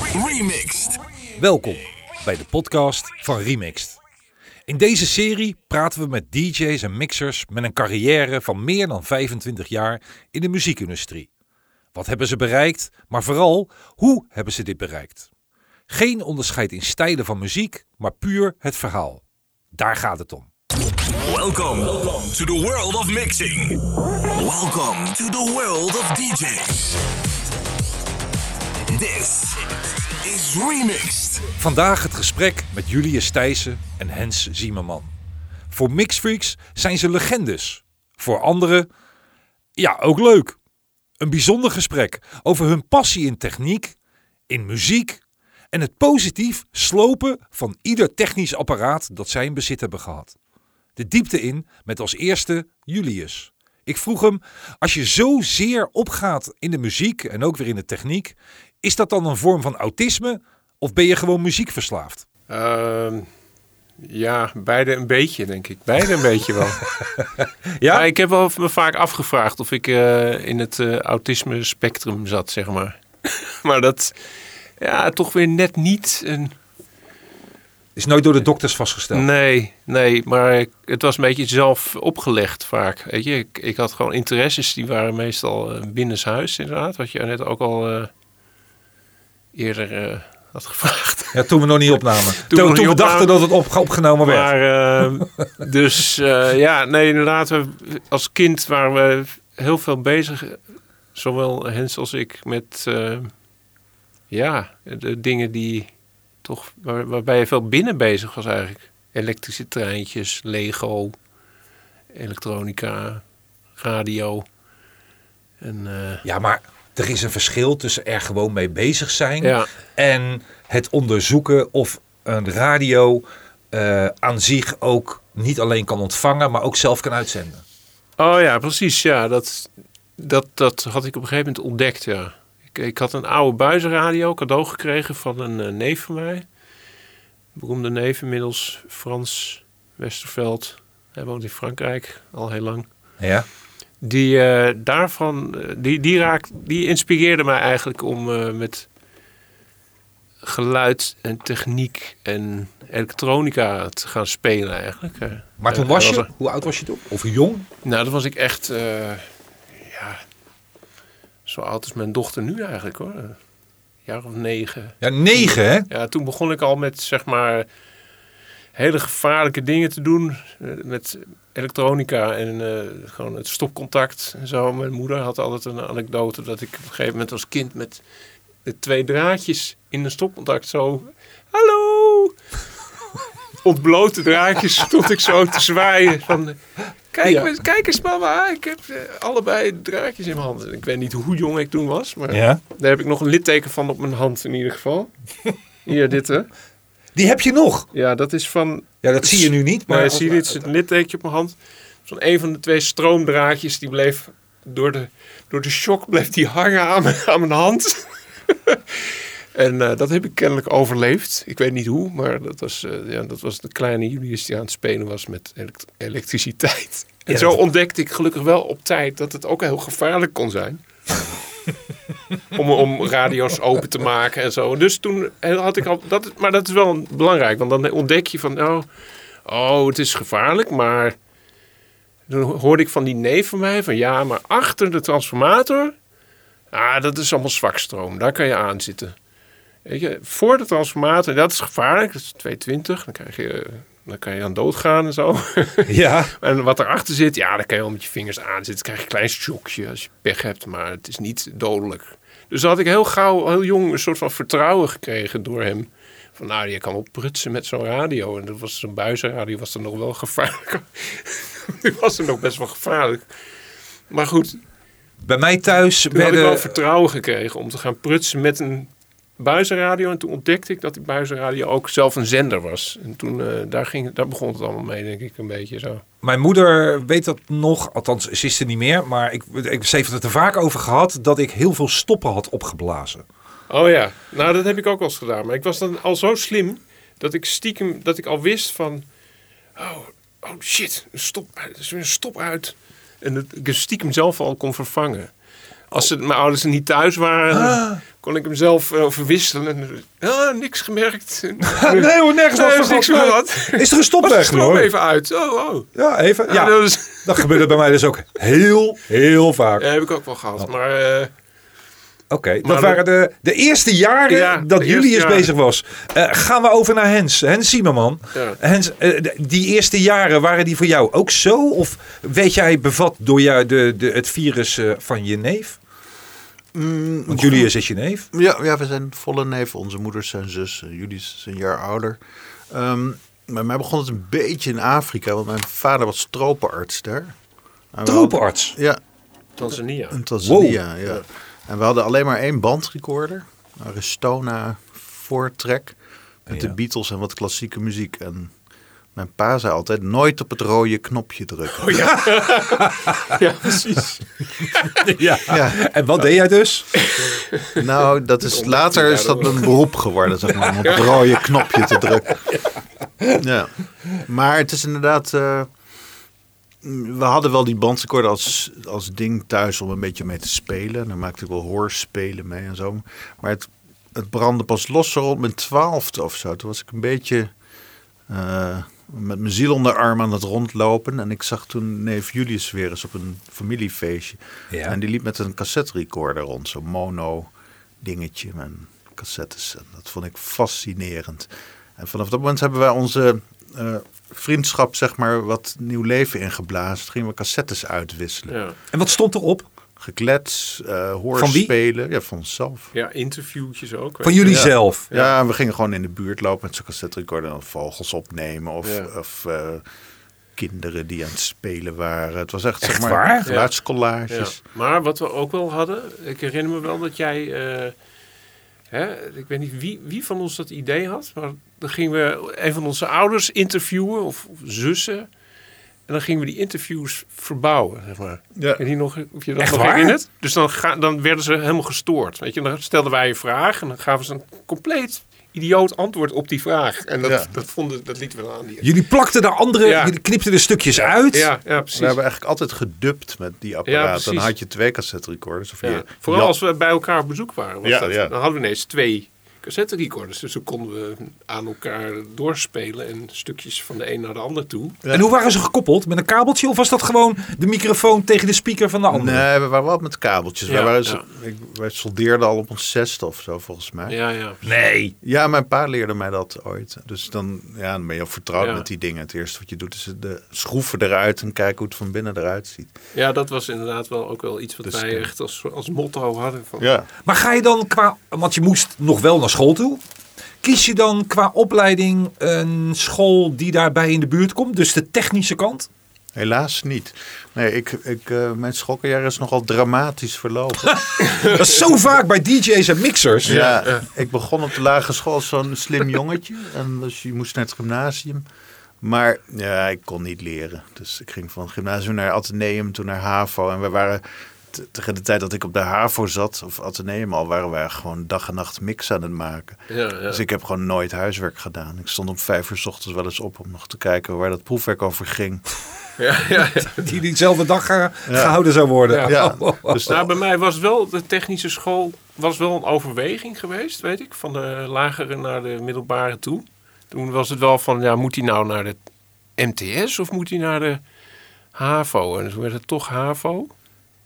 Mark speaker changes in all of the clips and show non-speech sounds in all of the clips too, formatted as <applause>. Speaker 1: Remixed.
Speaker 2: Welkom bij de podcast van Remixed. In deze serie praten we met DJ's en mixers met een carrière van meer dan 25 jaar in de muziekindustrie. Wat hebben ze bereikt, maar vooral hoe hebben ze dit bereikt? Geen onderscheid in stijlen van muziek, maar puur het verhaal. Daar gaat het om.
Speaker 1: Welcome to the world of mixing. Welcome to the world of DJs. This is Remixed.
Speaker 2: Vandaag het gesprek met Julius Thijssen en Hens Ziemerman. Voor mixfreaks zijn ze legendes. Voor anderen, ja, ook leuk. Een bijzonder gesprek over hun passie in techniek, in muziek en het positief slopen van ieder technisch apparaat dat zij in bezit hebben gehad. De diepte in met als eerste Julius. Ik vroeg hem, als je zo zeer opgaat in de muziek en ook weer in de techniek, is dat dan een vorm van autisme of ben je gewoon muziekverslaafd?
Speaker 3: Ehm, ja, beide een beetje, denk ik. Beide een beetje wel.
Speaker 2: Ja?
Speaker 3: Maar ik heb wel me vaak afgevraagd of ik eh, in het eh, autisme spectrum zat, zeg maar. <laughs> maar dat, ja, toch weer net niet. Een...
Speaker 2: Is nooit door de dokters vastgesteld.
Speaker 3: Nee, nee, maar ik- het was een beetje zelf opgelegd vaak. Weet je, ik, ik had gewoon interesses, die waren meestal eh, binnenshuis inderdaad. Wat je net ook al eh, eerder eh, had gevraagd.
Speaker 2: Ja, toen we nog niet opnamen. Toen,
Speaker 3: we
Speaker 2: toen
Speaker 3: nog
Speaker 2: we
Speaker 3: niet
Speaker 2: dachten
Speaker 3: opnamen.
Speaker 2: dat het op, opgenomen werd.
Speaker 3: Maar, eh, dus eh, ja, nee, inderdaad. We, als kind waren we heel veel bezig, zowel Hens als ik, met eh, ja, de dingen die toch, waar- waarbij je veel binnen bezig was eigenlijk. Elektrische treintjes, Lego, elektronica, radio. En, eh,
Speaker 2: Ja, maar er is een verschil tussen er gewoon mee bezig zijn
Speaker 3: ja,
Speaker 2: en het onderzoeken of een radio eh, aan zich ook niet alleen kan ontvangen, maar ook zelf kan uitzenden.
Speaker 3: Oh ja, precies. Ja, dat, dat, dat had ik op een gegeven moment ontdekt. Ja. Ik, ik had een oude buizenradio cadeau gekregen van een eh, neef van mij. Een beroemde neef inmiddels, Frans Westerveld. Hij woont in Frankrijk al heel lang.
Speaker 2: Ja,
Speaker 3: Die eh, daarvan, eh, die, die, raakt, die inspireerde mij eigenlijk om eh, met geluid en techniek en elektronica te gaan spelen eigenlijk. eh.
Speaker 2: maar toen
Speaker 3: Eh,
Speaker 2: was
Speaker 3: hij
Speaker 2: je,
Speaker 3: er-
Speaker 2: hoe oud was je toen? Of jong?
Speaker 3: nou, dat was ik echt, eh, ja, zo oud als mijn dochter nu eigenlijk hoor. Een jaar of negen.
Speaker 2: Ja, negen hè?
Speaker 3: Ja, toen begon ik al met zeg maar hele gevaarlijke dingen te doen. eh, Met elektronica en eh, gewoon het stopcontact en zo. Mijn moeder had altijd een anekdote dat ik op een gegeven moment als kind met de twee draadjes in een stopcontact zo... Hallo! <laughs> Ontblote draadjes stond ik zo te zwaaien van... Kijk,
Speaker 2: Ja.
Speaker 3: eens- kijk eens mama, ik heb eh, allebei draadjes in mijn handen. Ik weet niet hoe jong ik toen was, maar
Speaker 2: Ja.
Speaker 3: daar heb ik nog een litteken van op mijn hand in ieder geval.
Speaker 2: <laughs>
Speaker 3: Hier, dit hè.
Speaker 2: Die heb je nog.
Speaker 3: Ja, dat is van...
Speaker 2: Ja, dat zie je nu niet. Maar
Speaker 3: Maar Dus- zie je dit? Het littekentje op mijn hand. Van een van de twee stroomdraadjes, die bleef door de, door de shock bleef die hangen aan mijn, aan mijn hand. <laughs> en eh, dat heb ik kennelijk overleefd. Ik weet niet hoe, maar dat was, eh, ja, dat was de kleine Julius die aan het spelen was met elekt- elektriciteit. En
Speaker 2: Ja,
Speaker 3: zo
Speaker 2: dat-
Speaker 3: ontdekte ik gelukkig wel op tijd dat het ook heel gevaarlijk kon zijn.
Speaker 2: <laughs>
Speaker 3: om, om radio's open te maken en zo. Dus toen had ik al. Dat, maar dat is wel belangrijk, want dan ontdek je van. Oh, oh, het is gevaarlijk, maar. Toen hoorde ik van die neef van mij van ja, maar achter de transformator. Ah, dat is allemaal zwakstroom, daar kan je aan zitten. Weet je, voor de transformator, dat is gevaarlijk, dat is 220, dan, krijg je, eh, dan kan je aan doodgaan en zo. <laughs>
Speaker 2: Ja,
Speaker 3: En wat erachter zit, ja, daar kan je wel met je vingers aan zitten. Dan krijg je een klein shockje als je pech hebt, maar het is niet dodelijk. Dus daar had ik heel gauw, heel jong, een soort van vertrouwen gekregen door hem. Van nou, je kan opprutsen met zo'n radio. En dat was zo'n buizenradio, was dan nog wel gevaarlijk. <laughs> Die was er nog best wel gevaarlijk. Maar goed, toen
Speaker 2: bij mij thuis
Speaker 3: had ik wel
Speaker 2: werden...
Speaker 3: vertrouwen gekregen om te gaan prutsen met een buizenradio. En toen ontdekte ik dat die buizenradio ook zelf een zender was. En toen, eh, daar, ging, daar begon het allemaal mee, denk ik, een beetje zo.
Speaker 2: Mijn moeder weet dat nog, althans ze is er niet meer, maar ik, ik, ze heeft het er vaak over gehad dat ik heel veel stoppen had opgeblazen.
Speaker 3: Oh ja, nou dat heb ik ook wel eens gedaan. Maar ik was dan al zo slim dat ik stiekem, dat ik al wist van... Oh, oh shit, een stop, er is weer een stop uit. En dat ik het stiekem zelf al kon vervangen. Als ze, mijn ouders er niet thuis waren, dan kon ik hem zelf eh, verwisselen. Ah, niks gemerkt. <laughs>
Speaker 2: Nee hoor, nergens
Speaker 3: Nee,
Speaker 2: last
Speaker 3: is
Speaker 2: van
Speaker 3: niks
Speaker 2: gehad.
Speaker 3: van wat.
Speaker 2: Nee. Is er een
Speaker 3: Was de
Speaker 2: stopweg
Speaker 3: stroom
Speaker 2: hoor?
Speaker 3: even uit. Oh, oh.
Speaker 2: Ja, even. Ja,
Speaker 3: Ja, dat is- <laughs>
Speaker 2: dat gebeurde bij mij dus ook heel, heel vaak.
Speaker 3: Ja, heb ik ook wel gehad. Maar eh,
Speaker 2: Oké, dat
Speaker 3: Maar
Speaker 2: waren de, de eerste jaren
Speaker 3: Nou, Ja,
Speaker 2: dat
Speaker 3: de
Speaker 2: Julius
Speaker 3: eerste
Speaker 2: bezig was. Eh, gaan we over naar Hens, Hens Siemerman.
Speaker 3: Ja.
Speaker 2: Hens, eh, d- die eerste jaren, waren die voor jou ook zo? Of werd jij bevat door jou de, de, het virus eh, van je neef? Want Julius is je neef.
Speaker 4: Ja, ja, we zijn volle neef. Onze moeders zijn zus. eh, Jullie is een jaar ouder. Ehm, bij mij begon het een beetje in Afrika, want mijn vader was tropenarts daar. En we
Speaker 3: <laughs>
Speaker 4: hadden-
Speaker 2: Tropenarts.
Speaker 4: Ja,
Speaker 3: Tanzania.
Speaker 4: in Tanzania. Ja. En we hadden alleen maar één bandrecorder. Een Restona voortrek. Met
Speaker 2: Ja.
Speaker 4: de Beatles en wat klassieke muziek. En mijn pa zei altijd, nooit op het rode knopje drukken.
Speaker 3: <laughs> Ja, precies.
Speaker 2: ja.
Speaker 4: Ja.
Speaker 2: En wat deed jij dus?
Speaker 4: <laughs> Nou, dat is, later is dat mijn beroep geworden, zeg maar, om op het rode knopje te drukken. Ja. Maar het is inderdaad... eh, we hadden wel die bandrecorder als, als ding thuis om een beetje mee te spelen. Daar maakte ik wel hoorspelen mee en zo. Maar het, het brandde pas los rond mijn twaalfde of zo. Toen was ik een beetje eh, met mijn ziel onder de arm aan het rondlopen. En ik zag toen neef Julius weer eens op een familiefeestje.
Speaker 2: Ja.
Speaker 4: En die liep met een cassette recorder rond. Zo'n mono dingetje met cassettes. En dat vond ik fascinerend. En vanaf dat moment hebben wij onze eh, vriendschap zeg maar wat nieuw leven ingeblazen. Toen gingen we cassettes uitwisselen.
Speaker 3: Ja.
Speaker 2: En wat stond erop?
Speaker 4: Geklets, eh hoorspelen. Ja, van onszelf.
Speaker 3: ja, interviewtjes ook.
Speaker 2: Van
Speaker 3: weet je.
Speaker 2: jullie zelf.
Speaker 4: Ja. en we gingen gewoon in de buurt lopen met zo'n cassette recorder en dan vogels opnemen of,
Speaker 3: Ja.
Speaker 4: of eh, kinderen die aan het spelen waren. Het was echt, zeg maar
Speaker 2: waar?
Speaker 3: Ja.
Speaker 4: geluidscollages.
Speaker 3: Maar wat we ook wel hadden, ik herinner me wel dat jij, eh, hè, ik weet niet wie, wie van ons dat idee had, maar dan gingen we een van onze ouders interviewen of, of zussen. En dan gingen we die interviews verbouwen, zeg maar.
Speaker 4: Ja.
Speaker 3: Weet je nog, of je dat
Speaker 2: Echt
Speaker 3: nog
Speaker 2: waar?
Speaker 3: herinnert? Dus dan, ga, dan werden ze helemaal gestoord. Weet je, dan stelden wij een vraag en dan gaven ze een compleet idioot antwoord op die vraag. En dat,
Speaker 4: Ja.
Speaker 3: dat, vonden, dat lieten we dan aan die...
Speaker 2: Jullie plakten daar andere,
Speaker 3: Ja.
Speaker 2: jullie knipten de stukjes uit.
Speaker 3: Ja, ja, precies.
Speaker 4: We hebben eigenlijk altijd gedubt met die
Speaker 3: Ja,
Speaker 4: apparaat.
Speaker 3: precies.
Speaker 4: dan had je twee cassette recorders. Of
Speaker 3: Ja.
Speaker 4: je,
Speaker 3: Vooral
Speaker 4: ja,
Speaker 3: als we bij elkaar op bezoek waren. Was
Speaker 4: Ja,
Speaker 3: dat.
Speaker 4: ja.
Speaker 3: Dan hadden we ineens twee cassette recorders. Dus dan konden we aan elkaar doorspelen en stukjes van de een naar de ander toe.
Speaker 2: En hoe waren ze gekoppeld? Met een kabeltje? Of was dat gewoon de microfoon tegen de speaker van de andere?
Speaker 4: Nee, we waren wel met kabeltjes.
Speaker 3: Ja,
Speaker 4: wij, waren,
Speaker 3: ja.
Speaker 4: ik, wij soldeerden al op ons zesde of zo, volgens mij. Ja.
Speaker 3: Ja, ja.
Speaker 2: Nee.
Speaker 4: mijn pa leerde mij dat ooit. Dus dan, ja, dan ben je al vertrouwd
Speaker 3: Ja.
Speaker 4: met die dingen. Het eerste wat je doet is de schroeven eruit en kijken hoe het van binnen eruit ziet.
Speaker 3: ja, dat was inderdaad wel ook wel iets wat
Speaker 4: Dus,
Speaker 3: wij
Speaker 4: eh,
Speaker 3: echt als, als motto hadden. Van,
Speaker 4: Ja.
Speaker 2: Maar ga je dan qua, want je moest nog wel naar school toe. Kies je dan qua opleiding een school die daarbij in de buurt komt? Dus de technische kant?
Speaker 4: Helaas niet. Nee, ik, ik, eh, mijn schokkenjaar is nogal dramatisch verlopen.
Speaker 2: Dat is
Speaker 3: <laughs>
Speaker 2: zo vaak bij DJ's en mixers.
Speaker 4: ja, eh, ik begon op de lagere school als zo'n slim jongetje. <laughs> En dus je moest naar het gymnasium. Maar ja, ik kon niet leren. Dus ik ging van het gymnasium naar Atheneum, toen naar HAVO. En we waren t- tegen de tijd dat ik op de HAVO zat, of Atheneum al, waren wij gewoon dag en nacht mix aan het maken.
Speaker 3: Ja, ja.
Speaker 4: Dus ik heb gewoon nooit huiswerk gedaan. Ik stond om vijf uur 's ochtends wel eens op om nog te kijken waar dat proefwerk over ging.
Speaker 3: Ja, ja, ja.
Speaker 2: Die diezelfde dag eh, gehouden zou worden.
Speaker 3: Ja.
Speaker 4: Ja,
Speaker 2: Dus,
Speaker 3: <laughs>
Speaker 4: dus
Speaker 3: Nou, bij mij was wel de technische school was wel een overweging geweest, weet ik, van de lagere naar de middelbare toe. Toen was het wel van, ja, moet hij nou naar de MTS of moet hij naar de HAVO? En toen werd het toch HAVO.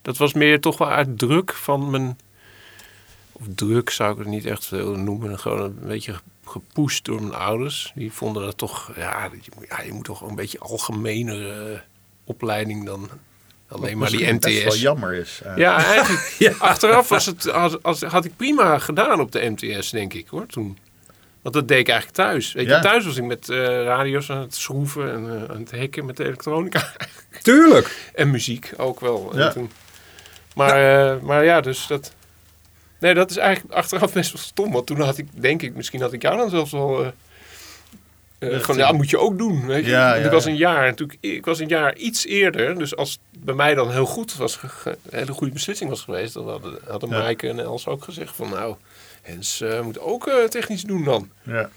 Speaker 3: Dat was meer toch wel uit druk van mijn, of druk zou ik het niet echt willen noemen, gewoon een beetje gepusht door mijn ouders. Die vonden dat toch, ja, je moet, ja, je moet toch een beetje algemenere eh, opleiding dan alleen maar die
Speaker 4: Misschien best wel
Speaker 3: MTS.
Speaker 4: jammer is. eh, eigenlijk.
Speaker 3: Ja, eigenlijk. Achteraf was het, had, had, had ik prima gedaan op de MTS, denk ik hoor, toen. Want dat deed ik eigenlijk thuis. Weet je,
Speaker 4: Ja.
Speaker 3: Thuis was ik met eh, radio's aan het schroeven en eh, aan het hacken met de elektronica.
Speaker 2: <laughs> Tuurlijk.
Speaker 3: en muziek ook wel. En
Speaker 4: Ja.
Speaker 3: toen- maar, eh, maar ja, dus dat... Nee, dat is eigenlijk achteraf best wel stom. Want toen had ik, denk ik, misschien had ik jou dan zelfs wel... eh, eh, van, ja, moet je ook doen. Weet je?
Speaker 4: Ja,
Speaker 3: Want ik
Speaker 4: ja,
Speaker 3: was
Speaker 4: ja.
Speaker 3: een jaar, natuurlijk, ik was een jaar iets eerder. Dus als het bij mij dan heel goed was, ge- ge- een hele goede beslissing was geweest, dan hadden, hadden
Speaker 4: Ja.
Speaker 3: Maaike en Els ook gezegd van, nou, Hens eh, moet ook eh, technisch doen dan.
Speaker 4: Ja.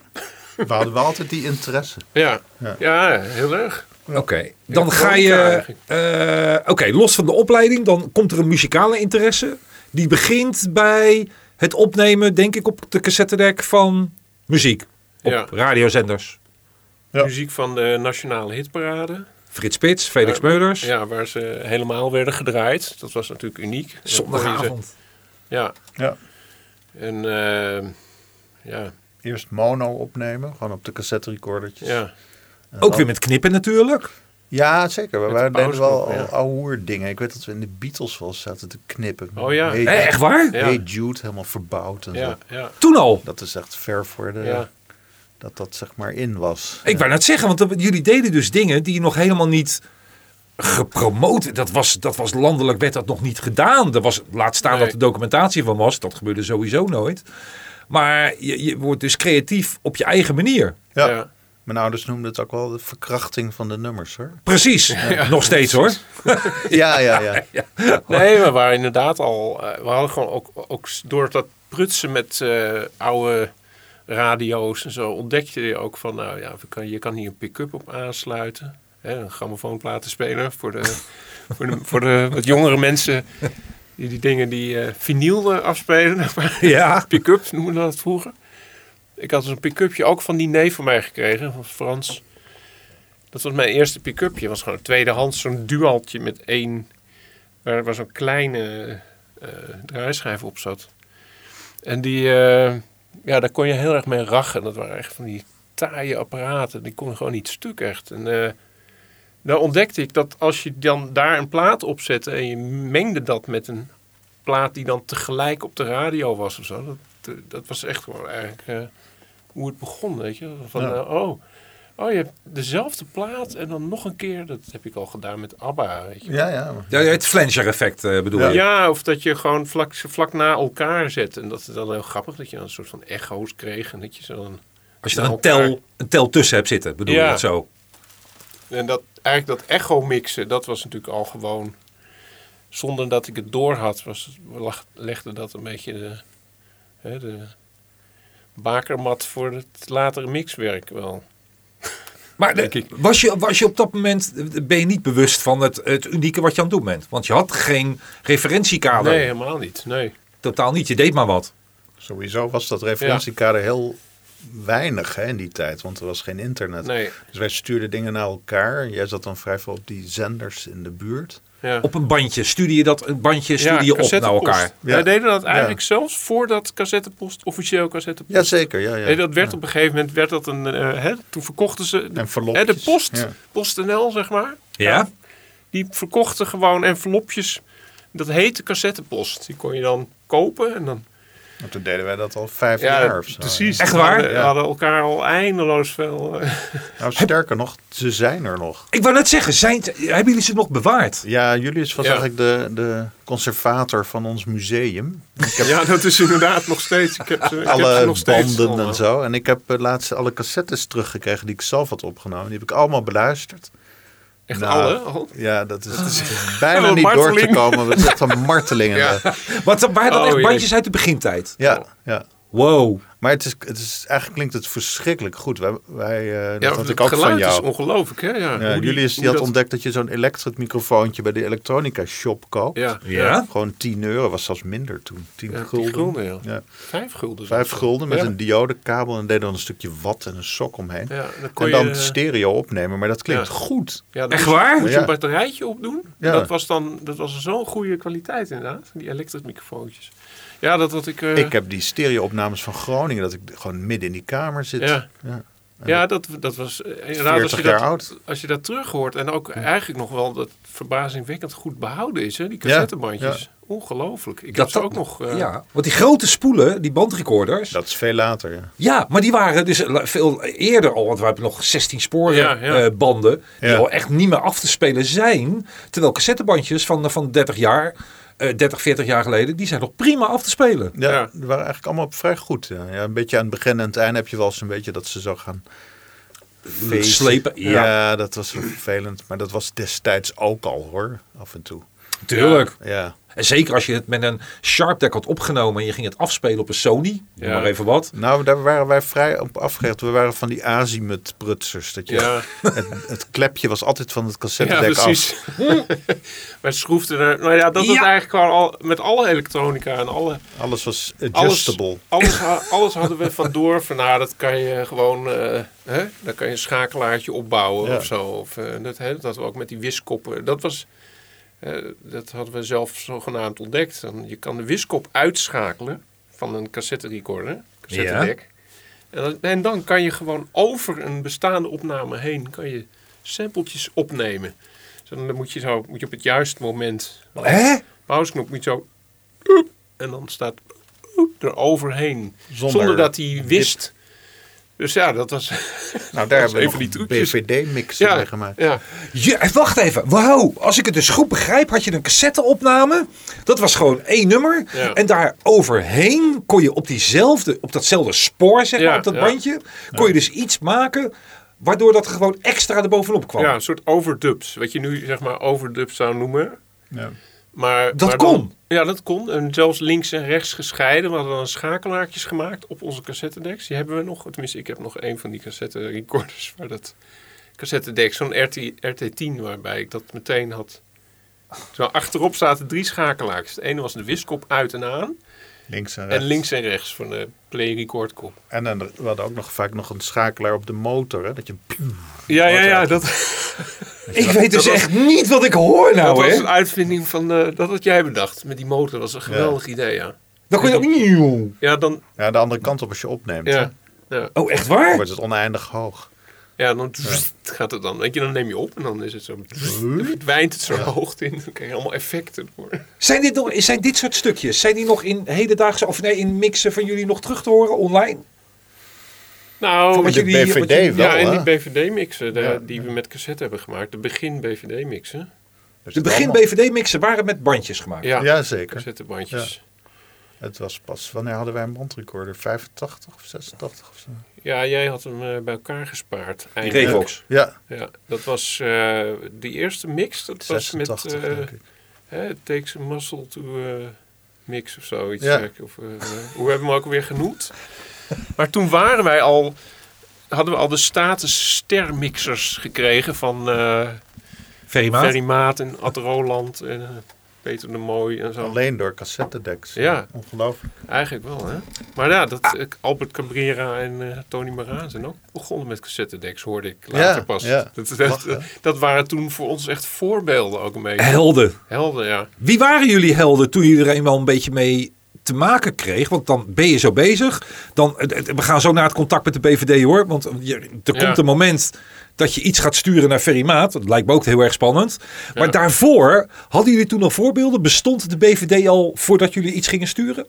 Speaker 4: We hadden wel altijd die interesse.
Speaker 3: Ja, ja.
Speaker 4: Ja.
Speaker 3: heel erg.
Speaker 2: Oké. Dan
Speaker 3: Ja,
Speaker 2: ga
Speaker 3: elkaar
Speaker 2: je...
Speaker 3: eigenlijk.
Speaker 2: eh, Oké, los van de opleiding. Dan komt er een muzikale interesse. Die begint bij het opnemen, denk ik, op de cassettedek van muziek. Op
Speaker 3: Ja.
Speaker 2: radiozenders.
Speaker 4: Ja.
Speaker 3: Muziek van de Nationale Hitparade.
Speaker 2: Frits Spits, Felix Meulers.
Speaker 3: Ja, waar ze helemaal werden gedraaid. Dat was natuurlijk uniek. Dat kon je
Speaker 2: Zondagavond.
Speaker 3: ze- Ja.
Speaker 4: Ja.
Speaker 3: En eh, ja,
Speaker 4: Eerst mono opnemen, gewoon op de cassette recordertjes.
Speaker 3: ja.
Speaker 2: Ook weer met knippen natuurlijk.
Speaker 4: Ja, zeker. We
Speaker 3: de
Speaker 4: waren deden wel
Speaker 3: pauzeknop, ja.
Speaker 4: ouwe dingen. Ik weet dat we in de Beatles wel eens zaten te knippen.
Speaker 3: Oh ja.
Speaker 4: Hey,
Speaker 2: Hé, echt waar?
Speaker 3: Ja.
Speaker 4: <laughs> Hey Jude, helemaal verbouwd en
Speaker 3: Ja,
Speaker 4: zo.
Speaker 3: ja,
Speaker 2: Toen al.
Speaker 4: Dat is echt ver voor de,
Speaker 3: ja.
Speaker 4: dat dat zeg maar in was.
Speaker 2: Ik wou net zeggen, want dat- jullie deden dus dingen die nog helemaal niet gepromoot. Dat was, dat was landelijk, werd dat nog niet gedaan. Er was, laat staan
Speaker 3: Nee.
Speaker 2: dat er documentatie van was. Dat gebeurde sowieso nooit. Maar je, je wordt dus creatief op je eigen manier.
Speaker 4: Ja.
Speaker 3: ja.
Speaker 4: Mijn ouders noemden het ook wel de verkrachting van de
Speaker 3: <laughs>
Speaker 4: nummers hoor.
Speaker 2: Precies, <laughs> nog steeds hoor.
Speaker 4: Ja, ja, ja.
Speaker 3: Nee, we waren inderdaad al. eh, we hadden gewoon ook, ook s- door dat prutsen met eh, oude radio's en zo ontdekte je ook van, nou ja, we kan, je kan hier een pick-up op aansluiten. Hè, een grammofoonplatenspeler voor de, voor de, voor de wat jongere mensen die die dingen die eh vinyl eh, afspelen. <laughs>
Speaker 2: Ja.
Speaker 3: pick-ups noemen we dat vroeger. Ik had dus een pick-upje ook van die neef van mij gekregen, van Frans. Dat was mijn eerste pick-upje. was gewoon een tweedehands, zo'n dualtje met één... Waar, waar zo'n kleine eh draaischijf op zat. En die... eh, ja, daar kon je heel erg mee rachen. Dat waren echt van die taaie apparaten. Die kon gewoon niet stuk echt. En eh daar ontdekte ik dat als je dan daar een plaat op zette... en je mengde dat met een plaat die dan tegelijk op de radio was of zo. Dat, eh, dat was echt gewoon eigenlijk eh, hoe het begon, weet je. Van,
Speaker 4: Ja.
Speaker 3: eh, oh, oh, je hebt dezelfde plaat en dan nog een keer. Dat heb ik al gedaan met ABBA, weet je.
Speaker 4: Ja, ja.
Speaker 2: Ja, het flanger effect eh, bedoel
Speaker 4: Ja.
Speaker 2: je.
Speaker 3: Ja, of dat je gewoon vlak, ze vlak na elkaar zet. En dat is dan heel grappig, dat je dan een soort van echo's kreeg. En dat je zo dan...
Speaker 2: Als je er
Speaker 3: Na
Speaker 2: een
Speaker 3: elkaar.
Speaker 2: tel, een tel tussen hebt zitten, bedoel je
Speaker 3: Nou, Ja.
Speaker 2: dat zo.
Speaker 3: En dat, eigenlijk dat echo mixen, dat was natuurlijk al gewoon... Zonder dat ik het door had, was, lag- legde dat een beetje de, hè, de bakermat voor het latere mixwerk wel.
Speaker 2: Maar
Speaker 3: Denk
Speaker 2: de-
Speaker 3: ik.
Speaker 2: was je, was je op dat moment, eh, ben je niet bewust van het, het unieke wat je aan het doen bent? Want je had geen referentiekader.
Speaker 3: Nee, helemaal niet. Nee.
Speaker 2: Totaal niet, je deed maar wat.
Speaker 4: Sowieso was dat referentiekader heel weinig hè, in die tijd, want er was geen internet.
Speaker 3: Nee.
Speaker 4: Dus wij stuurden dingen naar elkaar. Jij zat dan vrij veel op die zenders in de buurt.
Speaker 3: Ja.
Speaker 2: Op een bandje, studie je dat een bandje, studie je op naar
Speaker 3: cassettepost.
Speaker 2: elkaar.
Speaker 4: Ja.
Speaker 3: Wij deden dat eigenlijk zelfs voordat cassettepost, officieel cassettepost.
Speaker 4: Jazeker, ja, ja.
Speaker 3: Nee, dat werd op een gegeven moment werd dat een. eh, hè, toen verkochten ze.
Speaker 4: En
Speaker 3: hè,
Speaker 4: verlopjes,
Speaker 3: de post,
Speaker 4: ja.
Speaker 3: PostNL, zeg maar.
Speaker 2: Ja?
Speaker 3: Die verkochten gewoon envelopjes. Dat heette cassettepost. Die kon je dan kopen en dan.
Speaker 4: Maar toen deden wij dat al vijf jaar of zo.
Speaker 3: precies.
Speaker 2: Echt
Speaker 3: We
Speaker 2: waar?
Speaker 3: hadden- We
Speaker 4: Ja.
Speaker 3: hadden elkaar al eindeloos veel. eh,
Speaker 4: Nou, sterker nog, ze zijn er nog.
Speaker 2: Ik wou net zeggen, zijn, hebben jullie ze nog bewaard?
Speaker 4: Ja, Julius was
Speaker 3: Ja.
Speaker 4: eigenlijk de, de conservator van ons museum.
Speaker 3: ja, dat is inderdaad nog steeds. Ik heb ze, ik heb ze
Speaker 4: alle
Speaker 3: nog steeds
Speaker 4: banden
Speaker 3: allemaal.
Speaker 4: en zo. En ik heb eh, laatst alle cassettes teruggekregen die ik zelf had opgenomen. Die heb ik allemaal beluisterd.
Speaker 3: Echt
Speaker 4: Nou,
Speaker 3: alle? Oh. al?
Speaker 4: Ja, dat is, <laughs> bijna
Speaker 3: Ah. Een
Speaker 4: niet door te
Speaker 3: marteling.
Speaker 4: komen. Het is echt een
Speaker 3: <laughs>
Speaker 4: marteling.
Speaker 3: Ja.
Speaker 4: Ja,
Speaker 2: Wat, waren dat
Speaker 3: Oh,
Speaker 2: echt
Speaker 3: jee.
Speaker 2: bandjes uit de begintijd?
Speaker 4: ja, ja.
Speaker 2: Wow.
Speaker 4: Maar het is, het is, eigenlijk klinkt het verschrikkelijk goed. Wij, wij, eh, dat
Speaker 3: Ja,
Speaker 4: had
Speaker 3: want
Speaker 4: ik
Speaker 3: het
Speaker 4: ook
Speaker 3: geluid
Speaker 4: van jou.
Speaker 3: is ongelooflijk, hè? Ja,
Speaker 4: Ja,
Speaker 3: Hoe die-
Speaker 4: Julius die
Speaker 3: hoe
Speaker 4: had
Speaker 3: dat-
Speaker 4: ontdekt dat je zo'n elektrisch microfoontje bij de elektronica shop koopt.
Speaker 3: Ja,
Speaker 2: Ja?
Speaker 4: Gewoon 10 euro, was zelfs minder toen. 10
Speaker 3: Ja, 10
Speaker 4: gulden.
Speaker 3: gulden, ja.
Speaker 4: Ja.
Speaker 3: Vijf gulden.
Speaker 4: Vijf
Speaker 3: zelfs.
Speaker 4: gulden met
Speaker 3: Ja.
Speaker 4: een diodekabel en deed dan een stukje watt en een sok omheen.
Speaker 3: Ja, dan kon
Speaker 4: en dan
Speaker 3: je, eh,
Speaker 4: stereo opnemen, maar dat klinkt
Speaker 3: ja.
Speaker 4: goed.
Speaker 3: Ja, dan
Speaker 2: Echt
Speaker 3: moest-
Speaker 2: waar?
Speaker 3: Moest je
Speaker 4: Ja.
Speaker 3: een batterijtje opdoen.
Speaker 4: Ja.
Speaker 3: Dat was dan dat was zo'n goede kwaliteit inderdaad. Die elektrische microfoontjes. Ja, dat had ik. eh,
Speaker 4: Ik heb die stereo-opnames van Groningen, dat ik gewoon midden in die kamer zit.
Speaker 3: Ja.
Speaker 4: Ja.
Speaker 3: ja, dat, dat was eh, inderdaad. Als
Speaker 4: 40
Speaker 3: je,
Speaker 4: jaar
Speaker 3: dat,
Speaker 4: oud.
Speaker 3: als je dat terug hoort. En ook eigenlijk nog wel dat verbazingwekkend goed behouden is. Hè? Die
Speaker 4: Ja,
Speaker 3: cassettebandjes. Ongelooflijk. Ik heb ze ook nog. <laughs> eh,
Speaker 2: Ja, want die grote spoelen, die bandrecorders.
Speaker 4: Dat is veel later. Ja.
Speaker 2: Ja, maar die waren dus la- veel eerder al. Want we hebben nog 16 sporen
Speaker 3: Ja, ja.
Speaker 2: eh, banden. Die
Speaker 4: Ja.
Speaker 2: al echt niet meer af te spelen zijn. Terwijl cassettebandjes van, van 30 jaar, eh 30, 40 jaar geleden. Die zijn nog prima af te spelen.
Speaker 4: Ja,
Speaker 3: Ja.
Speaker 4: die waren eigenlijk allemaal vrij goed. Ja. Ja, een beetje aan het begin en het einde heb je wel eens een beetje dat ze zo gaan feesten.
Speaker 2: Slepen, ja.
Speaker 4: dat was vervelend. Maar dat was destijds ook al hoor, af en toe.
Speaker 2: Tuurlijk.
Speaker 4: Ja.
Speaker 2: En zeker als je het met een Sharp Deck had opgenomen en je ging het afspelen op een Sony, noem
Speaker 3: Ja.
Speaker 2: maar even wat.
Speaker 4: Nou, daar waren wij vrij op afgerecht. We waren van die azimut prutsers. Dat je,
Speaker 3: Ja.
Speaker 4: het, het klepje was altijd van het
Speaker 3: Ja,
Speaker 4: cassettedek af.
Speaker 3: precies. <laughs> maar schroefde er... Nou ja, dat was
Speaker 2: Ja.
Speaker 3: eigenlijk gewoon al, met alle elektronica en alle...
Speaker 4: Alles was
Speaker 3: Alles,
Speaker 4: adjustable.
Speaker 3: alles, ha- alles hadden we vandoor van, nou, dat kan je gewoon, eh hè? dan kan je een schakelaartje opbouwen
Speaker 4: Ja.
Speaker 3: of zo. Of, eh, dat, hè, dat hadden we ook met die wiskoppen. Dat was, eh, dat hadden we zelf zogenaamd ontdekt. Dan, je kan de wiskop uitschakelen van een cassette recorder, cassette deck. En, dan- en dan kan je gewoon over een bestaande opname heen, kan je sampletjes opnemen. Dus dan moet je, zo, moet je op het juiste moment
Speaker 2: Hè?
Speaker 3: pauzeknop moet je zo. En dan staat eroverheen. Zonder, dat hij wist. Dus ja, dat was. <laughs>
Speaker 4: Nou, daar
Speaker 3: Dat
Speaker 4: hebben
Speaker 3: is
Speaker 4: we
Speaker 3: een van die
Speaker 4: nog
Speaker 3: trucjes.
Speaker 4: BVD-mixen
Speaker 3: Ja,
Speaker 4: mee gemaakt.
Speaker 3: ja.
Speaker 2: Je, eh, wacht even. Wauw. Als ik het dus goed begrijp, had je een cassetteopname. Dat was gewoon één nummer.
Speaker 3: Ja.
Speaker 2: En daar overheen kon je op, diezelfde, op datzelfde spoor, zeg maar,
Speaker 3: Ja,
Speaker 2: op dat
Speaker 3: ja.
Speaker 2: bandje, kon je dus iets maken waardoor dat gewoon extra erbovenop kwam.
Speaker 3: ja, een soort overdubs. Wat je nu zeg maar overdubs zou noemen.
Speaker 4: Ja.
Speaker 3: Maar,
Speaker 2: Dat
Speaker 3: maar dan-
Speaker 2: kon.
Speaker 3: ja, dat kon. En zelfs links en rechts gescheiden. We hadden dan schakelaartjes gemaakt op onze cassettedecks. Die hebben we nog. Tenminste, ik heb nog een van die cassette recorders. Waar dat cassettedeck, zo'n RT, RT10 waarbij ik dat meteen had. Terwijl achterop zaten drie schakelaartjes. Het ene was de wiskop uit en aan.
Speaker 4: Links en rechts.
Speaker 3: En links en rechts van de play record kop.
Speaker 4: En dan, we hadden ook nog vaak nog een schakelaar op de motor. Hè? Dat je
Speaker 3: Ja, ja, ja. Dat,
Speaker 2: Ik weet dus
Speaker 3: dat was-
Speaker 2: echt niet wat ik hoor
Speaker 3: dat
Speaker 2: nou,
Speaker 3: was
Speaker 2: hè.
Speaker 3: een uitvinding van... eh, dat had jij bedacht met die motor. Dat was een geweldig idee, ja.
Speaker 2: Dan kon je ook...
Speaker 3: Ja, dan...
Speaker 4: ja, de andere kant op als je opneemt.
Speaker 3: Ja,
Speaker 2: Oh, echt waar?
Speaker 4: Wordt het oneindig hoog.
Speaker 3: ja dan gaat het dan. Weet je, dan neem je op en dan is het zo... Dan verdwijnt het zo'n hoogte in. Dan krijg je allemaal effecten voor.
Speaker 2: Zijn dit, nog, zijn dit soort stukjes, zijn die nog in hedendaagse, of nee, in mixen van jullie nog terug te horen online?
Speaker 3: Nou,
Speaker 2: Wat
Speaker 4: De
Speaker 2: jullie- wat
Speaker 4: BVD
Speaker 2: jullie-
Speaker 4: wel,
Speaker 3: ja, en
Speaker 4: hè?
Speaker 3: die BVD-mixen de-
Speaker 4: Ja.
Speaker 3: die we met cassette hebben gemaakt. De begin-BVD-mixen.
Speaker 4: Dus
Speaker 2: De
Speaker 4: het
Speaker 2: begin
Speaker 4: allemaal-
Speaker 2: BVD-mixen waren met bandjes gemaakt.
Speaker 3: Ja,
Speaker 4: Ja, zeker.
Speaker 3: cassettebandjes.
Speaker 4: Het was pas, wanneer hadden wij een bandrecorder? 85 of 86 of zo?
Speaker 3: Ja, jij had hem eh, bij elkaar gespaard.
Speaker 2: Die
Speaker 3: eigenlijk.
Speaker 2: Revox.
Speaker 4: Ja,
Speaker 3: Ja, dat was eh die eerste mix. Dat was
Speaker 4: 86
Speaker 3: met eh,
Speaker 4: denk ik.
Speaker 3: hè, It Takes a Muscle to eh, Mix of zoiets.
Speaker 4: Ja.
Speaker 3: eh, Of, eh, hoe hebben we hem ook weer genoemd? <laughs> Maar toen waren wij al, hadden we al de status stermixers gekregen van eh
Speaker 2: Verima.
Speaker 3: Ferry Maat en Ad Roland en eh, Peter de Mooi en zo.
Speaker 4: Alleen door cassettedeks.
Speaker 3: Ja.
Speaker 4: Ongelooflijk.
Speaker 3: Eigenlijk wel, hè? Maar ja, dat,
Speaker 4: Ah.
Speaker 3: eh, Albert Cabrera en eh, Tony Maraan zijn ook begonnen met cassettedecks, hoorde ik later
Speaker 4: Ja,
Speaker 3: pas.
Speaker 4: ja.
Speaker 3: Dat, dat,
Speaker 4: Lachen, hè?
Speaker 3: dat waren toen voor ons echt voorbeelden ook een beetje.
Speaker 2: Helden.
Speaker 3: Helden, ja.
Speaker 2: Wie waren jullie helden toen je er eenmaal een beetje mee te maken kreeg? Want dan ben je zo bezig. Dan, het- het- we gaan zo naar het contact met de BVD hoor. Want je- er
Speaker 3: Ja.
Speaker 2: komt een moment dat je iets gaat sturen naar Ferrymaat. Dat lijkt me ook heel erg spannend. Maar
Speaker 3: Ja.
Speaker 2: daarvoor, hadden jullie toen al voorbeelden? Bestond de BVD al voordat jullie iets gingen sturen?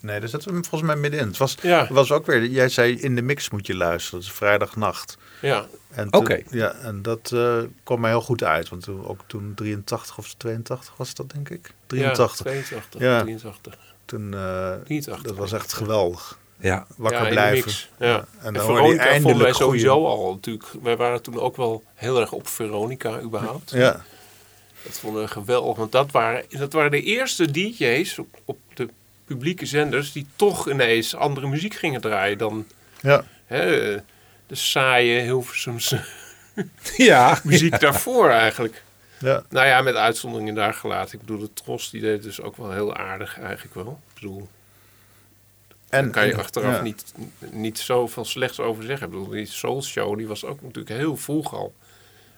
Speaker 4: Nee, daar zaten we volgens mij middenin. Het was,
Speaker 3: Ja.
Speaker 4: het was ook weer, jij zei in de mix moet je luisteren. Dat is vrijdagnacht.
Speaker 3: ja.
Speaker 4: En toen-
Speaker 2: Oké.
Speaker 4: Ja, en dat eh, kwam mij heel goed uit. Want toen, ook toen 83 of 82 was dat denk ik. 83.
Speaker 3: Ja, 82,
Speaker 4: Ja.
Speaker 3: 83.
Speaker 4: Toen, eh,
Speaker 3: 83.
Speaker 4: dat was echt geweldig.
Speaker 2: Ja.
Speaker 4: Wakker
Speaker 3: ja, in de
Speaker 4: blijven.
Speaker 3: mix, Ja. En,
Speaker 4: dan hoor je
Speaker 3: Veronica vonden wij
Speaker 4: eindelijk goeie-
Speaker 3: sowieso al natuurlijk. Wij waren toen ook wel heel erg op Veronica überhaupt.
Speaker 4: Ja,
Speaker 3: Dat vonden we geweldig, want dat waren, dat waren de eerste DJ's op, op de publieke zenders... die toch ineens andere muziek gingen draaien dan
Speaker 4: ja.
Speaker 3: hè, eh, de saaie
Speaker 4: <laughs>
Speaker 3: Hilversumse
Speaker 2: Ja.
Speaker 3: muziek daarvoor eigenlijk.
Speaker 4: ja.
Speaker 3: Nou ja, met uitzonderingen daar gelaten. Ik bedoel, de Tros die deed dus ook wel heel aardig eigenlijk wel. Ik bedoel,
Speaker 4: En
Speaker 3: daar kan je
Speaker 4: en-
Speaker 3: achteraf
Speaker 4: ja.
Speaker 3: niet, niet zoveel slechts over zeggen. Ik bedoel, die Soul Show die was ook natuurlijk heel vroeg al.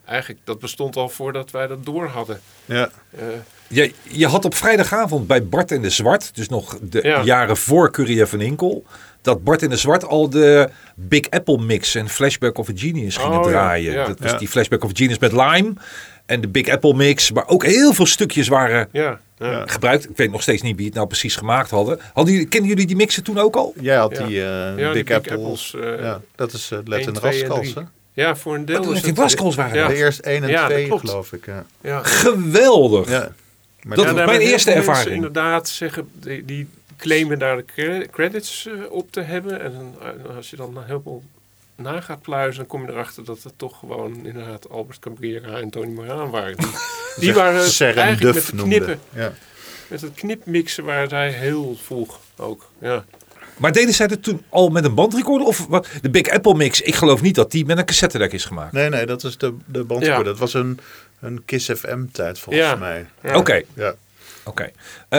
Speaker 3: Eigenlijk, dat bestond al voordat wij dat door hadden.
Speaker 4: Ja.
Speaker 3: Eh,
Speaker 2: Je, je had op vrijdagavond bij Bart en de Zwart, dus nog de
Speaker 3: Ja.
Speaker 2: jaren voor Curie van Inkel, dat Bart en de Zwart al de Big Apple mix en Flashback of a Genius gingen
Speaker 3: Oh, ja,
Speaker 2: draaien.
Speaker 3: ja.
Speaker 2: dat was
Speaker 4: Ja.
Speaker 2: die Flashback of a Genius met Lime en de Big Apple mix, maar ook heel veel stukjes waren
Speaker 3: ja, ja.
Speaker 4: Ja.
Speaker 2: gebruikt. Ik weet nog steeds niet wie het nou precies gemaakt hadden. hadden jullie, kenden jullie die mixen toen ook al?
Speaker 4: Jij had
Speaker 3: Ja.
Speaker 4: die, eh
Speaker 3: Ja, die
Speaker 4: Big
Speaker 3: Big Apples,
Speaker 4: Apples.
Speaker 3: eh,
Speaker 4: ja. Dat is eh, Let in
Speaker 3: één, twee en
Speaker 4: Rascals, hè?
Speaker 3: drie. Ja, voor een deel
Speaker 2: Wat
Speaker 3: is
Speaker 2: die
Speaker 3: het...
Speaker 2: Rascals waren
Speaker 3: Ja,
Speaker 4: De eerste 1 en
Speaker 3: Ja, dat
Speaker 4: 2,
Speaker 3: klopt.
Speaker 4: geloof ik. Ja.
Speaker 3: ja.
Speaker 2: Geweldig!
Speaker 4: ja. Maar
Speaker 2: Dat-
Speaker 4: toen-
Speaker 2: was
Speaker 3: daar
Speaker 2: mijn
Speaker 3: hebben
Speaker 2: eerste
Speaker 3: heel veel
Speaker 2: ervaring.
Speaker 3: Mensen inderdaad zeggen, die, die claimen daar de cre- credits eh, op te hebben. En dan, eh, als je dan een heleboel na gaat pluizen, dan kom je erachter dat het toch gewoon inderdaad Albert Cabrera en Tony Moran
Speaker 2: <laughs>
Speaker 3: waren. Die, die waren het
Speaker 5: Ser en
Speaker 3: eigenlijk met
Speaker 5: Duf
Speaker 3: het
Speaker 5: noemde.
Speaker 3: knippen,
Speaker 5: Ja.
Speaker 3: met het knipmixen waren zij heel vroeg ook. Ja.
Speaker 2: Maar deden zij dat toen al met een bandrecorder? Of wat? de Big Apple Mix? Ik geloof niet dat die met een cassette deck is gemaakt.
Speaker 5: Nee, nee, dat is de, de bandrecorder.
Speaker 3: Ja.
Speaker 5: Dat was een, een Kiss FM tijd volgens
Speaker 3: Ja.
Speaker 5: mij.
Speaker 3: Ja.
Speaker 2: Oké,
Speaker 5: Ja.
Speaker 2: oké.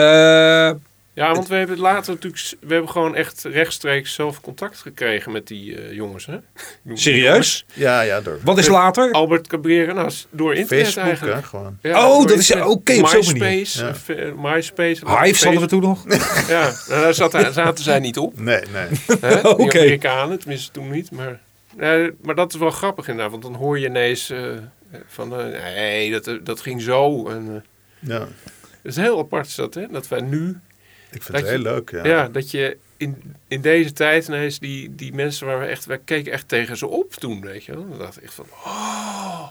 Speaker 2: Eh,
Speaker 3: Ja, want we hebben later natuurlijk, s- we hebben gewoon echt rechtstreeks zelf contact gekregen met die eh, jongens. Hè? <laughs> Ik noem die jongens.
Speaker 2: serieus?
Speaker 5: ja, ja, door
Speaker 2: Wat is later?
Speaker 3: Albert Cabrera, nou, s- door internet
Speaker 5: Facebook
Speaker 3: eigenlijk.
Speaker 5: hè, gewoon.
Speaker 3: Ja,
Speaker 2: Oh,
Speaker 3: door
Speaker 2: dat is-
Speaker 3: internet.
Speaker 2: oké, op zo'n manier.
Speaker 3: MySpace, eh, fe- eh, MySpace.
Speaker 2: Hives hadden we toen nog.
Speaker 3: Ja, nou, daar zat- daar zaten zij niet op.
Speaker 5: Nee,
Speaker 3: <laughs>
Speaker 5: nee.
Speaker 2: <laughs>
Speaker 3: Hè? Die
Speaker 2: Oké.
Speaker 3: Amerikanen, tenminste toen niet. Maar, eh, maar dat is wel grappig inderdaad, want dan hoor je ineens eh, van... eh, nee, dat, eh, dat ging zo. En, eh,
Speaker 5: Ja.
Speaker 3: het is heel apart is dat, hè? Dat wij nu...
Speaker 5: Ik vind
Speaker 3: Dat
Speaker 5: het
Speaker 3: je-
Speaker 5: heel leuk, ja.
Speaker 3: Ja, dat je in, in deze tijd ineens die, die mensen waar we echt... Wij keken echt tegen ze op toen, weet je wel. We dachten echt van... Oh,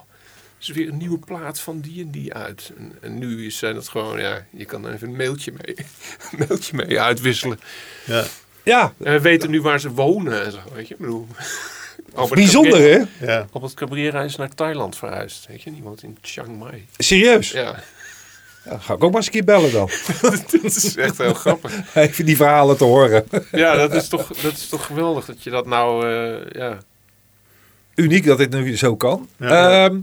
Speaker 3: er is weer een nieuwe plaat van die en die uit. En, en nu is- zijn het gewoon... Ja, je kan even een mailtje mee, <laughs> een mailtje mee uitwisselen.
Speaker 5: Ja.
Speaker 2: Ja,
Speaker 3: En we weten nu waar ze wonen en zo, weet je. Ik bedoel, Albert
Speaker 2: <laughs> bijzonder
Speaker 3: Cabrera,
Speaker 2: hè?
Speaker 5: Ja.
Speaker 3: Albert Cabrera is naar Thailand verhuisd, weet je. Iemand in Chiang Mai.
Speaker 2: Serieus?
Speaker 3: Ja,
Speaker 2: Ja, ga ik ook maar eens een keer bellen dan.
Speaker 3: <laughs> dat is echt heel grappig.
Speaker 2: Even die verhalen te horen. <laughs>
Speaker 3: Ja, dat is toch, dat is toch geweldig dat je dat nou... eh, ja.
Speaker 2: Uniek dat dit nu zo kan.
Speaker 5: Ja.
Speaker 2: Ehm,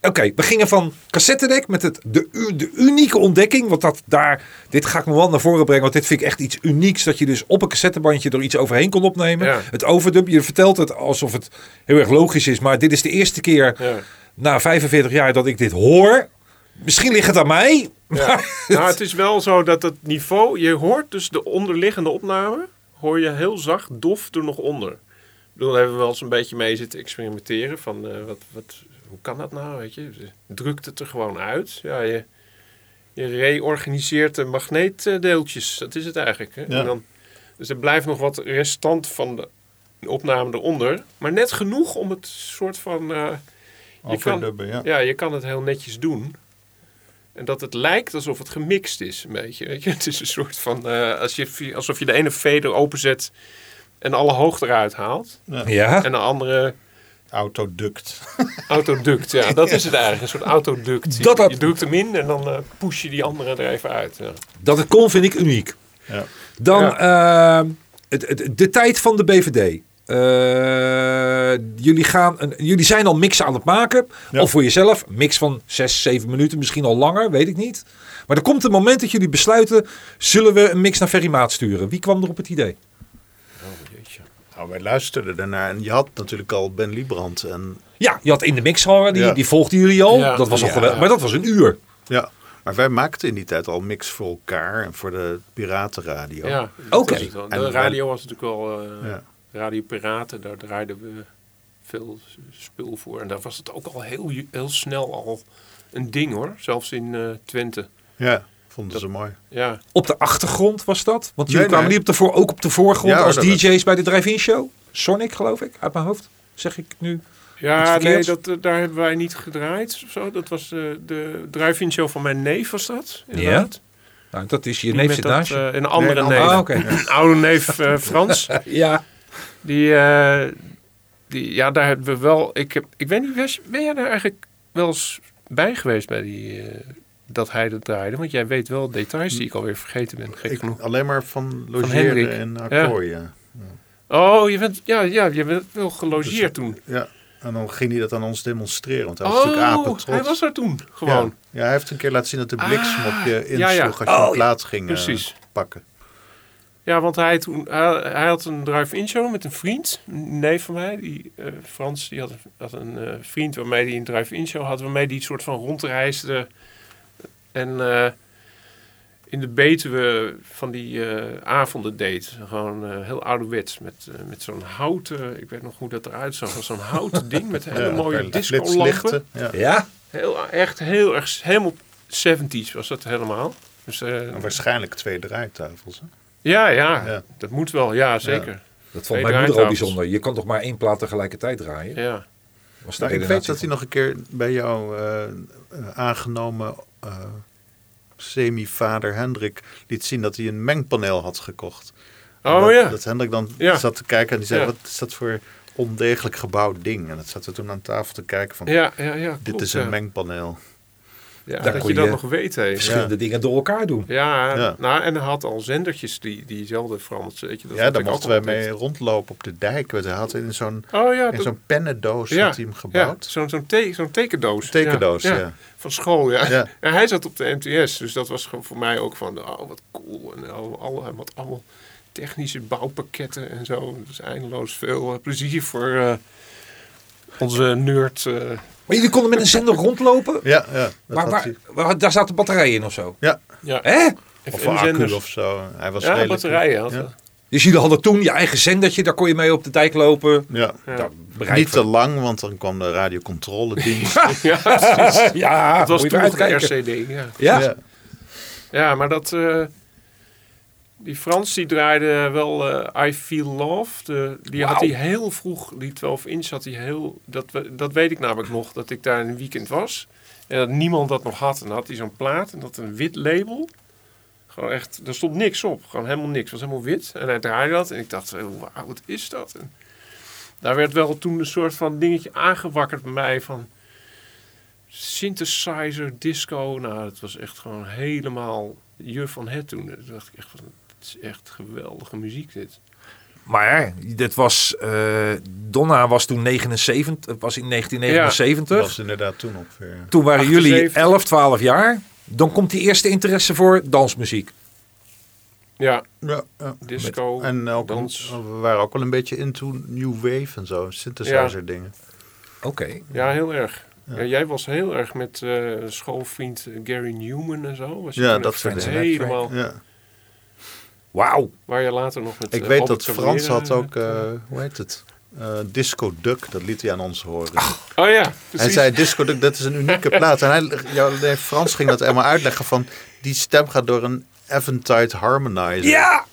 Speaker 2: Oké, we gingen van cassettedek met het, de, u- de unieke ontdekking. Want dat daar, dit ga ik nog wel naar voren brengen. Want dit vind ik echt iets unieks. Dat je dus op een cassettebandje er iets overheen kon opnemen.
Speaker 3: Ja.
Speaker 2: Het overdub, je vertelt het alsof het heel erg logisch is. Maar dit is de eerste keer
Speaker 3: Ja.
Speaker 2: na 45 jaar dat ik dit hoor. Misschien ligt het aan mij.
Speaker 3: Ja. <laughs> Nou, het is wel zo dat het niveau... Je hoort dus de onderliggende opname... hoor je heel zacht dof er nog onder. Ik bedoel, daar hebben we wel eens een beetje mee zitten experimenteren. Van, eh, wat, wat, hoe kan dat nou, weet je? Drukt het er gewoon uit. Ja, je, je reorganiseert de magneetdeeltjes. Dat is het eigenlijk. Hè?
Speaker 5: Ja.
Speaker 3: En dan, dus er blijft nog wat restant van de opname eronder. Maar net genoeg om het soort van... eh, je kan,
Speaker 5: Overdubben, ja.
Speaker 3: ja, je kan het heel netjes doen. En dat het lijkt alsof het gemixt is, een beetje. Weet je? <laughs> Het is een soort van... eh, als je, alsof je de ene veder openzet en alle hoogte eruit haalt.
Speaker 2: Ja,
Speaker 3: En de andere
Speaker 5: Autoduct.
Speaker 3: autoduct. Ja, dat is het eigenlijk. Een soort autoduct. Je,
Speaker 2: Dat had-
Speaker 3: je drukt hem in en dan eh push je die andere er even uit. Ja.
Speaker 2: dat het kon vind ik uniek.
Speaker 5: Ja.
Speaker 2: Dan ehm, het, het- de tijd van de BVD. Eh, jullie, gaan een, jullie zijn al mixen aan het maken.
Speaker 5: Ja.
Speaker 2: Of voor jezelf. Een Mix van 6, 7 minuten. Misschien al langer. Weet ik niet. Maar er komt een moment dat jullie besluiten. Zullen we een mix naar Ferry Maat sturen? Wie kwam er op het idee?
Speaker 5: Nou, wij luisterden daarnaar. En je had natuurlijk al Ben Liebrand. En,
Speaker 2: Ja, je had in de mix al. Die,
Speaker 5: Ja.
Speaker 2: die volgden jullie al.
Speaker 3: Ja.
Speaker 2: Dat was al
Speaker 5: Ja.
Speaker 2: geweldig. Maar dat was een uur.
Speaker 5: ja. Maar wij maakten in die tijd al mix voor elkaar en voor de Piratenradio.
Speaker 3: Ja, dat
Speaker 2: Oké.
Speaker 3: was het wel.
Speaker 5: En-
Speaker 3: De radio was natuurlijk wel... eh,
Speaker 5: Ja.
Speaker 3: Radio Piraten, daar draaiden we veel spul voor. En daar was het ook al heel, ju- heel snel al een ding hoor. Zelfs in eh, Twente.
Speaker 5: Ja, vonden ze mooi.
Speaker 3: Ja,
Speaker 2: Op de achtergrond was dat. Want jullie
Speaker 5: Nee,
Speaker 2: kwamen
Speaker 5: nee.
Speaker 2: niet op de voor, ook op de voorgrond
Speaker 5: Ja,
Speaker 2: als
Speaker 5: dat-
Speaker 2: DJ's bij de Drive-In Show. Sonic geloof ik. Uit mijn hoofd. Zeg ik nu. Iets
Speaker 3: ja nee,
Speaker 2: verkeerds?
Speaker 3: dat, eh, daar hebben wij niet gedraaid. of Zo. Dat was eh, de drive-in show van mijn neef was dat. Inderdaad.
Speaker 2: Nou, dat is je
Speaker 3: Die
Speaker 2: neef
Speaker 3: met
Speaker 2: zit
Speaker 3: dat,
Speaker 2: naast je.
Speaker 3: eh, een andere
Speaker 5: Nee, een
Speaker 3: neef.
Speaker 2: Ah, oké.
Speaker 3: <laughs>
Speaker 5: <laughs>
Speaker 3: Een oude neef eh, Frans.
Speaker 2: Ja.
Speaker 3: Die, eh, die, ja, daar hebben we wel. Ik, heb, ik weet niet, was, ben jij daar eigenlijk wel eens bij geweest bij die, eh, dat hij dat draaide? Want jij weet wel details die ik alweer vergeten ben, gek
Speaker 5: Ik,
Speaker 3: genoeg.
Speaker 5: alleen maar van
Speaker 3: Hendrik.
Speaker 5: logeren en akkoorden. Ja.
Speaker 3: Oh, je bent, ja, ja, je bent wel gelogeerd toen.
Speaker 5: Ja. En dan ging hij dat aan ons demonstreren. Want hij was natuurlijk
Speaker 3: Oh,
Speaker 5: apetrots.
Speaker 3: hij was er toen
Speaker 5: ja.
Speaker 3: gewoon. Ah,
Speaker 5: ja, hij heeft een keer laten zien dat de bliksem op je insloeg
Speaker 3: ja, Oh, ja.
Speaker 5: als je een plaat ging eh,
Speaker 3: precies.
Speaker 5: pakken.
Speaker 3: Ja, want hij, toen, hij, hij had een drive-in show met een vriend, een neef van mij, die eh, Frans, die had, een- had een eh, vriend waarmee hij een drive-in show had, waarmee die soort van rondreisde en eh, in de Betuwe van die eh, avonden deed. Gewoon eh, heel ouderwets, met, eh, met zo'n houten, ik weet nog hoe dat eruit zag, was zo'n houten ding met hele
Speaker 5: Ja,
Speaker 3: mooie
Speaker 5: per
Speaker 3: discolampen.
Speaker 5: flitslichten. Ja.
Speaker 2: Ja?
Speaker 3: Heel, echt heel erg, helemaal 70s was dat helemaal. Dus, eh,
Speaker 4: Oh,
Speaker 5: En Nou, waarschijnlijk twee draaitafels. Hè?
Speaker 3: ja, ja,
Speaker 5: Ja.
Speaker 3: dat moet wel, ja zeker.
Speaker 2: Dat
Speaker 3: Twee
Speaker 2: vond mijn moeder al
Speaker 3: draaitafels.
Speaker 2: bijzonder. Je kan toch maar één plaat tegelijkertijd draaien?
Speaker 3: Ja.
Speaker 2: Was de
Speaker 5: Nou, ik weet
Speaker 2: redenatie
Speaker 5: dat hij
Speaker 2: van-
Speaker 5: nog een keer bij jou eh, eh, aangenomen eh, semi-vader Hendrik liet zien dat hij een mengpaneel had gekocht. En
Speaker 3: Oh
Speaker 5: dat,
Speaker 3: ja.
Speaker 5: Dat Hendrik dan
Speaker 3: Ja.
Speaker 5: zat te kijken en die zei,
Speaker 3: Ja.
Speaker 5: wat is dat voor
Speaker 4: ondegelijk gebouwd ding. En dat zaten we toen aan tafel te kijken van,
Speaker 3: Ja, ja, ja.
Speaker 4: dit
Speaker 3: klopt,
Speaker 4: is een
Speaker 3: ja.
Speaker 4: mengpaneel.
Speaker 3: Ja,
Speaker 2: Daar
Speaker 3: dat
Speaker 2: kon
Speaker 3: je dat
Speaker 2: je-
Speaker 3: nog weet, hè.
Speaker 4: Ja.
Speaker 2: verschillende dingen door elkaar doen.
Speaker 3: Ja,
Speaker 4: Ja.
Speaker 3: Nou, en hij had al zendertjes, die, diezelfde Frans. Weet je, dat
Speaker 4: ja,
Speaker 3: had
Speaker 4: daar
Speaker 3: ik ook
Speaker 4: mochten wij
Speaker 3: altijd.
Speaker 4: mee rondlopen op de dijk. We hadden in zo'n
Speaker 3: Oh ja,
Speaker 4: in
Speaker 3: dat-
Speaker 4: zo'n pennendoos
Speaker 3: ja,
Speaker 4: had hij hem gebouwd.
Speaker 3: Ja, zo'n zo'n te- zo'n tekendoos.
Speaker 4: Tekendoos, ja.
Speaker 3: Van school, ja.
Speaker 4: Ja.
Speaker 3: En hij zat op de MTS, dus dat was gewoon voor mij ook van, oh wat cool. En al, al, wat allemaal technische bouwpakketten en zo. Dus eindeloos veel eh, plezier voor eh, onze nerd. eh.
Speaker 2: Maar jullie konden met een zender rondlopen?
Speaker 4: Ja, ja. dat
Speaker 2: Maar
Speaker 4: had
Speaker 2: waar,
Speaker 4: hij.
Speaker 2: waar- daar zaten batterijen in of zo?
Speaker 4: Ja,
Speaker 3: ja,
Speaker 2: Hè?
Speaker 3: even
Speaker 4: of
Speaker 3: in
Speaker 4: een
Speaker 3: de
Speaker 4: accu
Speaker 3: zenders.
Speaker 4: of zo. Hij was
Speaker 3: Ja,
Speaker 4: redelijk-
Speaker 3: batterijen had
Speaker 4: Ja.
Speaker 2: Dus jullie hadden toen je eigen zendertje, daar kon je mee op de dijk lopen. Nou,
Speaker 4: Ja.
Speaker 2: Daar bereik
Speaker 4: Niet te
Speaker 2: van-
Speaker 4: lang, want dan kwam de radiocontroledienst.
Speaker 3: <laughs> Ja, precies.
Speaker 2: Ja, Ah,
Speaker 3: dat was
Speaker 2: moet je
Speaker 3: toen nog de
Speaker 2: uitkijken.
Speaker 3: RCD, ja.
Speaker 2: Ja?
Speaker 4: Ja.
Speaker 3: Ja, maar dat... eh, die Frans die draaide wel eh, I Feel Love. De, die had
Speaker 2: Wauw.
Speaker 3: hij heel vroeg, die 12 inch had hij heel... Dat, we- dat weet ik namelijk nog, dat ik daar een weekend was. En dat niemand dat nog had. En dan had hij zo'n plaat en dat een wit label. Gewoon echt, er stond niks op. Gewoon helemaal niks. Het was helemaal wit. En hij draaide dat en ik dacht, eh, wauw, wat is dat? En daar werd wel toen een soort van dingetje aangewakkerd bij mij van... Synthesizer, disco, nou, het was echt gewoon helemaal juf van het toen. Toen dacht ik echt van, het is echt geweldige muziek dit.
Speaker 2: Maar dit was, eh, Donna was toen 79, was in
Speaker 4: Dat
Speaker 2: 1979.
Speaker 4: was inderdaad toen eh, ongeveer.
Speaker 2: Toen waren jullie
Speaker 3: 78.
Speaker 2: 11, 12 jaar. Dan komt die eerste interesse voor dansmuziek.
Speaker 3: Ja,
Speaker 4: Ja, ja.
Speaker 3: disco,
Speaker 4: En ook,
Speaker 3: dans.
Speaker 4: we waren ook wel een beetje into New Wave en zo, synthesizer dingen.
Speaker 2: Oké.
Speaker 3: Ja, heel erg. Ja. jij was heel erg met eh, schoolvriend Gary Newman en zo. Was je
Speaker 4: Ja,
Speaker 3: toen
Speaker 4: dat
Speaker 3: echt
Speaker 4: soort dingen.
Speaker 3: Helemaal,
Speaker 4: Ja.
Speaker 2: Wauw.
Speaker 3: waar je later nog met
Speaker 4: Ik
Speaker 3: eh,
Speaker 4: weet
Speaker 3: Albert
Speaker 4: dat Frans
Speaker 3: Cabrera-
Speaker 4: had ook, eh, hoe heet het? Eh, Disco Duck, dat liet hij aan ons horen.
Speaker 3: Oh ja, precies.
Speaker 4: hij zei, Disco Duck, dat is een
Speaker 3: <laughs>
Speaker 4: unieke plaat. En hij, jou- nee, Frans ging dat helemaal uitleggen van, die stem gaat door een Eventide Harmonizer.
Speaker 2: Ja!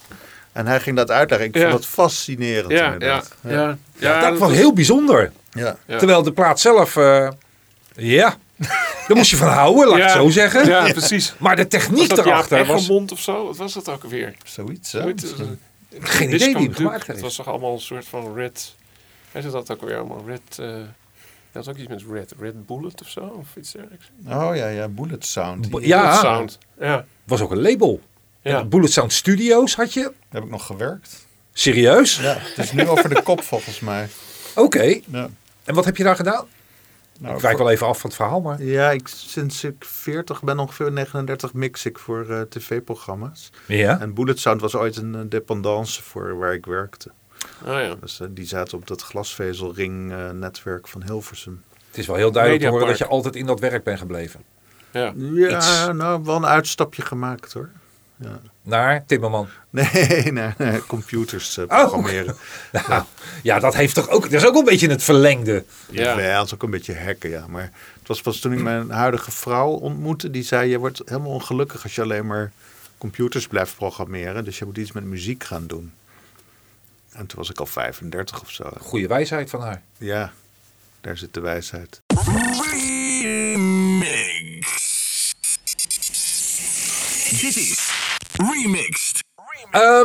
Speaker 4: En hij ging dat uitleggen. Ik
Speaker 3: Ja.
Speaker 4: vond dat fascinerend
Speaker 3: ja, ja,
Speaker 4: inderdaad.
Speaker 3: ja, ja,
Speaker 2: dat was heel bijzonder.
Speaker 4: Ja.
Speaker 3: Ja.
Speaker 2: Terwijl de plaat zelf... eh,
Speaker 3: <laughs>
Speaker 2: ja. Daar moest je van houden, laat ik het
Speaker 3: Ja.
Speaker 2: zo zeggen. <laughs>
Speaker 3: Ja, precies.
Speaker 2: Maar de techniek
Speaker 3: was dat
Speaker 2: erachter was...
Speaker 3: Eggermond of zo? Wat was dat ook alweer?
Speaker 4: zoiets hè?
Speaker 3: Ooit, eh,
Speaker 2: Geen idee
Speaker 3: Disco
Speaker 2: wie hem
Speaker 3: Duke,
Speaker 2: gemaakt
Speaker 3: Het
Speaker 2: heeft.
Speaker 3: was toch allemaal een soort van red... Hij zat dat ook weer allemaal red... eh dat was ook iets met red. Red Bullet of zo? Of iets dergelijks.
Speaker 4: Oh ja, ja, Bullet Sound.
Speaker 2: Bo-
Speaker 4: Die
Speaker 2: Ja,
Speaker 3: Bullet
Speaker 2: het
Speaker 3: Sound. Ja.
Speaker 2: was ook een label.
Speaker 3: Ja.
Speaker 2: Bullet Sound Studios had je.
Speaker 4: heb ik nog gewerkt.
Speaker 2: Serieus?
Speaker 4: Ja, het is nu over de kop volgens mij.
Speaker 2: Oké.
Speaker 4: Ja.
Speaker 2: En wat heb je daar gedaan?
Speaker 4: Nou,
Speaker 2: Ik wijk wel even af van het verhaal, maar...
Speaker 4: Ja, ik, sinds ik 40 ben, ongeveer 39, mix ik voor eh, tv-programma's.
Speaker 2: Ja.
Speaker 4: En Bullet Sound was ooit een eh, dependance voor waar ik werkte.
Speaker 3: Oh ja.
Speaker 4: Dus eh, die zaten op dat glasvezelring-netwerk van Hilversum.
Speaker 2: Het is wel heel duidelijk te horen dat
Speaker 3: Mediapark.
Speaker 2: je altijd in dat werk bent gebleven.
Speaker 3: Ja.
Speaker 4: Ja,
Speaker 2: Iets.
Speaker 4: nou, wel een uitstapje gemaakt hoor. <laughs>
Speaker 2: Naar Timmerman. <laughs>
Speaker 4: Nee, nee, nee, computers eh,
Speaker 2: Oh.
Speaker 4: programmeren.
Speaker 2: Nou, ja, dat heeft toch ook. Dat is ook wel een beetje het verlengde.
Speaker 4: Ja.
Speaker 3: Ja.
Speaker 4: Wij hadden ook een beetje hacken, ja. Maar het was pas toen ik mijn huidige vrouw ontmoette. Die zei, je wordt helemaal ongelukkig als je alleen maar computers blijft programmeren. Dus je moet iets met muziek gaan doen. En toen was ik al 35 of zo.
Speaker 2: Goede wijsheid van haar.
Speaker 4: Ja, daar zit de wijsheid.
Speaker 1: Remix. Dit is Remixed.
Speaker 2: Ehm,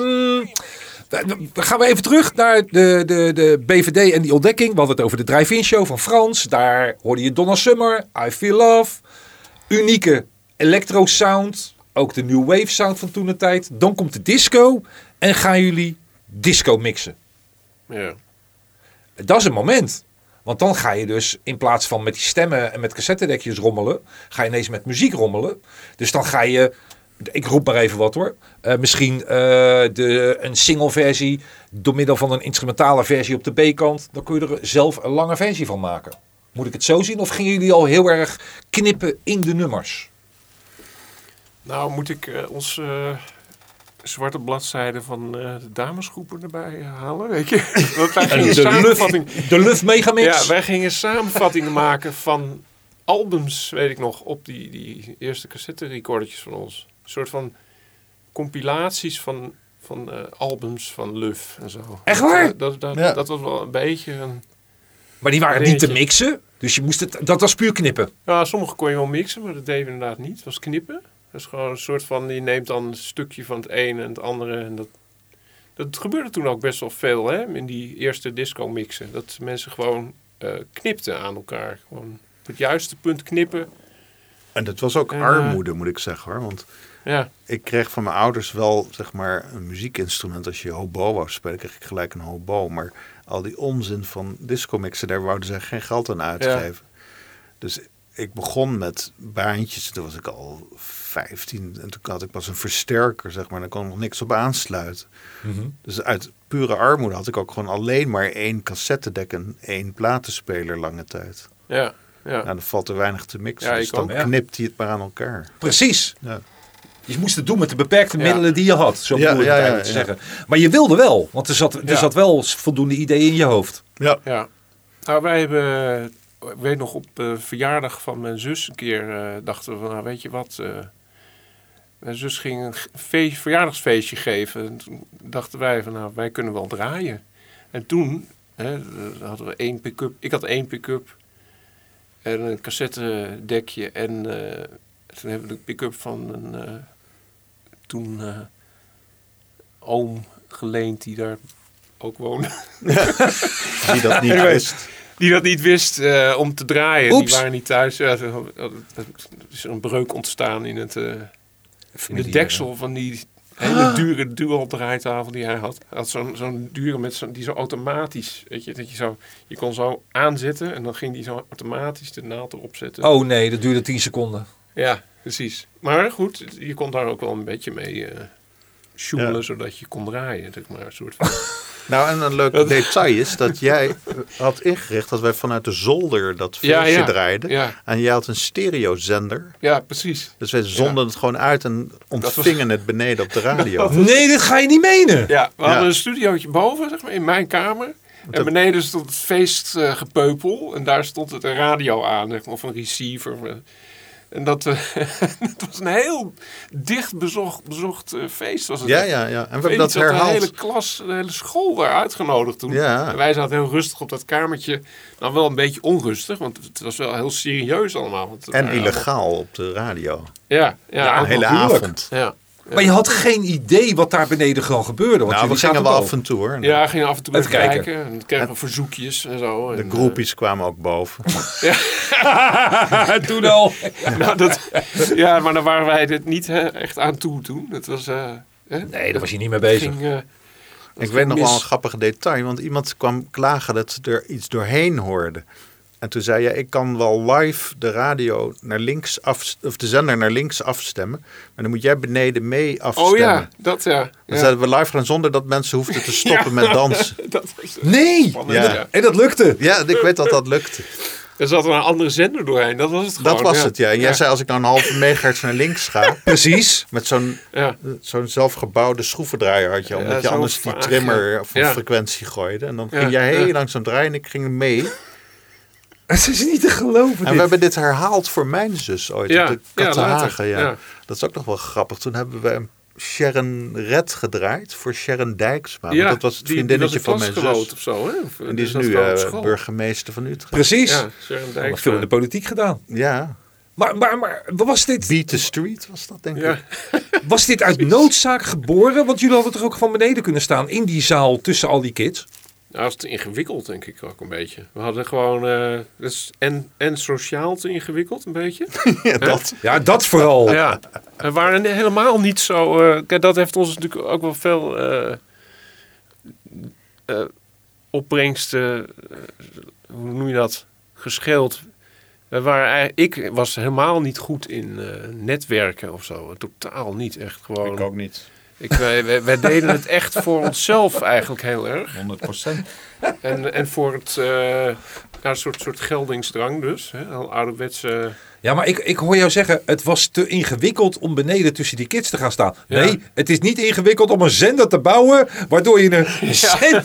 Speaker 2: we- we gaan we even terug naar de, de, de BVD en die ontdekking. We hadden het over de drive-in show van Frans. Daar hoorde je Donna Summer, I Feel Love. Unieke electro sound. Ook de new wave sound van toen de tijd. Dan komt de disco. En gaan jullie disco mixen.
Speaker 3: Ja.
Speaker 2: Dat is een moment. Want dan ga je dus in plaats van met die stemmen en met cassettedekjes rommelen, ga je ineens met muziek rommelen. Dus dan ga je, ik roep maar even wat hoor, Eh, misschien eh, de, een single versie door middel van een instrumentale versie op de B-kant. Dan kun je er zelf een lange versie van maken. Moet ik het zo zien of gingen jullie al heel erg knippen in de nummers?
Speaker 3: Nou, moet ik eh, ons... eh, Zwarte bladzijde van eh, de damesgroepen erbij halen, weet je? <laughs> Want wij gingen samenvatting,
Speaker 2: de Luf Megamix?
Speaker 3: Ja, wij gingen samenvattingen <laughs> maken van albums, weet ik nog, op die, die eerste cassette-recordertjes van ons. Een soort van compilaties van, van eh, albums van Luf en zo.
Speaker 2: Echt waar?
Speaker 3: Dat, eh, dat, dat,
Speaker 4: Ja.
Speaker 3: dat was wel een beetje een...
Speaker 2: maar die waren niet te
Speaker 3: Jeetje.
Speaker 2: mixen, dus je moest het, dat was puur knippen.
Speaker 3: Nou, sommige kon je wel mixen, maar dat deden we inderdaad niet. Het was knippen. Dat is gewoon een soort van, je neemt dan een stukje van het ene en het andere en dat... Dat gebeurde toen ook best wel veel, hè? In die eerste disco-mixen. Dat mensen gewoon eh, knipten aan elkaar. Gewoon op het juiste punt knippen.
Speaker 4: En dat was ook
Speaker 3: En, eh,
Speaker 4: armoede, moet ik zeggen hoor. Want
Speaker 3: Ja,
Speaker 4: ik kreeg van mijn ouders wel zeg maar een muziekinstrument. Als je hobo wou spelen, kreeg ik gelijk een hobo. Maar al die onzin van discomixen, daar wouden ze geen geld aan uitgeven. Dus ik begon met baantjes. Toen was ik al 15 en toen had ik pas een versterker, zeg maar. Daar kon ik nog niks op aansluiten.
Speaker 3: Mhm.
Speaker 4: Dus uit pure armoede had ik ook gewoon alleen maar één cassettedek en één platenspeler lange tijd.
Speaker 3: ja, ja.
Speaker 4: Nou, dan valt er weinig te mixen.
Speaker 3: Ja,
Speaker 4: dus
Speaker 3: ik
Speaker 4: dan
Speaker 3: ook,
Speaker 2: ja.
Speaker 4: knipt hij het maar aan elkaar.
Speaker 2: Precies.
Speaker 4: Ja.
Speaker 2: Je moest het doen met de beperkte
Speaker 3: Ja.
Speaker 2: middelen die je had. Zo
Speaker 4: Ja,
Speaker 2: bedoel ik
Speaker 4: ja,
Speaker 2: het
Speaker 4: ja,
Speaker 2: eigenlijk te
Speaker 4: ja.
Speaker 2: zeggen. Maar je wilde wel. Want er zat, er
Speaker 3: Ja.
Speaker 2: zat wel voldoende ideeën in je hoofd.
Speaker 4: Ja.
Speaker 3: Ja. Nou, wij hebben, eh, ik weet nog, op de verjaardag van mijn zus een keer eh, dachten we van, nou weet je wat, eh, mijn zus ging een ge- feest, verjaardagsfeestje geven. En toen dachten wij van, nou wij kunnen wel draaien. En toen hè, eh, hadden we één pick-up, ik had één pick-up en een cassettedekje. En eh, toen hebben we de pick-up van een, eh, toen eh, oom geleend die daar ook woonde
Speaker 4: Die dat niet
Speaker 3: Anyway.
Speaker 4: wist.
Speaker 3: die dat niet wist eh, om te draaien.
Speaker 2: Oeps.
Speaker 3: Die waren niet thuis. Ja, er er is een breuk ontstaan in, het, eh, in de deksel van die
Speaker 2: Ah.
Speaker 3: hele dure dual draaitafel die hij had. Hij had zo'n zo'n dure met zo'n die zo automatisch, weet je, dat je zo, je kon zo aanzetten en dan ging die zo automatisch de naald erop zetten.
Speaker 2: Oh nee, dat duurde 10 seconden.
Speaker 3: Ja, precies. Maar goed, je kon daar ook wel een beetje mee eh sjoemelen,
Speaker 4: Ja.
Speaker 3: zodat je kon draaien, zeg maar, een soort van.
Speaker 4: Nou, en een leuk detail is dat jij eh, had ingericht dat wij vanuit de zolder dat filmpje
Speaker 3: Ja, ja.
Speaker 4: draaiden.
Speaker 3: Ja.
Speaker 4: En jij had een stereozender.
Speaker 3: ja, precies.
Speaker 4: Dus wij zonden het gewoon uit en ontvingen het beneden op de radio.
Speaker 2: Nee, dat ga je niet menen.
Speaker 3: Ja, we
Speaker 4: Ja.
Speaker 3: hadden een studiootje boven, zeg maar, in mijn kamer. En beneden stond het feestgepeupel. En daar stond het een radio aan, zeg maar, of een receiver. En dat, eh, <laughs> dat was een heel dicht bezocht, bezocht eh, feest. Was het
Speaker 4: Ja,
Speaker 3: echt.
Speaker 4: ja, ja. En we
Speaker 3: Ik weet
Speaker 4: hebben dat
Speaker 3: niet, zat De
Speaker 4: herhaald.
Speaker 3: hele klas, de hele school daar uitgenodigd toen.
Speaker 4: Ja.
Speaker 3: En wij zaten heel rustig op dat kamertje. Nou, wel een beetje onrustig, want het was wel heel serieus allemaal. Want het
Speaker 4: En
Speaker 3: waren
Speaker 4: illegaal op de radio.
Speaker 3: allemaal- Ja, ja,
Speaker 4: Ja, een
Speaker 3: allemaal-
Speaker 4: hele
Speaker 2: huwelijk.
Speaker 4: avond.
Speaker 3: ja.
Speaker 2: Maar je had geen idee wat daar beneden gewoon gebeurde. Want
Speaker 4: Nou, we
Speaker 2: jullie
Speaker 4: gingen
Speaker 2: zaten
Speaker 4: wel af
Speaker 2: boven.
Speaker 4: en toe hoor.
Speaker 3: Ja, we gingen af en toe
Speaker 2: Even
Speaker 3: even kijken.
Speaker 2: kijken.
Speaker 3: En kregen we verzoekjes en zo.
Speaker 4: De
Speaker 3: en, eh,
Speaker 4: groepies kwamen ook boven.
Speaker 2: <laughs> Toen al.
Speaker 3: <laughs> Nou, dat, ja, maar daar waren wij dit niet hè, echt aan toe toen. Het was. eh, hè,
Speaker 2: Nee, daar was je niet mee
Speaker 3: dat
Speaker 2: bezig.
Speaker 3: ging, eh, dat
Speaker 4: Ik
Speaker 3: ging
Speaker 4: weet nog
Speaker 3: mis.
Speaker 4: wel een grappig detail, want iemand kwam klagen dat ze er iets doorheen hoorde. En toen zei je, ik kan wel live de radio naar links af, of de zender naar links afstemmen, maar dan moet jij beneden mee afstemmen.
Speaker 3: Oh ja, dat ja.
Speaker 4: Dan
Speaker 3: Ja,
Speaker 4: zeiden we live gaan zonder dat mensen hoefden te stoppen met dansen.
Speaker 3: <laughs> dat was,
Speaker 2: Nee!
Speaker 3: Spannend,
Speaker 4: Ja.
Speaker 3: ja.
Speaker 2: En dat lukte.
Speaker 4: Ja, ik weet dat dat lukte.
Speaker 3: Er zat een andere zender doorheen. Dat was het gewoon.
Speaker 4: dat was het, ja. En jij zei, als ik nou een halve megahertz naar links ga,
Speaker 2: Precies. <laughs>
Speaker 4: met zo'n
Speaker 3: Ja.
Speaker 4: zo'n zelfgebouwde schroevendraaier had je, omdat
Speaker 3: Ja,
Speaker 4: je
Speaker 3: zo
Speaker 4: anders die
Speaker 3: vaag,
Speaker 4: trimmer
Speaker 3: ja.
Speaker 4: van
Speaker 3: Ja.
Speaker 4: frequentie gooide. En dan
Speaker 3: Ja,
Speaker 4: ging jij heel
Speaker 3: ja.
Speaker 4: langzaam draaien en ik ging mee.
Speaker 2: Het is niet te geloven.
Speaker 4: En we hebben dit herhaald voor mijn zus ooit
Speaker 3: Ja,
Speaker 4: op de
Speaker 3: ja,
Speaker 4: Kattenhagen. Ja,
Speaker 3: later, ja.
Speaker 4: Dat is ook nog wel grappig. Toen hebben we Sharon Red gedraaid voor Sharon Dijksma. Want
Speaker 3: Ja,
Speaker 4: dat was
Speaker 3: die-
Speaker 4: het
Speaker 3: die
Speaker 4: vriendinnetje
Speaker 3: was een
Speaker 4: van mijn
Speaker 3: klasgenoot
Speaker 4: zus.
Speaker 3: Of zo, hè? Of,
Speaker 4: En die is
Speaker 3: zat
Speaker 4: nu
Speaker 3: gewoon op
Speaker 4: eh,
Speaker 3: school.
Speaker 4: burgemeester van Utrecht.
Speaker 2: Precies.
Speaker 3: Ja, Sharon
Speaker 2: Maar
Speaker 3: Dijksma.
Speaker 2: veel in de politiek gedaan.
Speaker 4: Ja,
Speaker 2: Maar, maar, maar was, dit,
Speaker 4: Beat the Street was dat denk ik. <laughs>
Speaker 3: Ja.
Speaker 2: was dit uit noodzaak geboren? Want jullie hadden toch ook van beneden kunnen staan in die zaal tussen al die kids?
Speaker 3: Nou, dat is te ingewikkeld, denk ik ook een beetje. We hadden gewoon. eh, dat is en, en sociaal te ingewikkeld, een beetje.
Speaker 4: Ja, dat.
Speaker 2: Ja, dat vooral.
Speaker 3: Ja, we waren helemaal niet zo. eh, kijk, dat heeft ons natuurlijk ook wel veel eh, eh, opbrengsten. eh, hoe noem je dat? Gescheeld. We waren, ei- ik was helemaal niet goed in eh, netwerken of zo. Totaal niet echt gewoon. Ik ook niet. wij, wij- wij deden het echt voor onszelf eigenlijk heel erg.
Speaker 1: 100%.
Speaker 3: En, en voor het. eh, ja, een soort, soort geldingsdrang dus. Hè? Een ouderwetse.
Speaker 2: Ja, maar ik, ik hoor jou zeggen, het was te ingewikkeld om beneden tussen die kids te gaan staan. Nee,
Speaker 3: Ja.
Speaker 2: het is niet ingewikkeld om een zender te bouwen, waardoor je een <laughs> zender...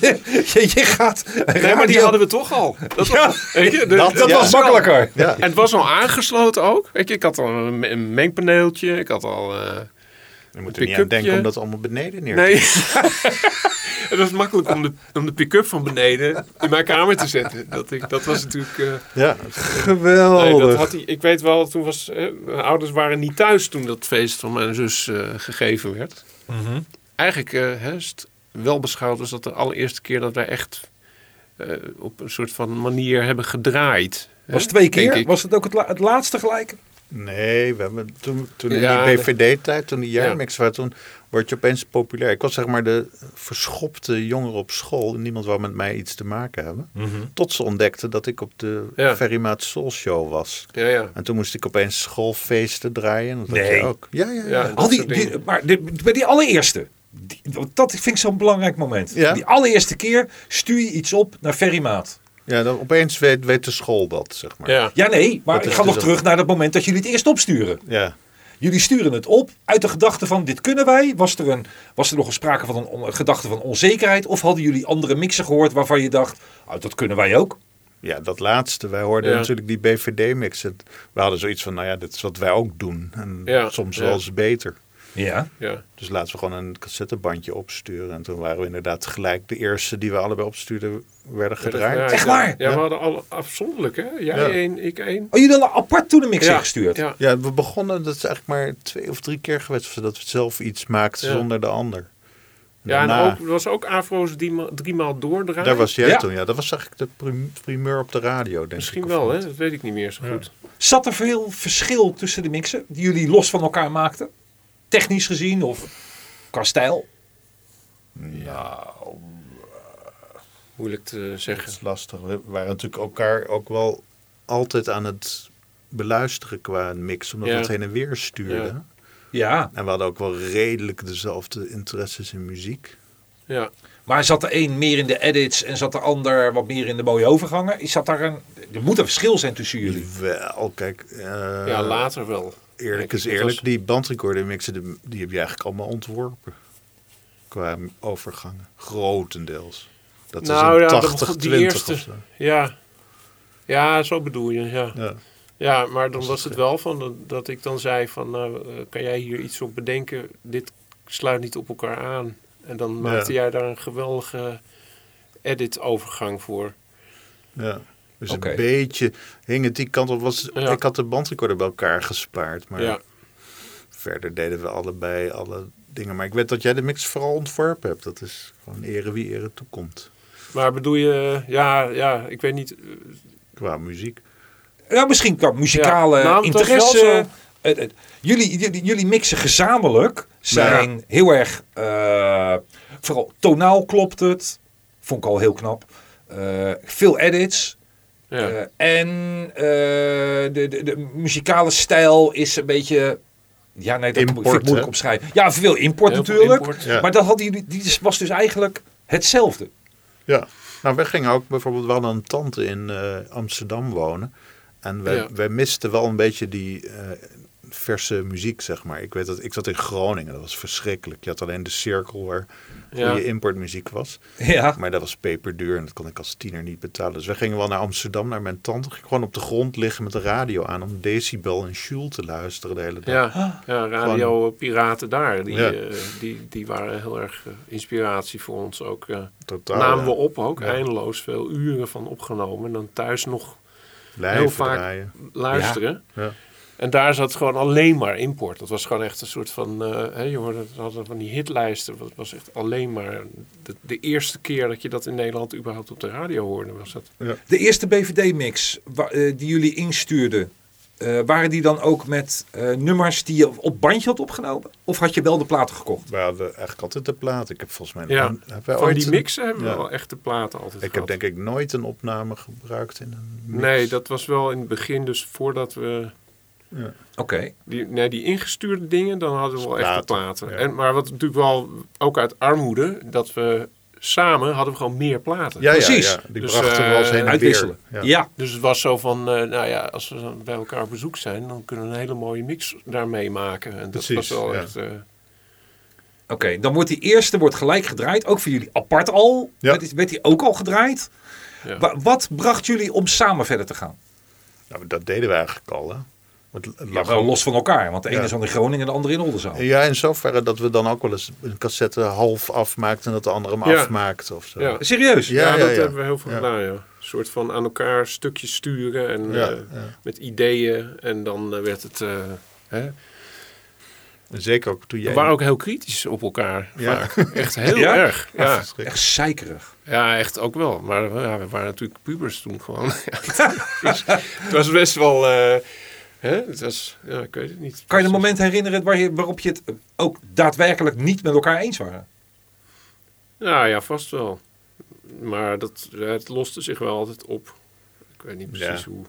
Speaker 2: Je, je gaat...
Speaker 3: Nee, maar die hadden we toch al. Dat was, weet je, de-
Speaker 4: dat-
Speaker 2: Dat
Speaker 4: Ja.
Speaker 2: was makkelijker.
Speaker 4: Ja.
Speaker 3: En het was al aangesloten ook. Weet je, ik had al een, me- een mengpaneeltje. Ik had al... eh,
Speaker 4: Je moet er
Speaker 3: Een
Speaker 4: niet aan denken
Speaker 3: pick-upje.
Speaker 4: om dat allemaal beneden neer te
Speaker 3: Nee. <laughs> het was makkelijk om de, om de pick-up van beneden in mijn kamer te zetten. Dat, ik, dat was natuurlijk... eh,
Speaker 4: Ja,
Speaker 3: nee,
Speaker 2: Geweldig.
Speaker 3: dat had hij, ik weet wel, toen was, eh, mijn ouders waren niet
Speaker 4: Mhm.
Speaker 3: thuis toen dat feest van mijn zus eh, gegeven werd. Eigenlijk eh, hè, st- wel beschouwd als dat de allereerste keer dat wij echt eh, op een soort van manier hebben gedraaid. hè,
Speaker 2: Was twee
Speaker 3: denk
Speaker 2: keer?
Speaker 3: ik.
Speaker 2: Was het ook het, la- het laatste gelijk?
Speaker 4: Nee, we hebben toen, toen in
Speaker 3: Ja,
Speaker 4: die
Speaker 3: de-
Speaker 4: DVD-tijd, toen die jaarmix was, toen word je opeens populair. Ik was zeg maar de verschopte jongere op school. En niemand wou met mij iets te maken hebben. Tot ze ontdekten dat ik op de
Speaker 3: Mhm. Ja.
Speaker 4: Ferrymaat Soul Show was.
Speaker 3: Ja, ja.
Speaker 4: En toen moest ik opeens schoolfeesten draaien. Dat had
Speaker 2: Nee.
Speaker 4: je ook. Ja, ja, ja.
Speaker 3: Ja.
Speaker 4: ja.
Speaker 2: Al die,
Speaker 3: soort dingen.
Speaker 2: die- maar die- bij die allereerste. die- want dat vind ik zo'n belangrijk moment.
Speaker 4: Ja.
Speaker 2: Die allereerste keer stuur je iets op naar Ferrymaat.
Speaker 4: dan opeens weet, weet de school dat, zeg maar.
Speaker 3: ja.
Speaker 2: Ja, nee, maar
Speaker 4: Dat
Speaker 2: ik
Speaker 4: is
Speaker 2: ga
Speaker 4: dus
Speaker 2: nog
Speaker 4: ook-
Speaker 2: terug naar dat moment dat jullie het eerst opsturen.
Speaker 4: Ja.
Speaker 2: Jullie sturen het op uit de gedachte van dit kunnen wij. Was er, een, was er nog een sprake van een, on- een gedachte van onzekerheid? Of hadden jullie andere mixen gehoord waarvan je dacht, oh, dat kunnen wij ook?
Speaker 4: Ja, dat laatste. Wij hoorden
Speaker 3: Ja.
Speaker 4: natuurlijk die BVD-mix. En We hadden zoiets van, nou ja, dit is wat wij ook doen. En
Speaker 3: Ja,
Speaker 4: soms
Speaker 3: ja.
Speaker 4: wel eens beter.
Speaker 2: Ja.
Speaker 3: ja.
Speaker 4: Dus laten we gewoon een cassettebandje opsturen. En toen waren we inderdaad gelijk de eerste die we allebei opstuurden, werden gedraaid.
Speaker 3: Ja,
Speaker 2: Echt waar?
Speaker 3: Ja,
Speaker 4: Ja.
Speaker 3: we hadden alle afzonderlijk, hè? Jij
Speaker 4: Ja.
Speaker 3: één, ik één.
Speaker 2: Oh, jullie hadden apart toen een mix
Speaker 3: Ja,
Speaker 2: ingestuurd?
Speaker 3: Ja.
Speaker 4: Ja, we begonnen, dat is eigenlijk maar twee of drie keer geweest, dat we zelf iets maakten
Speaker 3: Ja.
Speaker 4: zonder de ander.
Speaker 3: Ja, en
Speaker 4: Daarna-
Speaker 3: ook, er was ook Afro's die ma- driemaal doordraaien.
Speaker 4: Daar was jij
Speaker 2: Ja.
Speaker 4: toen, ja. Dat was eigenlijk de prim- primeur op de radio, denk
Speaker 3: Misschien
Speaker 4: ik.
Speaker 3: wel, hè? Dat weet ik niet meer zo goed.
Speaker 2: Zat er veel verschil tussen de mixen die jullie los van elkaar maakten? Technisch gezien of qua stijl?
Speaker 3: Moeilijk te zeggen.
Speaker 4: Dat is lastig. We waren natuurlijk elkaar ook wel altijd aan het beluisteren qua een mix, omdat
Speaker 3: Ja.
Speaker 4: we het heen en weer stuurden.
Speaker 3: Ja.
Speaker 2: Ja,
Speaker 4: En we hadden ook wel redelijk dezelfde interesses in muziek.
Speaker 3: Ja.
Speaker 2: maar zat de een meer in de edits en zat de ander wat meer in de mooie overgangen? Zat daar een, er moet een verschil zijn tussen jullie.
Speaker 4: Wel, kijk. eh,
Speaker 3: ja, later wel.
Speaker 4: Eerlijk
Speaker 3: Kijk,
Speaker 4: is
Speaker 3: dat
Speaker 4: eerlijk,
Speaker 3: was-
Speaker 4: die bandrecorder mixen, die, die heb je eigenlijk allemaal ontworpen. Qua overgangen, grotendeels. Dat
Speaker 3: Nou
Speaker 4: is
Speaker 3: ja, dat
Speaker 4: een 80,
Speaker 3: begon- die
Speaker 4: 20
Speaker 3: eerste.
Speaker 4: of zo.
Speaker 3: Ja. Ja, zo bedoel je, ja.
Speaker 4: Ja.
Speaker 3: Ja, maar dan was het wel van dat- dat ik dan zei van, nou, eh, kan jij hier iets op bedenken? Dit sluit niet op elkaar aan. En dan maakte jij daar een geweldige edit-overgang voor.
Speaker 4: Ja. Dus
Speaker 2: Oké.
Speaker 4: een beetje hing het die kant op. Was,
Speaker 3: Ja.
Speaker 4: Ik had de bandrecorder bij elkaar gespaard, maar
Speaker 3: Ja,
Speaker 4: verder deden we allebei alle dingen. Maar ik weet dat jij de mix vooral ontworpen hebt. Dat is gewoon ere wie ere toekomt.
Speaker 3: maar bedoel je, ja, ja, ik weet niet. eh,
Speaker 4: Qua muziek.
Speaker 2: Ja, Nou, misschien qua muzikale
Speaker 3: Ja, nou, het was wel
Speaker 2: interesse.
Speaker 3: zo.
Speaker 2: Eh, eh, jullie, jullie, jullie mixen gezamenlijk zijn heel erg, eh, vooral tonaal klopt het, vond ik al heel knap. Eh, veel edits,
Speaker 3: Ja.
Speaker 2: Eh, en eh, de, de, de muzikale stijl is een beetje. Ja, nee, dat
Speaker 4: Import,
Speaker 2: vind ik moeilijk
Speaker 4: hè?
Speaker 2: omschrijven. Ja, veel import
Speaker 3: Heel veel
Speaker 2: natuurlijk.
Speaker 3: import.
Speaker 4: Ja.
Speaker 2: Maar dat had die, die was dus eigenlijk hetzelfde. <laughs>
Speaker 4: Ja, nou wij gingen ook bijvoorbeeld wel een tante in eh, Amsterdam wonen. En wij,
Speaker 3: Ja.
Speaker 4: wij misten wel een beetje die eh, verse muziek, zeg maar. Ik weet dat ik zat in Groningen, dat was verschrikkelijk. Je had alleen de cirkel waar
Speaker 3: Ja.
Speaker 4: goede importmuziek was.
Speaker 2: Ja.
Speaker 4: Maar dat was peperduur en dat kon ik als tiener niet betalen. Dus wij gingen wel naar Amsterdam, naar mijn tante. Ging gewoon op de grond liggen met de radio aan om Decibel en Jules te luisteren de hele dag.
Speaker 3: Ja, ja radio Piraten daar, die,
Speaker 4: Ja.
Speaker 3: eh, die, die waren heel erg eh, inspiratie voor ons ook. eh.
Speaker 4: Totaal,
Speaker 3: namen we
Speaker 4: ja.
Speaker 3: op ook, eindeloos veel uren van opgenomen. En dan thuis nog
Speaker 4: Blijven
Speaker 3: heel vaak
Speaker 4: draaien.
Speaker 3: luisteren.
Speaker 4: Ja.
Speaker 3: En daar zat gewoon alleen maar import. Dat was gewoon echt een soort van, eh, hè, je hoorde, we hadden van die hitlijsten. Dat was echt alleen maar, de, de eerste keer dat je dat in Nederland überhaupt op de radio hoorde, was dat.
Speaker 2: De eerste BVD-mix wa- eh, die jullie instuurden, eh, waren die dan ook met eh, nummers die je op bandje had opgenomen? Of had je wel de platen gekocht?
Speaker 4: We hadden eigenlijk altijd de plaat. Ik heb volgens mij...
Speaker 3: Ja,
Speaker 4: nog- hebben wij
Speaker 3: van
Speaker 4: ooit
Speaker 3: die
Speaker 4: een-
Speaker 3: mixen hebben
Speaker 4: Ja.
Speaker 3: we wel echt de platen altijd
Speaker 4: Ik
Speaker 3: gehad.
Speaker 4: heb denk ik nooit een opname gebruikt in een mix.
Speaker 3: Nee, dat was wel in het begin, dus voordat we
Speaker 2: Oké.
Speaker 4: eh,
Speaker 3: Die, nee, die ingestuurde dingen, dan hadden we wel echt de
Speaker 4: Platen,
Speaker 3: platen.
Speaker 4: ja.
Speaker 3: En, maar wat natuurlijk wel, ook uit armoede, dat we samen hadden we gewoon meer platen.
Speaker 4: Ja,
Speaker 2: Precies.
Speaker 4: Ja, ja. Die
Speaker 3: Dus,
Speaker 4: brachten we
Speaker 3: eh,
Speaker 4: wel eens heen en weer.
Speaker 2: Uitwisselen.
Speaker 4: Ja.
Speaker 2: ja.
Speaker 3: Dus het was zo van, eh, nou ja, als we dan bij elkaar op bezoek zijn, dan kunnen we een hele mooie mix daarmee maken. En dat
Speaker 4: Precies,
Speaker 3: was wel
Speaker 4: ja.
Speaker 3: echt... eh,
Speaker 2: Oké, dan wordt die eerste wordt gelijk gedraaid. Ook voor jullie apart al.
Speaker 4: Ja.
Speaker 2: Werd, werd die ook al gedraaid?
Speaker 3: Ja.
Speaker 2: Wa- wat bracht jullie om samen verder te gaan?
Speaker 4: Nou, dat deden we eigenlijk al. Hè. Want het
Speaker 2: Ja,
Speaker 4: lag
Speaker 2: wel
Speaker 4: ook-
Speaker 2: los van elkaar. Want de ene
Speaker 4: Ja.
Speaker 2: is aan in Groningen en de andere in Oldenzaal.
Speaker 4: Ja, in zoverre dat we dan ook wel eens een cassette half afmaakten en dat de andere hem
Speaker 3: Ja.
Speaker 4: afmaakte of zo.
Speaker 3: Ja.
Speaker 2: Serieus?
Speaker 4: Ja,
Speaker 3: ja, dat
Speaker 4: ja.
Speaker 3: hebben we heel veel
Speaker 4: Ja.
Speaker 3: gedaan, ja. Een soort van aan elkaar stukjes sturen en
Speaker 4: Ja,
Speaker 3: eh,
Speaker 4: ja.
Speaker 3: met ideeën. En dan eh, werd het... eh, hè?
Speaker 4: En zeker ook toen jij...
Speaker 3: We waren ook heel kritisch op elkaar.
Speaker 4: Ja.
Speaker 3: vaak.
Speaker 4: <laughs>
Speaker 3: Echt heel
Speaker 2: Ja?
Speaker 3: erg. Ja. <laughs>
Speaker 2: Echt zeikerig.
Speaker 3: ja, echt ook wel. Maar ja, we waren natuurlijk pubers toen gewoon. <laughs> Ja, dus het was best wel... eh, hè? Het was, ja, ik weet het niet.
Speaker 2: Kan je een moment herinneren waar je, waarop je het ook daadwerkelijk niet met elkaar eens waren? <laughs>
Speaker 3: Nou ja, vast wel. Maar dat, ja, het loste zich wel altijd op. Ik weet niet precies
Speaker 4: Ja.
Speaker 3: hoe.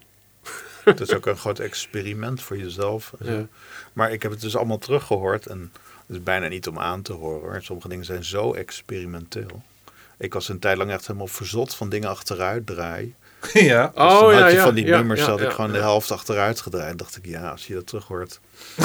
Speaker 4: Dat is ook een groot experiment voor jezelf.
Speaker 3: Ja.
Speaker 4: Maar ik heb het dus allemaal teruggehoord. En het is bijna niet om aan te horen. Hoor. Sommige dingen zijn zo experimenteel. Ik was een tijd lang echt helemaal verzot van dingen achteruit draaien.
Speaker 2: ja.
Speaker 4: Dus dan
Speaker 3: Oh, ja,
Speaker 4: had je
Speaker 3: ja,
Speaker 4: van die
Speaker 3: ja,
Speaker 4: nummers
Speaker 3: ja,
Speaker 4: dat
Speaker 3: ja,
Speaker 4: ik gewoon
Speaker 3: ja.
Speaker 4: de helft achteruit gedraaid. En dacht ik, ja, als je dat terug hoort. <laughs>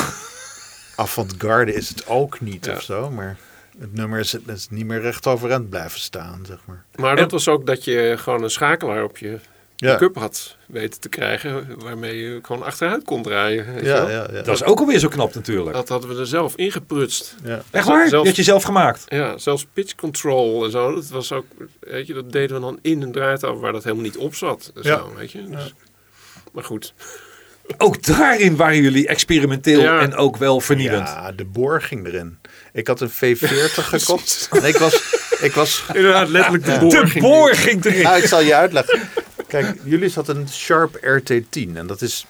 Speaker 4: Avant-garde is het ook niet
Speaker 3: Ja.
Speaker 4: of zo. Maar het nummer is, het is niet meer recht overeind blijven staan, zeg maar.
Speaker 3: Maar dat was ook dat je gewoon een schakelaar op je
Speaker 4: Ja,
Speaker 3: pick-up had weten te krijgen. Waarmee je gewoon achteruit kon draaien. weet je
Speaker 4: ja,
Speaker 3: wel.
Speaker 4: ja. ja.
Speaker 2: Dat is ook alweer zo knap natuurlijk.
Speaker 3: Dat hadden we er zelf ingeprutst.
Speaker 4: ja.
Speaker 2: Echt waar?
Speaker 3: zelf-
Speaker 2: Dat je zelf gemaakt.
Speaker 3: Ja, zelfs pitch control en zo. Dat was ook, weet je, dat deden we dan in een draaitafel waar dat helemaal niet op zat. en Zo,
Speaker 4: Ja.
Speaker 3: weet je. Dus, Maar goed. <laughs>
Speaker 2: Ook daarin waren jullie experimenteel
Speaker 3: Ja.
Speaker 2: en ook wel vernieuwend.
Speaker 4: Ja, de boor ging erin. Ik had een
Speaker 3: <laughs>
Speaker 4: V40 gekocht. Nee, ik was, ik was
Speaker 3: Inderdaad, letterlijk de boor.
Speaker 2: De boor ging erin.
Speaker 4: Nou, ik zal je uitleggen. Kijk, jullie hadden een Sharp RT10. En dat is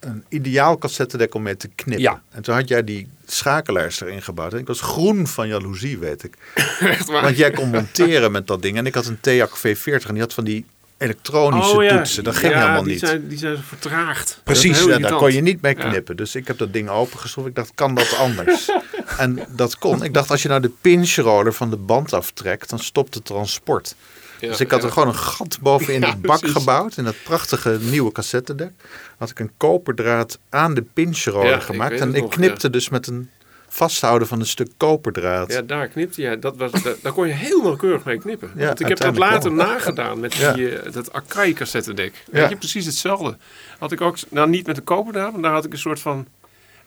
Speaker 4: een ideaal cassettedek om mee te knippen.
Speaker 2: Ja.
Speaker 4: En toen had jij die schakelaars erin gebouwd. En ik was groen van jaloezie, weet ik.
Speaker 3: Echt waar.
Speaker 4: Want jij kon monteren met dat ding. En ik had een TEAC V40 en die had van die elektronische toetsen. Dat ging
Speaker 3: Oh, ja,
Speaker 4: helemaal
Speaker 3: die
Speaker 4: niet.
Speaker 3: Zijn, die zijn vertraagd.
Speaker 2: Precies,
Speaker 4: Ja,
Speaker 3: ja,
Speaker 4: daar kon je niet mee knippen. Dus ik heb dat ding opengeschroefd. Ik dacht, kan dat <laughs> anders? en dat kon. Ik dacht, als je nou de pinchroller van de band aftrekt, dan stopt het transport.
Speaker 3: Ja,
Speaker 4: dus ik had
Speaker 3: ja.
Speaker 4: er gewoon een gat bovenin
Speaker 3: Ja,
Speaker 4: de bak
Speaker 3: precies.
Speaker 4: gebouwd. In dat prachtige nieuwe cassettedek. Had ik een koperdraad aan de pinchroller
Speaker 3: Ja, ik
Speaker 4: gemaakt.
Speaker 3: weet
Speaker 4: en
Speaker 3: het
Speaker 4: ik
Speaker 3: nog,
Speaker 4: knipte dus met een vasthouden van een stuk koperdraad.
Speaker 3: Ja, daar knipte je. Dat was, daar, daar kon je heel nauwkeurig mee knippen.
Speaker 4: Ja,
Speaker 3: Want ik heb dat
Speaker 4: uiteindelijk
Speaker 3: later
Speaker 4: wel.
Speaker 3: nagedaan met
Speaker 4: Ja.
Speaker 3: die, eh, dat Akai cassettedek.
Speaker 4: Ja.
Speaker 3: Weet je, precies hetzelfde. Had ik ook, nou niet met de koperdraad, maar daar had ik een soort van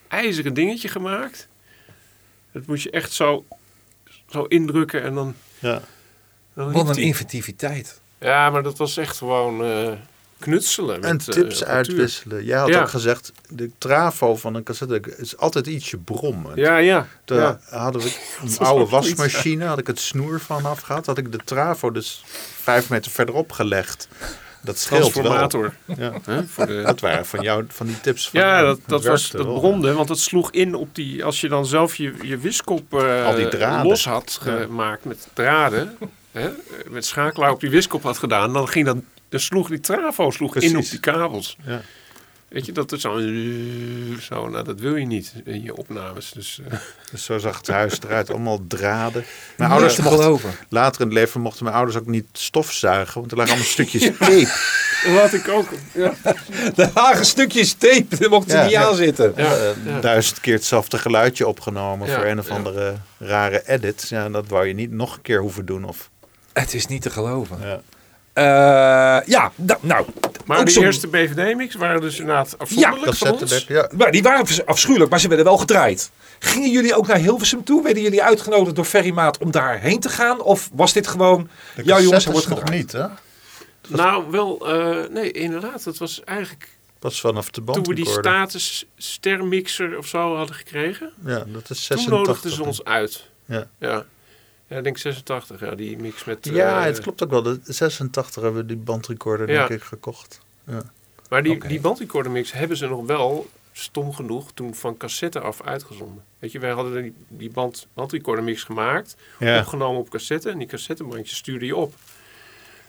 Speaker 3: ijzeren dingetje gemaakt. Dat moest je echt zo, zo indrukken en dan...
Speaker 4: Ja.
Speaker 3: dan liep
Speaker 2: Wat een
Speaker 3: die.
Speaker 2: inventiviteit.
Speaker 3: Ja, maar dat was echt gewoon eh, knutselen.
Speaker 4: En
Speaker 3: met, eh,
Speaker 4: tips
Speaker 3: apparatuur.
Speaker 4: uitwisselen. Jij had
Speaker 3: Ja.
Speaker 4: ook gezegd, de travo van een cassettedek is altijd ietsje brommen.
Speaker 3: Ja, ja.
Speaker 4: Toen
Speaker 3: ja. <laughs>
Speaker 4: hadden we een
Speaker 3: was
Speaker 4: oude
Speaker 3: ook zoiets,
Speaker 4: wasmachine, had ik het snoer van afgehaald. Had ik de travo dus vijf meter verderop gelegd. Dat scheelt wel.
Speaker 3: Transformator.
Speaker 4: Ja.
Speaker 3: Hè, voor de,
Speaker 4: <laughs> Dat waren van jou, van die tips. Van
Speaker 3: Ja,
Speaker 4: jou.
Speaker 3: dat, dat, was,
Speaker 4: werkte
Speaker 3: dat
Speaker 4: wel.
Speaker 3: bromde, want dat sloeg in op die... Als je dan zelf je, je wiskop eh,
Speaker 4: Al die draden.
Speaker 3: los had gemaakt met draden... hè, met schakelaar op die wiskop had gedaan... dan ging dat... Dan sloeg die travo sloeg in op
Speaker 4: Precies.
Speaker 3: die kabels.
Speaker 4: Ja.
Speaker 3: Weet je, dat is zo... zo nou, dat wil je niet in je opnames. Dus, eh, <laughs>
Speaker 4: Dus zo zag het huis eruit, allemaal draden. Mijn
Speaker 2: Niet
Speaker 4: ouders
Speaker 2: te
Speaker 4: mochten,
Speaker 2: geloven.
Speaker 4: later in het leven mochten mijn ouders ook niet stofzuigen, want er lagen allemaal stukjes tape.
Speaker 3: Wat ik ook... Ja,
Speaker 2: De lage stukjes tape, daar mochten
Speaker 4: Ja.
Speaker 2: niet aan zitten.
Speaker 3: ja,
Speaker 4: Eh, Duizend keer hetzelfde geluidje opgenomen
Speaker 3: Ja,
Speaker 4: voor een of
Speaker 3: ja.
Speaker 4: andere rare edit. Ja, dat wou je niet nog een keer hoeven doen. Of,
Speaker 2: Het is niet te geloven.
Speaker 4: ja.
Speaker 2: Eh, ja, da- nou.
Speaker 3: Maar
Speaker 2: ook
Speaker 3: de
Speaker 2: zo'n-
Speaker 3: eerste BVD-mix waren dus inderdaad afzonderlijk van ons.
Speaker 4: Cassettedek, ja.
Speaker 2: Maar die waren afs- afschuwelijk, maar ze werden wel gedraaid. Gingen jullie ook naar Hilversum toe? Werden jullie uitgenodigd door Ferry Maat om daarheen te gaan? Of was dit gewoon, ja jongens, hij wordt
Speaker 4: nog
Speaker 2: gedraaid?
Speaker 4: niet, hè?
Speaker 3: Nou, wel... eh, nee, inderdaad. Dat was eigenlijk...
Speaker 4: Pas vanaf de
Speaker 3: Toen we die
Speaker 4: bandrecorder.
Speaker 3: status stermixer of zo hadden gekregen...
Speaker 4: Ja, dat is
Speaker 3: Toen
Speaker 4: 86.
Speaker 3: nodigden ze ons uit.
Speaker 4: Ja.
Speaker 3: Ja. Ja, ik denk 86, ja, die mix met...
Speaker 4: Ja,
Speaker 3: eh,
Speaker 4: het klopt ook wel. De 86 hebben we die bandrecorder
Speaker 3: Ja.
Speaker 4: denk ik gekocht.
Speaker 3: Maar die,
Speaker 2: Oké.
Speaker 3: die bandrecorder mix hebben ze nog wel, stom genoeg, toen van cassette af uitgezonden. Weet je, wij hadden die, die band, bandrecorder mix gemaakt,
Speaker 4: Ja.
Speaker 3: opgenomen op cassette... en die cassettebandjes stuurde je op. Dat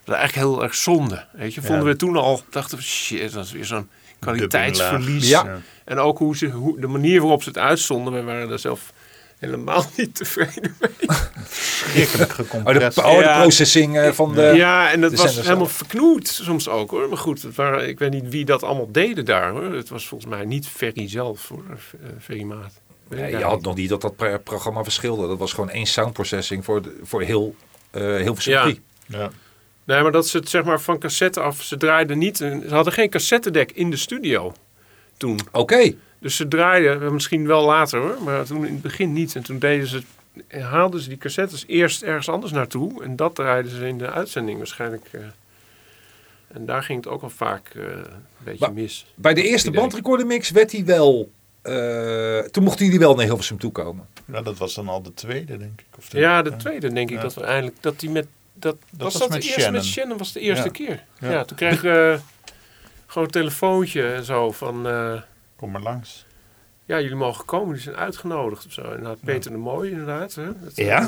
Speaker 3: was eigenlijk heel erg zonde. Weet je, vonden
Speaker 4: Ja.
Speaker 3: we toen al, dachten we, shit, dat is weer zo'n kwaliteitsverlies.
Speaker 2: Ja.
Speaker 3: En ook hoe ze, hoe, de manier waarop ze het uitzonden, wij waren daar zelf helemaal <laughs> niet tevreden mee.
Speaker 2: <laughs>
Speaker 4: Schrikkelijk
Speaker 2: Oh, de,
Speaker 4: gecompressed.
Speaker 2: oh, de
Speaker 3: Ja.
Speaker 2: processing eh, van de...
Speaker 3: ja, en dat
Speaker 2: de
Speaker 3: was
Speaker 2: zenders
Speaker 3: helemaal verknoeid soms ook hoor. Maar goed, het waren, ik weet niet wie dat allemaal deden daar hoor. Het was volgens mij niet Ferry zelf hoor, eh, Ferry Maat. Weet
Speaker 2: Nee,
Speaker 3: ik
Speaker 2: je had
Speaker 3: eigenlijk
Speaker 2: nog niet dat dat pro- programma verschilde. Dat was gewoon één soundprocessing voor, de- voor heel, eh Hilversum
Speaker 3: Ja.
Speaker 2: 3.
Speaker 4: Ja.
Speaker 3: niet. Nee, maar dat ze het zeg maar van cassette af, ze draaiden niet, een- ze hadden geen cassettedek in de studio toen.
Speaker 2: Oké,
Speaker 3: Dus ze draaiden, eh, misschien wel later hoor, maar toen in het begin niet. En toen deden ze, haalden ze die cassettes eerst ergens anders naartoe. En dat draaiden ze in de uitzending waarschijnlijk. eh. en daar ging het ook al vaak eh, een beetje
Speaker 2: Maar-
Speaker 3: mis.
Speaker 2: bij de eerste
Speaker 3: Idee.
Speaker 2: bandrecordermix werd hij wel eh, toen mochten jullie wel naar Hilversum toekomen.
Speaker 4: Nou, dat was dan al de tweede, denk ik. Of de-
Speaker 3: Ja, de tweede denk ik dat we eindelijk dat die met dat, was,
Speaker 4: was
Speaker 3: dat
Speaker 4: met
Speaker 3: de eerste
Speaker 4: Shannon.
Speaker 3: met Shannon was de eerste
Speaker 4: Ja.
Speaker 3: keer. Ja,
Speaker 4: Ja.
Speaker 3: toen kreeg eh gewoon een telefoontje en zo van eh,
Speaker 4: Kom maar langs.
Speaker 3: ja jullie mogen komen, jullie zijn uitgenodigd of zo. Inderdaad, Peter de Mooie inderdaad. Hè? Dat, eh,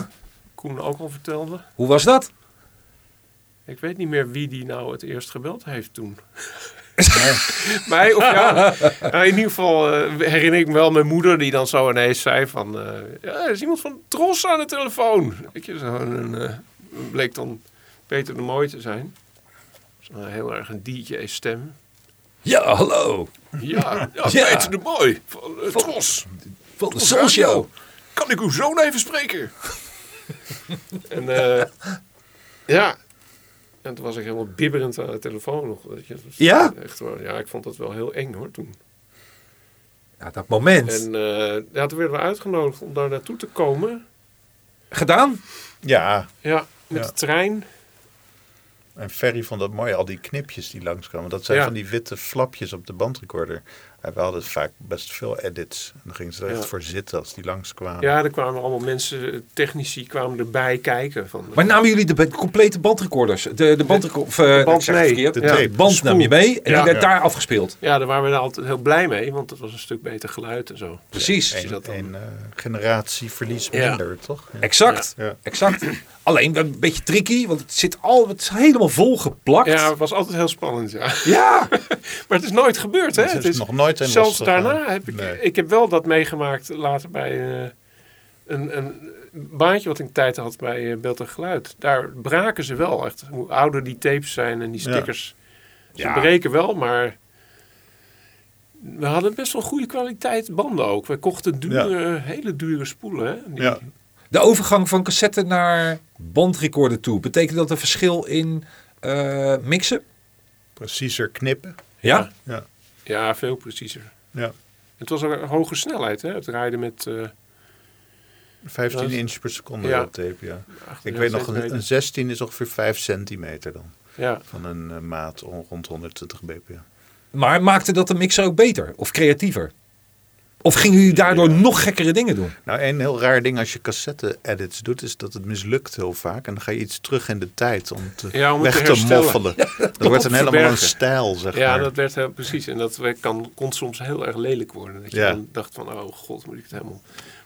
Speaker 3: Koen ook al vertelde.
Speaker 2: Hoe was dat?
Speaker 3: Ik weet niet meer wie die nou het eerst gebeld heeft toen. <laughs> Mij of ja. Nou, in ieder geval eh, herinner ik me wel mijn moeder die dan zo ineens zei van... eh, ja, er is iemand van Tros aan de telefoon. Weet je, zo. En, eh, bleek dan Peter de Mooi te zijn. Zo heel erg een DJ-stem.
Speaker 2: Ja, hallo.
Speaker 3: Ja, ja,
Speaker 2: Ja.
Speaker 3: Peter de Mooi van eh, Tros.
Speaker 2: Van de Soul Show.
Speaker 3: Kan ik uw zoon even spreken? en eh, ja. En toen was ik helemaal bibberend aan de telefoon nog. Weet je. Dat was
Speaker 2: Ja?
Speaker 3: Echt waar. Ja, ik vond dat wel heel eng hoor toen.
Speaker 2: Ja, dat moment.
Speaker 3: En eh, ja, toen werden we uitgenodigd om daar naartoe te komen.
Speaker 2: Gedaan?
Speaker 4: Ja,
Speaker 3: Ja, met
Speaker 4: Ja.
Speaker 3: de trein.
Speaker 4: en Ferry vond dat mooi, al die knipjes die langskwamen. Dat zijn
Speaker 3: Ja.
Speaker 4: van die witte flapjes op de bandrecorder. En we hadden vaak best veel edits. En dan gingen ze er echt
Speaker 3: Ja.
Speaker 4: voor zitten als die langskwamen.
Speaker 3: Ja, er kwamen allemaal mensen, eh, technici kwamen erbij kijken. Van,
Speaker 2: Maar nou- namen jullie de be- complete bandrecorders? De, de bandrecord... Of, eh,
Speaker 3: band
Speaker 2: ik zeg het
Speaker 3: mee.
Speaker 2: verkeerd.
Speaker 4: De
Speaker 2: Ja.
Speaker 4: tape,
Speaker 2: band
Speaker 4: spoel.
Speaker 2: nam je mee en
Speaker 3: Ja.
Speaker 2: die werd
Speaker 4: Ja.
Speaker 2: daar afgespeeld.
Speaker 3: Ja, daar waren we daar altijd heel blij mee, want het was een stuk beter geluid en zo.
Speaker 2: Precies.
Speaker 3: Zie je dat dan?
Speaker 4: Een eh, generatieverlies
Speaker 3: Ja.
Speaker 4: minder, toch? Ja.
Speaker 2: Exact.
Speaker 4: Ja. Ja.
Speaker 2: Exact. <clears throat> Alleen wel een beetje tricky, want het zit al het is helemaal volgeplakt.
Speaker 3: Ja,
Speaker 2: Ja.
Speaker 3: het was altijd heel spannend, ja. <laughs>
Speaker 2: ja.
Speaker 3: Maar het is nooit gebeurd, hè?
Speaker 4: Het is nog nooit helemaal
Speaker 3: Zelfs
Speaker 4: losgegaan.
Speaker 3: daarna heb ik...
Speaker 4: Nee.
Speaker 3: Ik heb wel dat meegemaakt later bij eh, een, een baantje wat ik een tijd had bij eh, Beeld en Geluid. Daar braken ze wel echt. Hoe ouder die tapes zijn en die
Speaker 4: Ja.
Speaker 3: stickers. Ze
Speaker 2: Ja.
Speaker 3: breken wel, maar... We hadden best wel goede kwaliteit banden ook. We kochten dure, hele dure spoelen. Hè? Die-
Speaker 4: Ja.
Speaker 2: De overgang van cassette naar bandrecorder toe, betekent dat een verschil in eh, mixen?
Speaker 4: Preciezer knippen.
Speaker 2: Ja.
Speaker 4: Ja.
Speaker 3: ja, veel preciezer.
Speaker 4: ja.
Speaker 3: Het was ook een hoge snelheid, hè? Het rijden met... eh,
Speaker 4: 15
Speaker 3: Dat is-
Speaker 4: inch per seconde
Speaker 3: Ja.
Speaker 4: op tape, ja. Ik
Speaker 3: 38
Speaker 4: weet nog, een,
Speaker 3: centimeter.
Speaker 4: een 16 is ongeveer 5 centimeter dan.
Speaker 3: Ja.
Speaker 4: Van een eh, maat on- rond 120 bpm.
Speaker 2: Maar maakte dat de mixer ook beter of creatiever? Of gingen jullie daardoor nog gekkere dingen doen?
Speaker 4: Nou, een heel raar ding als je cassette-edits doet, is dat het mislukt heel vaak. En dan ga je iets terug in de tijd om, te
Speaker 3: Ja, om het
Speaker 4: weg
Speaker 3: te
Speaker 4: te,
Speaker 3: herstellen. <laughs>
Speaker 4: moffelen. dat wordt dan helemaal een
Speaker 3: verbergen.
Speaker 4: stijl, zeg
Speaker 3: Ja,
Speaker 4: maar.
Speaker 3: dat werd heel precies. En dat werd- kan, kon soms heel erg lelijk worden. Dat je
Speaker 4: Ja.
Speaker 3: dan dacht van, oh god, moet ik het helemaal...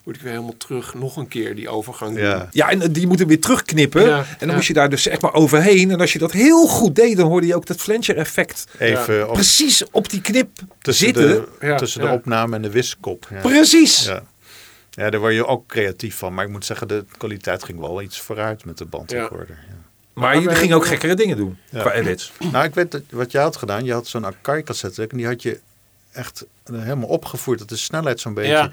Speaker 3: Moet ik weer helemaal terug, nog een keer die overgang doen.
Speaker 4: Ja.
Speaker 2: Ja, en eh, die moeten weer terugknippen.
Speaker 3: Ja,
Speaker 2: en dan
Speaker 3: ja.
Speaker 2: moest je daar dus echt maar overheen. En als je dat heel goed deed, dan hoorde je ook dat flanger effect
Speaker 4: Even op-
Speaker 2: precies op die knip
Speaker 4: tussen,
Speaker 2: zitten.
Speaker 4: de,
Speaker 3: Ja,
Speaker 4: tussen
Speaker 3: ja.
Speaker 4: de opname en de wiskop. Ja.
Speaker 2: Precies.
Speaker 4: Ja. ja, daar word je ook creatief van. Maar ik moet zeggen, de kwaliteit ging wel iets vooruit met de bandrecorder. Ja.
Speaker 2: Maar jullie gingen ook gekkere dingen doen
Speaker 4: Ja.
Speaker 2: qua edits.
Speaker 4: Nou, ik weet dat- wat je had gedaan. Je had zo'n Akai-cassette en die had je echt eh, helemaal opgevoerd. Dat de snelheid zo'n beetje
Speaker 3: Ja.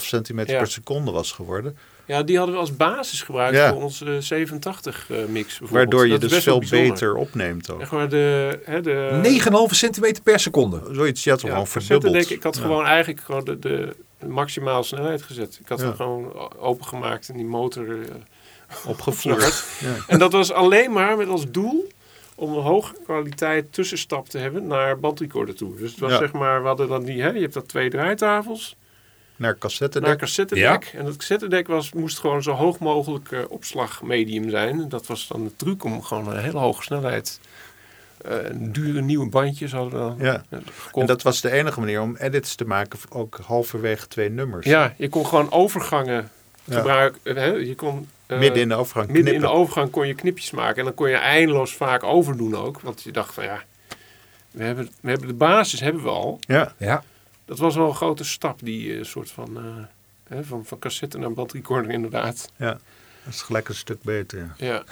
Speaker 4: 9,5 centimeter
Speaker 3: Ja.
Speaker 4: per seconde was geworden.
Speaker 3: Ja, die hadden we als basis gebruikt
Speaker 4: Ja.
Speaker 3: voor onze eh, 87 eh, mix bijvoorbeeld.
Speaker 4: Waardoor je
Speaker 3: Dat is
Speaker 4: dus
Speaker 3: best wel
Speaker 4: veel
Speaker 3: bijzonder.
Speaker 4: beter opneemt ook.
Speaker 3: Echt waar, de... Hè, de
Speaker 2: 9,5 centimeter per seconde.
Speaker 4: Zoiets, je had hem
Speaker 3: ja,
Speaker 4: gewoon
Speaker 3: cassetten,
Speaker 4: verdubbeld.
Speaker 3: denk ik, ik had
Speaker 4: Ja.
Speaker 3: gewoon eigenlijk gewoon de, de maximale snelheid gezet. Ik had
Speaker 4: Ja.
Speaker 3: hem gewoon o- opengemaakt en die motor... eh, <laughs>
Speaker 4: opgevloerd. ja.
Speaker 3: En dat was alleen maar met als doel om een hoge kwaliteit tussenstap te hebben naar bandrecorder toe. Dus het was
Speaker 4: Ja.
Speaker 3: zeg maar, we hadden dan die, hè, je hebt dat twee draaitafels,
Speaker 4: Naar cassette
Speaker 3: naar
Speaker 4: deck.
Speaker 3: cassettedek. En dat cassettedek was, moest gewoon zo hoog mogelijk eh, opslagmedium zijn. En dat was dan de truc om gewoon een hele hoge snelheid, eh, dure nieuwe bandjes hadden we dan
Speaker 4: Ja.
Speaker 3: eh,
Speaker 4: En
Speaker 3: gekocht.
Speaker 4: dat was de enige manier om edits te maken, ook halverwege twee nummers.
Speaker 3: ja, je kon gewoon overgangen
Speaker 4: Ja.
Speaker 3: gebruiken. hè, je kon, eh,
Speaker 4: Midden in de overgang
Speaker 3: Midden
Speaker 4: knippen.
Speaker 3: in de overgang kon je knipjes maken. En dan kon je eindeloos vaak overdoen ook. Want je dacht van ja, we hebben, we hebben de basis hebben we al.
Speaker 4: ja.
Speaker 2: Ja.
Speaker 3: Dat was wel een grote stap, die eh, soort van, eh, hè, van, van cassette naar bandrecorder inderdaad.
Speaker 4: ja, dat is gelijk een stuk beter. ja.
Speaker 3: Ja.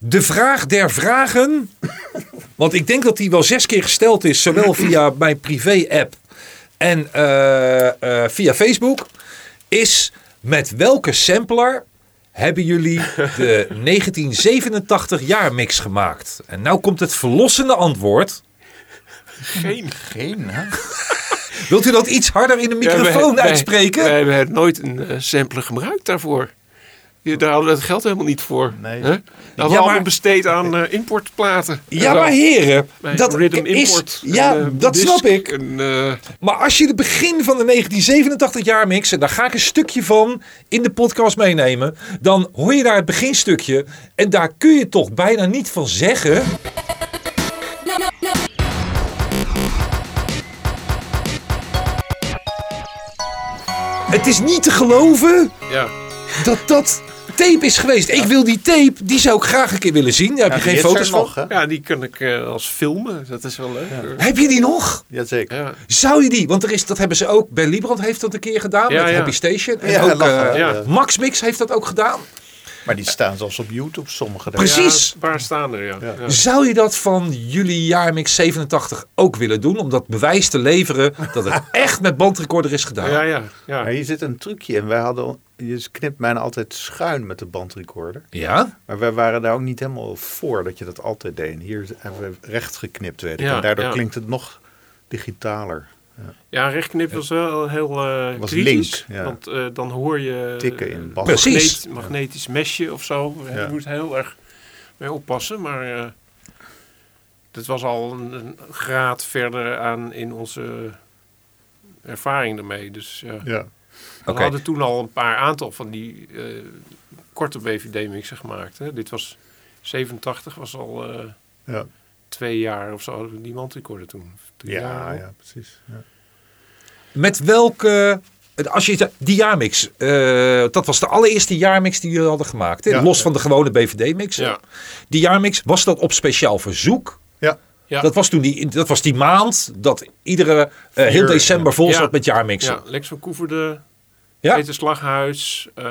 Speaker 2: De vraag der vragen. <laughs> Want ik denk dat die wel zes keer gesteld is.
Speaker 3: <clears throat>
Speaker 2: Zowel via mijn privé-app en eh, eh, via Facebook. Is met welke sampler hebben jullie
Speaker 3: <laughs>
Speaker 2: de 1987 jaar mix gemaakt? En nou komt het verlossende antwoord.
Speaker 3: Geen
Speaker 4: Geen, hè?
Speaker 2: Wilt u dat iets harder in de <laughs> microfoon
Speaker 3: Ja, wij- wij-
Speaker 2: uitspreken?
Speaker 3: Wij hebben nooit een eh, sampler gebruikt daarvoor. Je, daar hadden we het geld helemaal niet voor. Hè?
Speaker 4: Nee.
Speaker 3: Dat hadden we
Speaker 2: maar-
Speaker 3: allemaal besteed aan eh, importplaten.
Speaker 2: Ja,
Speaker 3: En zo.
Speaker 2: maar heren,
Speaker 3: Bij
Speaker 2: dat
Speaker 3: Rhythm
Speaker 2: is...
Speaker 3: Import.
Speaker 2: ja,
Speaker 3: en, eh,
Speaker 2: dat
Speaker 3: Disc
Speaker 2: snap ik.
Speaker 3: En, eh,
Speaker 2: Maar als je het begin van de 1987 jaar mixen, daar ga ik een stukje van in de podcast meenemen. Dan hoor je daar het beginstukje. En daar kun je toch bijna niet van zeggen.
Speaker 6: No, no, no.
Speaker 2: Het is niet te geloven
Speaker 3: ja.
Speaker 2: dat dat tape is geweest. Ik wil die tape, die zou ik graag een keer willen zien. Daar heb je geen foto's van.
Speaker 4: hè?
Speaker 3: ja, die kun ik eh, als filmen. Dat is wel leuk. hoor.
Speaker 2: Heb je die nog?
Speaker 4: Jazeker.
Speaker 3: Ja.
Speaker 2: Zou je die? Want er is, dat hebben ze ook. Ben Liebrand heeft dat een keer gedaan
Speaker 3: Ja,
Speaker 2: met
Speaker 3: ja.
Speaker 2: Happy Station. En
Speaker 4: Ja,
Speaker 2: ook
Speaker 4: lachen,
Speaker 2: eh,
Speaker 3: ja.
Speaker 2: Max Mix heeft dat ook gedaan.
Speaker 4: Maar die staan zelfs op YouTube, sommige. daar.
Speaker 2: Precies.
Speaker 3: Ja, een paar staan er, ja. Ja.
Speaker 2: Zou je dat van jullie jaarmix 87 ook willen doen? Om dat bewijs te leveren dat
Speaker 4: <laughs>
Speaker 2: het echt met bandrecorder is gedaan.
Speaker 3: Ja, ja,
Speaker 4: Maar
Speaker 3: ja.
Speaker 4: hier zit een trucje in. Wij hadden, al- je knipt bijna altijd schuin met de bandrecorder.
Speaker 2: Ja?
Speaker 4: Maar wij waren daar ook niet helemaal voor dat je dat altijd deed. En Hier hebben we recht geknipt, weet ik.
Speaker 3: Ja,
Speaker 4: en daardoor
Speaker 3: ja.
Speaker 4: klinkt het nog digitaler.
Speaker 3: ja rechtknip was wel heel eh
Speaker 4: Was
Speaker 3: kritisch.
Speaker 4: link, ja.
Speaker 3: Want eh, dan hoor je...
Speaker 4: Tikken in band.
Speaker 2: Precies.
Speaker 3: magneet- magnetisch mesje of zo. Eh,
Speaker 4: Ja.
Speaker 3: Je moet heel erg mee oppassen. Maar eh, dat was al een, een graad verder aan in onze ervaring ermee. Dus ja.
Speaker 4: Ja.
Speaker 3: we
Speaker 2: Oké.
Speaker 3: hadden toen al een paar aantal van die eh, korte BVD-mixen gemaakt. Hè. Dit was 87, was al eh,
Speaker 4: Ja.
Speaker 3: twee jaar of zo hadden we die mandrecorder toen. Drie
Speaker 4: Ja,
Speaker 3: jaar.
Speaker 4: ja, precies. Ja.
Speaker 2: Met welke... Als je, die jaarmix, eh, dat was de allereerste jaarmix die jullie hadden gemaakt. hè?
Speaker 4: Ja.
Speaker 2: Los van de gewone BVD-mix.
Speaker 3: Ja.
Speaker 2: Die jaarmix, was dat op speciaal verzoek?
Speaker 4: Ja.
Speaker 3: Ja.
Speaker 2: Dat, was toen die, dat was die maand dat iedere eh, heel
Speaker 4: Vier,
Speaker 2: december vol
Speaker 3: ja.
Speaker 2: zat met jaarmixen.
Speaker 3: Ja, Lex van Koeverde,
Speaker 2: Ja.
Speaker 3: Peter Slaghuis, eh,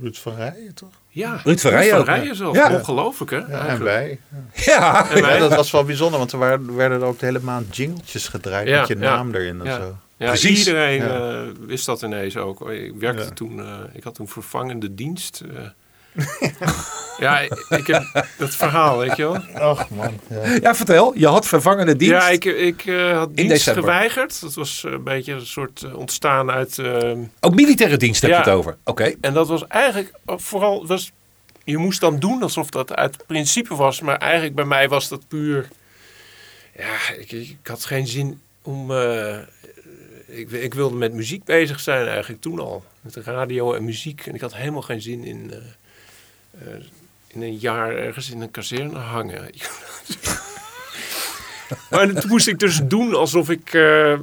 Speaker 4: Ruud van Rijen, toch?
Speaker 3: Ja,
Speaker 2: Ruud van Rijen ook, hè?
Speaker 3: zelf.
Speaker 2: Ja.
Speaker 3: Ongelooflijk, hè?
Speaker 4: Ja, en
Speaker 3: eigenlijk.
Speaker 2: <laughs>
Speaker 4: wij.
Speaker 2: Ja.
Speaker 3: En
Speaker 4: Ja,
Speaker 3: wij.
Speaker 4: dat was wel bijzonder, want er waren- werden er ook de hele maand jingletjes gedraaid
Speaker 3: Ja,
Speaker 4: met je
Speaker 3: ja.
Speaker 4: naam erin en
Speaker 3: Ja.
Speaker 4: zo.
Speaker 3: Ja,
Speaker 2: Precies.
Speaker 3: Iedereen
Speaker 4: Ja.
Speaker 3: eh, wist dat ineens ook. Oh, Ik werkte
Speaker 4: Ja.
Speaker 3: toen, eh, ik had toen vervangende dienst.
Speaker 2: <laughs>
Speaker 3: eh. ja, ik heb dat verhaal, weet je wel.
Speaker 4: Ach man. Ja.
Speaker 2: ja, vertel. Je had vervangende dienst.
Speaker 3: Ja, ik, ik eh, had dienst
Speaker 2: december.
Speaker 3: geweigerd. Dat was een beetje een soort eh, ontstaan uit... eh,
Speaker 2: Ook militaire dienst heb
Speaker 3: Ja.
Speaker 2: je het over. Oké.
Speaker 3: en dat was eigenlijk ook vooral... Was, je moest dan doen alsof dat uit principe was. Maar eigenlijk bij mij was dat puur... Ja, ik, ik had geen zin om... eh, ik, ik wilde met muziek bezig zijn eigenlijk toen al. Met radio en muziek. En ik had helemaal geen zin in... eh, eh, in een jaar ergens in een kazerne hangen. <laughs> maar toen moest ik dus doen alsof ik... eh, eh,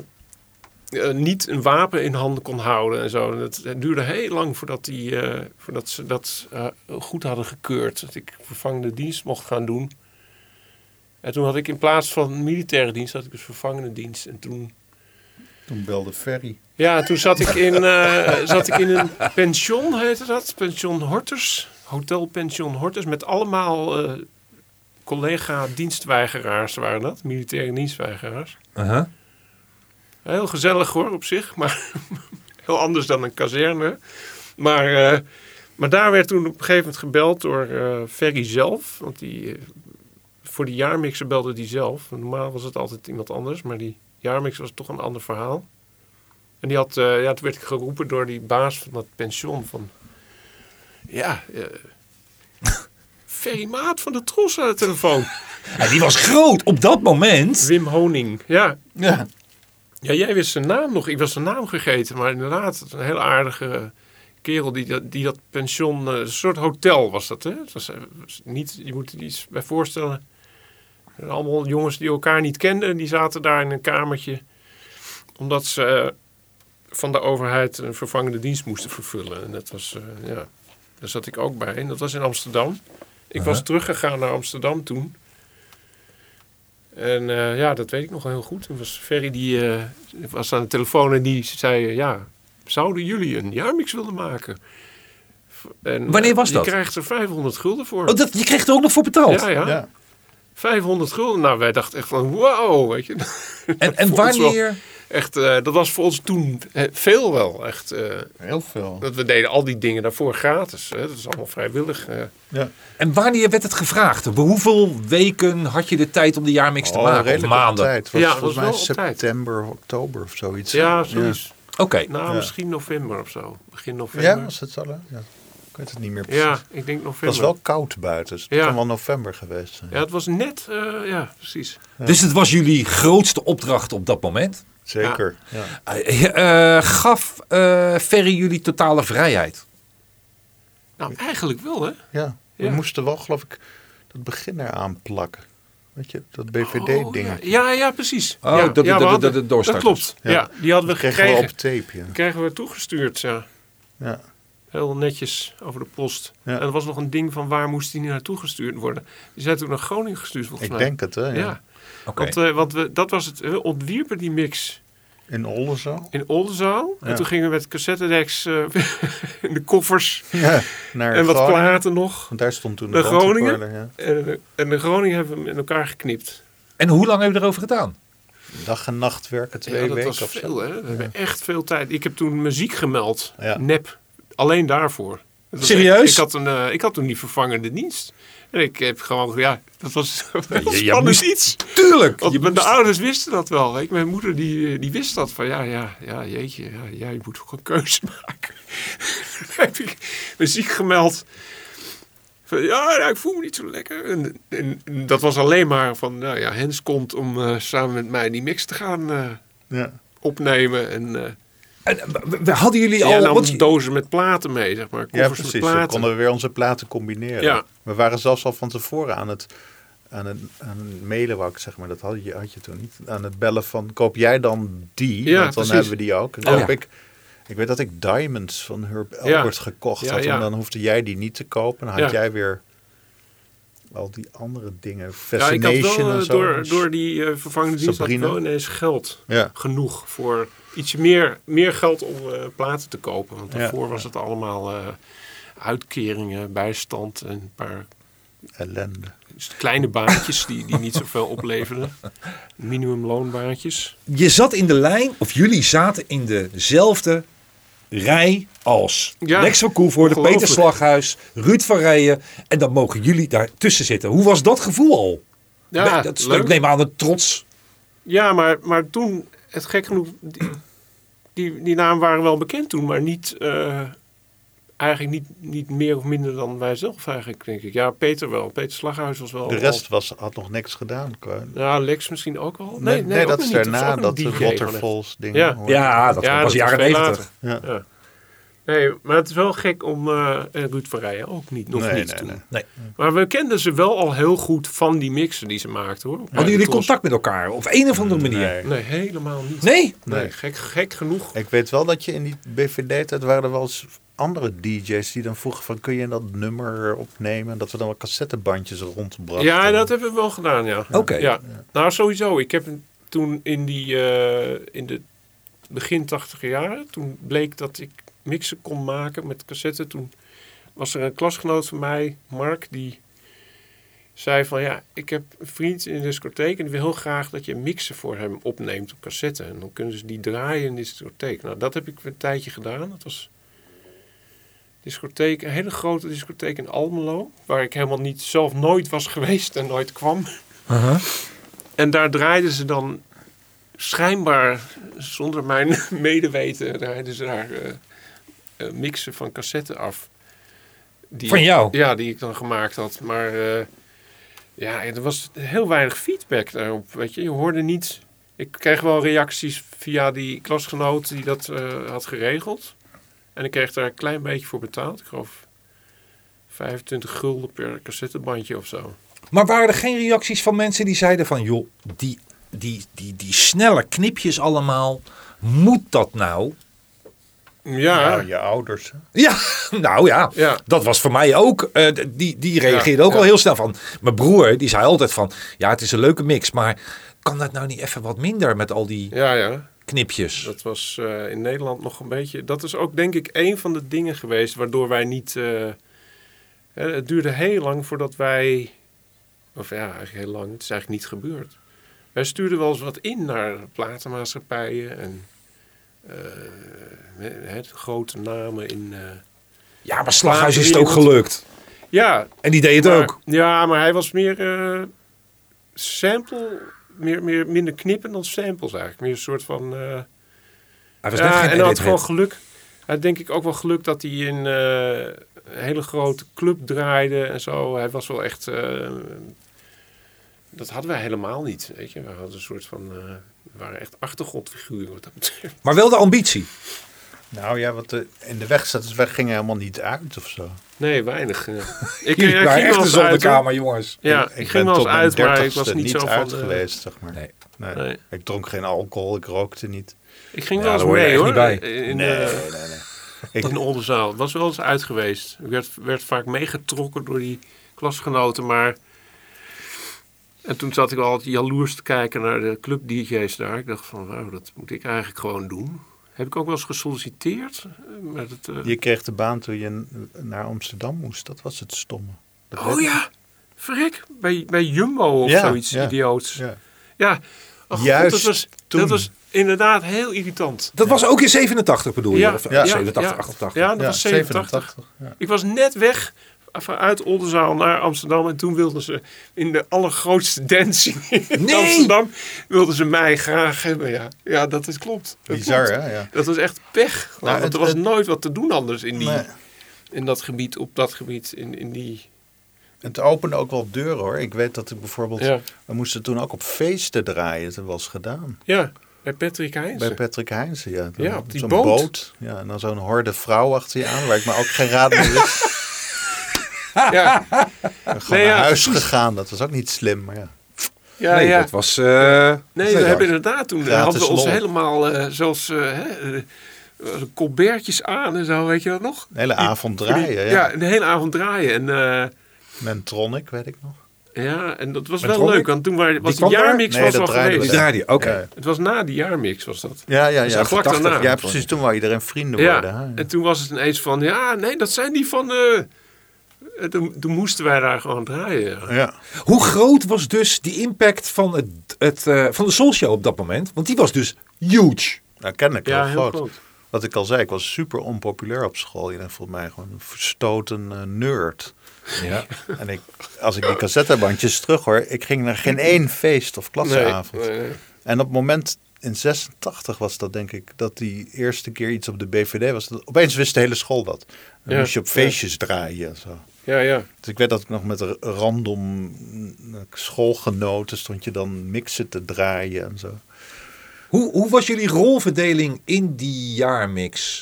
Speaker 3: niet een wapen in handen kon houden en zo. En het, het duurde heel lang voordat, die, eh, voordat ze dat eh, goed hadden gekeurd. Dat ik vervangende dienst mocht gaan doen. En toen had ik in plaats van militaire dienst, had ik dus vervangende dienst. En toen,
Speaker 4: Toen belde Ferry.
Speaker 3: ja, toen zat ik in, eh, zat ik in een pension, heette dat. Pension Horters. Hotel Pension Horters. Met allemaal eh, collega-dienstweigeraars waren dat. Militaire dienstweigeraars.
Speaker 2: Uh-huh.
Speaker 3: Heel gezellig hoor, op zich. Maar <laughs> heel anders dan een kazerne. Maar, eh, maar daar werd toen op een gegeven moment gebeld door eh, Ferry zelf. Want die, eh, voor die jaarmixer belde die zelf. Normaal was het altijd iemand anders. Maar die jaarmixer was toch een ander verhaal. En die had, eh, ja, toen werd ik geroepen door die baas van dat pension. Van, ja, eh <laughs> Ferry Maat van de Tros aan de telefoon.
Speaker 2: Ja, die was groot op dat moment.
Speaker 3: Wim Honing, ja.
Speaker 4: Ja.
Speaker 3: Ja, jij wist zijn naam nog. Ik was zijn naam gegeten. Maar inderdaad, het is een heel aardige kerel die dat, die dat pension... eh, Een soort hotel was dat, hè? Het was, eh, was niet, je moet je iets bij voorstellen. Er waren Allemaal jongens die elkaar niet kenden. Die zaten daar in een kamertje. Omdat ze eh, van de overheid een vervangende dienst moesten vervullen. En dat was, eh, ja... Daar zat ik ook bij. En dat was in Amsterdam. Ik was teruggegaan naar Amsterdam toen. En eh, ja, dat weet ik nog heel goed. Toen was Ferry die eh, was aan de telefoon en die zei: eh, Ja, zouden jullie een jaarmix willen maken? En, eh,
Speaker 2: Wanneer was dat?
Speaker 3: Je krijgt er 500 gulden voor.
Speaker 2: Oh, dat, je kreeg er ook nog voor betaald.
Speaker 3: ja, ja,
Speaker 4: Ja.
Speaker 3: 500 gulden. Nou, wij dachten echt van: Wow, weet je. <laughs>
Speaker 2: en en
Speaker 3: Voor ons wel.
Speaker 2: wanneer...
Speaker 3: Echt, eh, dat was voor ons toen eh, veel wel. Echt, eh,
Speaker 4: Heel veel.
Speaker 3: dat we deden al die dingen daarvoor gratis. Hè. Dat is allemaal vrijwillig. eh.
Speaker 4: Ja.
Speaker 2: En wanneer werd het gevraagd? Op Hoeveel weken had je de tijd om de jaarmix
Speaker 3: Oh,
Speaker 2: te maken? Of maanden?
Speaker 4: tijd. Was,
Speaker 3: Ja,
Speaker 4: ja, volgens
Speaker 3: was
Speaker 4: mij
Speaker 3: wel op tijd.
Speaker 4: september, oktober of zoiets.
Speaker 3: ja, zoiets.
Speaker 2: Oké.
Speaker 3: Nou,
Speaker 4: Ja.
Speaker 3: misschien november of zo. Begin
Speaker 4: Ja,
Speaker 3: november.
Speaker 4: ja was het zo lang? Ja. Ik weet het niet meer precies.
Speaker 3: Ja, ik denk november.
Speaker 4: Het was wel koud buiten. Dus het
Speaker 3: Ja.
Speaker 4: kan wel november geweest zijn.
Speaker 3: Ja, het was net, eh, ja, precies.
Speaker 2: Dus het was jullie grootste opdracht op dat moment.
Speaker 4: Zeker. Ja.
Speaker 2: Eh, eh, gaf eh Ferry jullie totale vrijheid?
Speaker 3: Nou, eigenlijk wel, hè?
Speaker 4: Ja, we
Speaker 3: Ja.
Speaker 4: moesten wel, geloof ik, dat begin eraan plakken. Weet je, dat
Speaker 3: Oh,
Speaker 4: BVD-ding.
Speaker 3: ja. ja, ja, precies.
Speaker 2: Oh,
Speaker 3: ja,
Speaker 2: dat- dat-
Speaker 3: ja, we
Speaker 2: dat-
Speaker 3: hadden-
Speaker 2: dat- dat doorstarters.
Speaker 3: klopt. Ja.
Speaker 4: Ja.
Speaker 3: die hadden we
Speaker 4: dat kregen we
Speaker 3: gekregen.
Speaker 4: op tape, ja.
Speaker 3: Krijgen we toegestuurd, ja.
Speaker 4: ja.
Speaker 3: Heel netjes over de post.
Speaker 4: Ja.
Speaker 3: En er was nog een ding van waar moest die nu naartoe gestuurd worden. Die zijn toen naar Groningen gestuurd, volgens
Speaker 4: Ik
Speaker 3: mij.
Speaker 4: denk het, hè. Ja.
Speaker 3: Ja, want, eh, want we, dat was het. We ontwierpen die mix
Speaker 4: In Oldenzaal.
Speaker 3: in Oldenzaal.
Speaker 4: Ja.
Speaker 3: En toen gingen we met cassettedeks eh, <laughs> in de koffers
Speaker 4: Ja, naar
Speaker 3: en wat
Speaker 4: Groningen.
Speaker 3: platen nog.
Speaker 4: Want daar stond toen de,
Speaker 3: Naar Groningen?
Speaker 4: bandrecorder, Ja.
Speaker 3: En, eh, en de Groningen hebben we hem in elkaar geknipt.
Speaker 2: En hoe lang hebben we erover gedaan?
Speaker 4: Dag en nacht werken, twee
Speaker 3: ja, dat
Speaker 4: weken
Speaker 3: was
Speaker 4: of zo.
Speaker 3: veel, hè? We hebben echt veel tijd. Ik heb toen muziek gemeld.
Speaker 4: Ja.
Speaker 3: Nep. Alleen daarvoor. Dat was
Speaker 2: Serieus?
Speaker 3: echt- Ik had, een, eh, ik had toen die vervangende dienst. En ik heb gewoon, ja, dat was <laughs> een
Speaker 2: je
Speaker 3: spannend
Speaker 2: moest-
Speaker 3: iets.
Speaker 2: Tuurlijk.
Speaker 3: Want
Speaker 2: Je
Speaker 3: mijn-
Speaker 2: moest-
Speaker 3: De ouders wisten dat wel. Ik, mijn moeder die, eh, die wist dat. Van ja, ja, ja jeetje, ja, jij moet ook een keuze <laughs> maken. Toen heb ik muziek gemeld. Van, ja, nou, ik voel me niet zo lekker. En, en, en dat was alleen maar van, nou ja, Hens komt om eh, samen met mij die mix te gaan eh,
Speaker 4: Ja.
Speaker 3: opnemen. En eh
Speaker 2: En, eh, we- we- hadden jullie
Speaker 3: jij
Speaker 2: al...
Speaker 3: nam
Speaker 2: want-
Speaker 3: dozen met platen mee, zeg maar.
Speaker 4: Ja,
Speaker 3: Koffers
Speaker 4: precies.
Speaker 3: met
Speaker 4: We
Speaker 3: platen.
Speaker 4: konden we weer onze platen combineren.
Speaker 3: Ja.
Speaker 4: We waren zelfs al van tevoren aan het, aan het, aan het mailen, wou ik zeg maar. Dat had je, had je toen niet. Aan het bellen van, koop jij dan die?
Speaker 3: Ja,
Speaker 4: Want dan
Speaker 3: precies.
Speaker 4: hebben we die ook. En dan
Speaker 2: Oh,
Speaker 4: heb
Speaker 2: ja.
Speaker 4: ik, ik weet dat ik Diamonds van Herb
Speaker 3: Ja.
Speaker 4: Elbert gekocht
Speaker 3: Ja,
Speaker 4: had.
Speaker 3: ja.
Speaker 4: En dan hoefde jij die niet te kopen. Dan had
Speaker 3: Ja.
Speaker 4: jij weer al die andere dingen.
Speaker 3: ja, ik had
Speaker 4: Fascination
Speaker 3: wel eh,
Speaker 4: en zo. dus
Speaker 3: door, door die eh, vervangende dienst had ik
Speaker 4: Sabrina.
Speaker 3: wel ineens geld.
Speaker 4: Ja.
Speaker 3: genoeg voor iets meer, meer geld om eh, platen te kopen. Want
Speaker 4: Ja.
Speaker 3: daarvoor was het allemaal eh, uitkeringen, bijstand en een paar
Speaker 4: Ellende.
Speaker 3: kleine baantjes die, die niet zoveel
Speaker 4: <laughs>
Speaker 3: opleverden. Minimumloonbaantjes.
Speaker 2: Je zat in de lijn, of jullie zaten in dezelfde rij als
Speaker 3: Ja,
Speaker 2: Lex van Koelvoorde, Peter
Speaker 3: ongelooflijk.
Speaker 2: Slaghuis, Ruud van Rijen. En dan mogen jullie daar tussen zitten. Hoe was dat gevoel al?
Speaker 3: Ja,
Speaker 2: dat is, ik
Speaker 3: leuk.
Speaker 2: neem aan het trots.
Speaker 3: ja maar, maar toen, het gek genoeg, die, die, die namen waren wel bekend toen, maar niet... eh, Eigenlijk niet, niet meer of minder dan wij zelf eigenlijk, denk ik. Ja, Peter wel. Peter Slaghuis was wel...
Speaker 4: De rest was, had nog niks gedaan. qua-
Speaker 3: Ja, Lex misschien ook wel. Nee,
Speaker 4: Nee,
Speaker 3: nee, ook
Speaker 4: dat
Speaker 3: nog
Speaker 4: is
Speaker 3: niet. was
Speaker 4: daarna
Speaker 3: ook
Speaker 4: dat
Speaker 3: een
Speaker 4: de
Speaker 3: DJ van echt.
Speaker 4: Waterfalls ding.
Speaker 3: Ja.
Speaker 4: hoor.
Speaker 2: Ja, dat was
Speaker 3: was
Speaker 2: jaren
Speaker 3: veel
Speaker 2: 90.
Speaker 4: Ja.
Speaker 3: later. Ja. Nee, maar het is wel gek om eh, en Ruud van Rijen ook niet, nog
Speaker 4: Nee,
Speaker 3: niet
Speaker 4: nee,
Speaker 3: toen.
Speaker 4: nee.
Speaker 2: Nee.
Speaker 3: Maar we kenden ze wel al heel goed van die mixen die ze maakten, hoor.
Speaker 2: Hadden jullie contact met elkaar op een of andere manier?
Speaker 4: Nee.
Speaker 3: Nee, helemaal niet.
Speaker 2: Nee?
Speaker 3: Nee,
Speaker 4: Nee.
Speaker 3: Gek, gek genoeg.
Speaker 4: Ik weet wel dat je in die BVD-tijd waren er wel eens andere DJ's die dan vroegen van kun je dat nummer opnemen? En Dat we dan wel cassettebandjes rondbrachten.
Speaker 3: Ja, dat hebben we wel gedaan, ja.
Speaker 2: Oké.
Speaker 3: Ja. Nou, sowieso. Ik heb een- toen in, die, eh, in de begin tachtiger jaren, toen bleek dat ik mixen kon maken met cassetten. Toen was er een klasgenoot van mij, Mark, die zei van ja, ik heb een vriend in de discotheek en die wil heel graag dat je mixen voor hem opneemt op cassette. En dan kunnen ze die draaien in de discotheek. Nou, dat heb ik een tijdje gedaan. Dat was discotheek, een hele grote discotheek in Almelo, waar ik helemaal niet zelf nooit was geweest en nooit kwam. En daar draaiden ze dan schijnbaar zonder mijn <laughs> medeweten draaiden ze daar eh, eh, mixen van cassetten af. Die
Speaker 2: Van
Speaker 3: ik-
Speaker 2: jou?
Speaker 3: ja, die ik dan gemaakt had, maar eh, ja, er was heel weinig feedback daarop, weet je. Je hoorde niet. Ik kreeg wel reacties via die klasgenoot die dat eh, had geregeld. En ik kreeg daar een klein beetje voor betaald. Ik geloof 25 gulden per cassettebandje of zo.
Speaker 2: Maar waren er geen reacties van mensen die zeiden van... joh, die, die, die, die snelle knipjes allemaal, moet dat nou?
Speaker 3: Ja,
Speaker 4: Nou, je ouders. hè?
Speaker 2: Ja, <laughs> nou ja,
Speaker 3: Ja.
Speaker 2: dat was voor mij ook. eh, d- die, die reageerde
Speaker 3: Ja,
Speaker 2: ook
Speaker 3: ja.
Speaker 2: al heel snel van... Mijn broer, die zei altijd van... Ja, het is een leuke mix, maar kan dat nou niet even wat minder met al die
Speaker 3: ja, ja.
Speaker 2: knipjes?
Speaker 3: Dat was eh, in Nederland nog een beetje. Dat is ook denk ik een van de dingen geweest waardoor wij niet. eh, hè, het duurde heel lang voordat wij. Of ja, eigenlijk heel lang. Het is eigenlijk niet gebeurd. Wij stuurden wel eens wat in naar platenmaatschappijen en. eh, hè, grote namen in. eh,
Speaker 2: Ja, maar Slaghuis is het ook gelukt.
Speaker 3: ja,
Speaker 2: En die deed het
Speaker 3: maar-
Speaker 2: ook.
Speaker 3: Ja, maar hij was meer eh, sample. Meer, meer, minder knippen dan samples eigenlijk. Meer een soort van. eh,
Speaker 2: Hij was net
Speaker 3: ja,
Speaker 2: geen
Speaker 3: en hij had
Speaker 2: edithit.
Speaker 3: gewoon geluk. Hij had denk ik ook wel geluk dat hij in eh, een hele grote club draaide en zo. Hij was wel echt... eh, dat hadden wij helemaal niet, weet je. We hadden een soort van... eh, we waren echt achtergrondfiguren wat dat betreft.
Speaker 2: Maar wel de ambitie.
Speaker 4: Nou ja, wat de, in de weg zat, dus wij gingen helemaal niet uit of zo.
Speaker 3: Nee,
Speaker 2: <laughs>
Speaker 3: weinig. eh. Ik,
Speaker 2: Jullie
Speaker 3: eh,
Speaker 2: waren echt een
Speaker 3: ging wel eens uit, hoor.
Speaker 2: zonnekamer, jongens.
Speaker 3: Ja, ik, ging wel eens
Speaker 4: mijn
Speaker 3: uit, maar ik
Speaker 4: 30ste
Speaker 3: was niet, zo van...
Speaker 4: uit
Speaker 3: de-
Speaker 4: geweest, zeg maar.
Speaker 2: Nee.
Speaker 4: Nee.
Speaker 3: Nee.
Speaker 4: Ik dronk geen alcohol, ik rookte niet.
Speaker 3: Ik ging
Speaker 2: Ja,
Speaker 3: wel eens
Speaker 2: daar hoor je
Speaker 3: mee,
Speaker 2: echt
Speaker 3: hoor.
Speaker 2: niet bij.
Speaker 3: In,
Speaker 4: Nee,
Speaker 3: eh,
Speaker 4: nee, nee, nee.
Speaker 3: Ik in Oldenzaal. Het was wel eens uit geweest. Ik werd, werd vaak meegetrokken door die klasgenoten, maar... En toen zat ik al altijd jaloers te kijken naar de club-dj's daar. Ik dacht van, wauw, dat moet ik eigenlijk gewoon doen. Heb ik ook wel eens gesolliciteerd. eh, Maar dat, eh,
Speaker 4: Je kreeg de baan toen je n- naar Amsterdam moest. Dat was het stomme. Dat
Speaker 3: Oh
Speaker 4: weet ik.
Speaker 3: ja, verrek. Bij, bij Jumbo of
Speaker 4: Ja,
Speaker 3: zoiets
Speaker 4: ja.
Speaker 3: idioots. Ja,
Speaker 4: Ja.
Speaker 3: Oh,
Speaker 4: Juist
Speaker 3: dat, was, dat
Speaker 4: toen.
Speaker 3: was inderdaad heel irritant.
Speaker 2: Dat was ook in 87 bedoel je? Of, eh, 87,
Speaker 3: ja.
Speaker 2: 88.
Speaker 3: Ja, dat
Speaker 4: Ja,
Speaker 3: was 87.
Speaker 4: ja.
Speaker 3: Ik was net weg vanuit Oldenzaal naar Amsterdam. En toen wilden ze in de allergrootste dancing in
Speaker 2: Nee!
Speaker 3: Amsterdam... wilden ze mij graag hebben. Ja, ja dat is, klopt. Dat
Speaker 4: Bizar,
Speaker 3: klopt.
Speaker 4: hè? Ja.
Speaker 3: Dat was echt pech.
Speaker 4: Nou,
Speaker 3: want
Speaker 4: het-
Speaker 3: er was
Speaker 4: het-
Speaker 3: nooit wat te doen anders in, die,
Speaker 4: Nee.
Speaker 3: in dat gebied, op dat gebied, in, in die...
Speaker 4: Het opende ook wel deuren, hoor. Ik weet dat ik bijvoorbeeld...
Speaker 3: Ja.
Speaker 4: We moesten toen ook op feesten draaien. Dat was gedaan.
Speaker 3: Ja, bij Patrick Heinzen.
Speaker 4: Bij Patrick Heinzen, ja. Dan
Speaker 3: Ja, op die
Speaker 4: zo'n
Speaker 3: boot.
Speaker 4: Ja, en dan zo'n horde vrouw achter je aan, waar ik me ook geen raad meer
Speaker 3: <laughs>
Speaker 4: wist.
Speaker 3: ja,
Speaker 4: Gewoon
Speaker 3: Nee, ja,
Speaker 4: naar huis
Speaker 3: precies.
Speaker 4: gegaan. Dat was ook niet slim, maar ja.
Speaker 3: ja,
Speaker 2: nee,
Speaker 3: ja.
Speaker 2: dat was... eh,
Speaker 3: Nee, we
Speaker 4: Leuk.
Speaker 3: hebben inderdaad toen eh,
Speaker 4: Gratis
Speaker 3: hadden we ons
Speaker 4: lol.
Speaker 3: helemaal eh, zelfs eh hè, eh, colbertjes aan en zo, weet je dat nog?
Speaker 4: Een hele avond
Speaker 3: Die-
Speaker 4: draaien, ja.
Speaker 3: een hele avond draaien. En, eh,
Speaker 4: Mentronic, weet ik nog.
Speaker 3: ja, en dat was
Speaker 2: Met
Speaker 3: wel
Speaker 2: Ronnie?
Speaker 3: leuk, want toen waren, was die
Speaker 2: kwam daar?
Speaker 3: jaarmix
Speaker 4: Nee,
Speaker 3: was
Speaker 4: dat
Speaker 3: al
Speaker 4: draaiden
Speaker 2: die
Speaker 3: geweest.
Speaker 4: we daar.
Speaker 2: draaide je. Oké.
Speaker 4: Ja.
Speaker 3: Het was na die jaarmix was dat.
Speaker 4: Ja, ja, ja.
Speaker 3: Dus vlak daarna.
Speaker 4: Ja, precies. Toen wou iedereen vrienden
Speaker 3: Ja,
Speaker 4: worden. hè.
Speaker 3: en toen was het ineens van, ja, nee, dat zijn die van... eh, eh, toen, toen moesten wij daar gewoon draaien. ja.
Speaker 4: Ja.
Speaker 2: Hoe groot was dus die impact van, het, het, eh, van de Soulshow op dat moment? Want die was dus huge.
Speaker 4: Nou, ken ik
Speaker 3: Ja,
Speaker 4: heel,
Speaker 3: heel
Speaker 4: groot.
Speaker 3: groot.
Speaker 4: Wat ik al zei, ik was super onpopulair op school. Iedereen vond mij gewoon een verstoten eh, nerd.
Speaker 2: Ja.
Speaker 4: <laughs> En ik, als ik die cassettebandjes terug hoor, ik ging naar geen één feest of klasavond.
Speaker 3: Nee, nee, nee.
Speaker 4: En op het moment in 86 was dat denk ik, dat die eerste keer iets op de BVD was. Dat, opeens wist de hele school dat. Dan
Speaker 3: Ja,
Speaker 4: moest je op
Speaker 3: ja.
Speaker 4: feestjes draaien en zo.
Speaker 3: Ja, ja.
Speaker 4: Dus ik weet dat ik nog met een random mm, schoolgenoten stond je dan mixen te draaien en zo.
Speaker 2: Hoe, hoe was jullie rolverdeling in die jaarmix?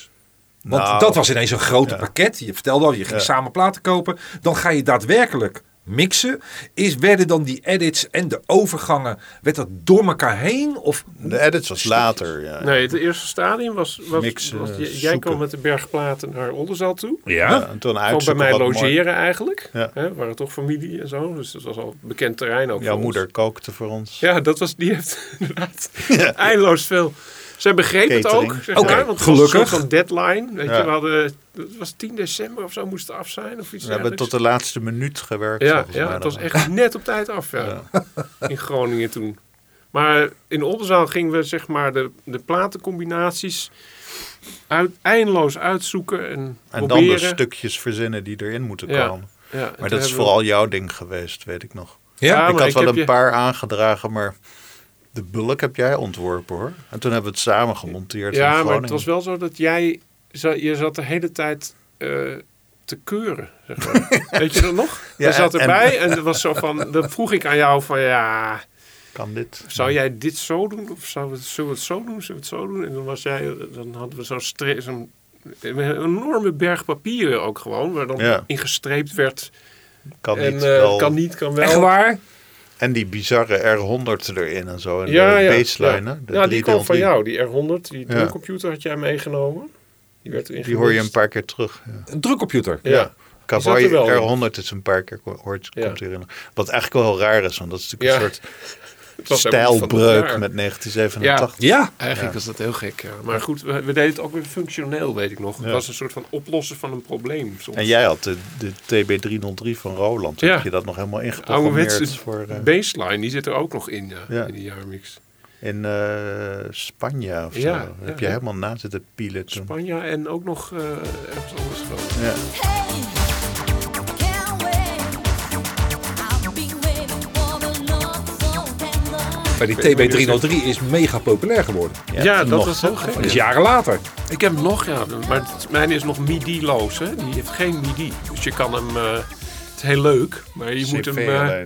Speaker 2: Want
Speaker 4: Nou,
Speaker 2: dat was ineens een grote
Speaker 4: ja.
Speaker 2: pakket. Je vertelde al, je ging
Speaker 4: Ja.
Speaker 2: samen platen kopen. Dan ga je daadwerkelijk mixen. Is, werden dan die edits en de overgangen, werd dat door elkaar heen? Of
Speaker 4: De edits was later, ja.
Speaker 3: Nee, het eerste stadium was... was,
Speaker 4: Mixen,
Speaker 3: was- j- jij
Speaker 4: eh, zoeken.
Speaker 3: kwam met de bergplaten naar Oldenzaal toe.
Speaker 4: Ja, en toen
Speaker 3: Gewoon bij
Speaker 4: uitzoeken
Speaker 3: mij
Speaker 4: wat mooi-
Speaker 3: logeren eigenlijk.
Speaker 4: Ja.
Speaker 3: Hè, we waren toch familie en zo. Dus dat was al bekend terrein ook. voor
Speaker 4: Jouw
Speaker 3: ons.
Speaker 4: moeder kookte voor ons.
Speaker 3: Ja, dat was, die heeft <laughs> inderdaad eindeloos veel. Zij begreep het
Speaker 4: Catering.
Speaker 3: ook. Zeg
Speaker 2: Oké,
Speaker 3: maar, want het
Speaker 2: gelukkig.
Speaker 3: was een soort van deadline. Weet je,
Speaker 4: Ja.
Speaker 3: we hadden, het was 10 december of zo, moest het af zijn of iets
Speaker 4: We hebben tot
Speaker 3: dergelijks.
Speaker 4: de laatste minuut gewerkt.
Speaker 3: ja,
Speaker 4: volgens
Speaker 3: ja,
Speaker 4: mij
Speaker 3: het
Speaker 4: dan.
Speaker 3: was echt net op tijd af ja. <laughs> in Groningen toen. Maar in Oldenzaal gingen we zeg maar de, de platencombinaties uit, eindeloos uitzoeken en,
Speaker 4: En dan
Speaker 3: proberen.
Speaker 4: de stukjes verzinnen die erin moeten
Speaker 3: Ja,
Speaker 4: komen.
Speaker 3: Ja, en toen
Speaker 4: Maar dat is
Speaker 3: hebben we-
Speaker 4: vooral jouw ding geweest, weet ik nog.
Speaker 3: Ja,
Speaker 4: ik
Speaker 3: maar
Speaker 4: had
Speaker 3: ik
Speaker 4: wel
Speaker 3: heb
Speaker 4: een
Speaker 3: je-
Speaker 4: paar aangedragen, maar de bulk heb jij ontworpen hoor. En toen hebben we het samen gemonteerd in
Speaker 3: Ja, maar
Speaker 4: Groningen.
Speaker 3: het was wel zo dat jij... za- Je zat de hele tijd eh, te keuren, zeg
Speaker 4: <laughs>
Speaker 3: maar. Weet je dat nog?
Speaker 4: Ja,
Speaker 3: je zat
Speaker 4: en-
Speaker 3: erbij en, er was zo van... Dan vroeg ik aan jou van, ja...
Speaker 4: Kan dit?
Speaker 3: Zou jij dit zo doen? Of zou we het, zullen we het zo doen? Zullen we het zo doen? En dan, was jij, dan hadden we zo'n... stre- zo'n- een enorme berg papieren ook gewoon, waar dan
Speaker 4: Ja.
Speaker 3: in gestreept werd.
Speaker 4: Kan
Speaker 3: en
Speaker 4: niet,
Speaker 3: eh,
Speaker 4: wel.
Speaker 3: kan niet, kan wel.
Speaker 2: echt waar?
Speaker 4: En die bizarre R100 erin en zo. En
Speaker 3: Ja,
Speaker 4: de
Speaker 3: ja.
Speaker 4: eh, baseline.
Speaker 3: ja.
Speaker 4: hè? De
Speaker 3: Nou, die kwam van
Speaker 4: 303.
Speaker 3: jou, die R100. Die
Speaker 4: Ja.
Speaker 3: computer had jij meegenomen. Die, werd erin
Speaker 4: Die hoor je een
Speaker 3: gemixt.
Speaker 4: paar keer terug. Ja.
Speaker 2: Een drukcomputer.
Speaker 3: Ja.
Speaker 4: Cowboy
Speaker 3: Die zat er wel
Speaker 4: R100 is een paar keer ko- hoort,
Speaker 3: Ja.
Speaker 4: komt hierin. Wat eigenlijk wel heel raar is, want dat is natuurlijk
Speaker 3: Ja. <laughs>
Speaker 4: een soort
Speaker 3: Het was helemaal niet van het
Speaker 4: stijlbreuk
Speaker 3: jaar.
Speaker 4: met 1987.
Speaker 2: Ja,
Speaker 3: Eigenlijk was dat heel gek, ja. Maar goed, we, we deden het ook weer functioneel, weet ik nog. Het
Speaker 4: Ja.
Speaker 3: was een soort van oplossen van een probleem soms.
Speaker 4: En jij had de, de TB303 van Roland. Toen
Speaker 3: Ja.
Speaker 4: Heb je dat nog helemaal
Speaker 3: Ouderwetse
Speaker 4: ingeprogrammeerd voor, eh,
Speaker 3: baseline, die zit er ook nog in, ja,
Speaker 4: Ja.
Speaker 3: in die jaarmix.
Speaker 4: in eh, Spanje of
Speaker 3: Ja,
Speaker 4: zo?
Speaker 3: ja,
Speaker 4: heb je
Speaker 3: ja.
Speaker 4: helemaal na zitten pielen toen.
Speaker 3: Spanje en ook nog eh, ergens anders gewoon.
Speaker 4: Ja.
Speaker 6: Can't wait. I'll be waiting for the love so tender.
Speaker 2: Maar die TB303 is mega populair geworden.
Speaker 3: Ja, dat
Speaker 5: nog
Speaker 3: was heel gek.
Speaker 2: Dat is jaren later.
Speaker 3: Ik heb hem nog, ja. Maar het, mijn is nog midi-loos, hè. Die heeft geen midi. Dus je kan hem... eh, het is heel leuk, maar je moet hem... eh,
Speaker 4: ja.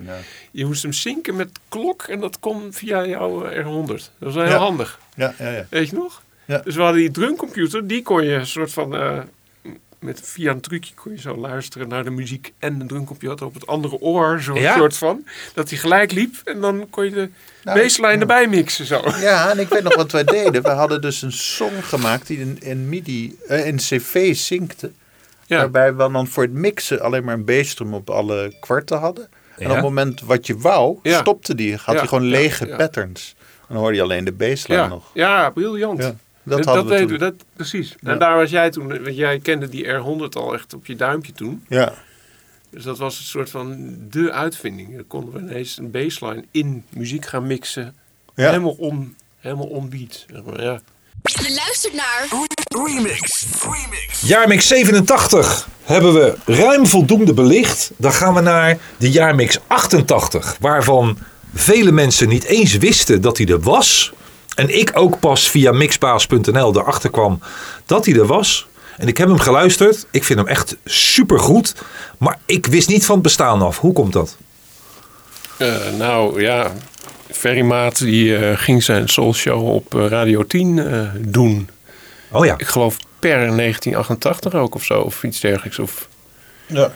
Speaker 3: je moest hem zinken met klok en dat kon via jouw eh, R100. Dat was wel heel
Speaker 4: Ja.
Speaker 3: handig.
Speaker 4: Ja, ja, ja.
Speaker 3: Weet je nog?
Speaker 4: Ja.
Speaker 3: Dus we hadden die drumcomputer, die kon je een soort van... eh, met, via een trucje kon je zo luisteren naar de muziek en de drumcomputer op het andere oor. Zo'n
Speaker 2: Ja.
Speaker 3: soort van. Dat die gelijk liep en dan kon je de
Speaker 4: Nou,
Speaker 3: baseline erbij mixen zo.
Speaker 4: Ja, en ik weet nog wat wij deden. We hadden dus een song gemaakt die in, in MIDI, eh, in CV zinkte.
Speaker 3: Ja.
Speaker 4: Waarbij we dan voor het mixen alleen maar een bassdrum op alle kwarten hadden. En
Speaker 2: Ja.
Speaker 4: op het moment wat je wou,
Speaker 3: Ja.
Speaker 4: stopte die. Had
Speaker 3: Ja,
Speaker 4: hij gewoon
Speaker 3: ja,
Speaker 4: lege
Speaker 3: ja.
Speaker 4: patterns. En dan hoorde je alleen de baseline
Speaker 3: Ja,
Speaker 4: nog.
Speaker 3: ja briljant.
Speaker 4: Ja, dat
Speaker 3: dat
Speaker 4: hadden we
Speaker 3: dat deden
Speaker 4: toen.
Speaker 3: Dat, precies. En daar was jij toen, want jij kende die R100 al echt op je duimpje toen.
Speaker 4: Ja,
Speaker 3: Dus dat was een soort van de uitvinding. Dan konden we ineens een baseline in muziek gaan mixen.
Speaker 4: Ja.
Speaker 3: Helemaal on, helemaal on beat. zeg maar, ja.
Speaker 6: Je luistert naar
Speaker 1: Remix. Remix.
Speaker 2: Jaarmix 87 hebben we ruim voldoende belicht. Dan gaan we naar de jaarmix 88, waarvan vele mensen niet eens wisten dat hij er was. En ik ook pas via mixbaas.nl erachter kwam dat hij er was. En ik heb hem geluisterd. Ik vind hem echt supergoed. Maar ik wist niet van het bestaan af. Hoe komt dat?
Speaker 3: Eh, nou ja, Ferry Maat die, eh, ging zijn soulshow op eh, Radio 10 eh, doen.
Speaker 2: Oh ja.
Speaker 3: Ik geloof per 1988 ook of zo. Of iets dergelijks. Of,
Speaker 4: ja.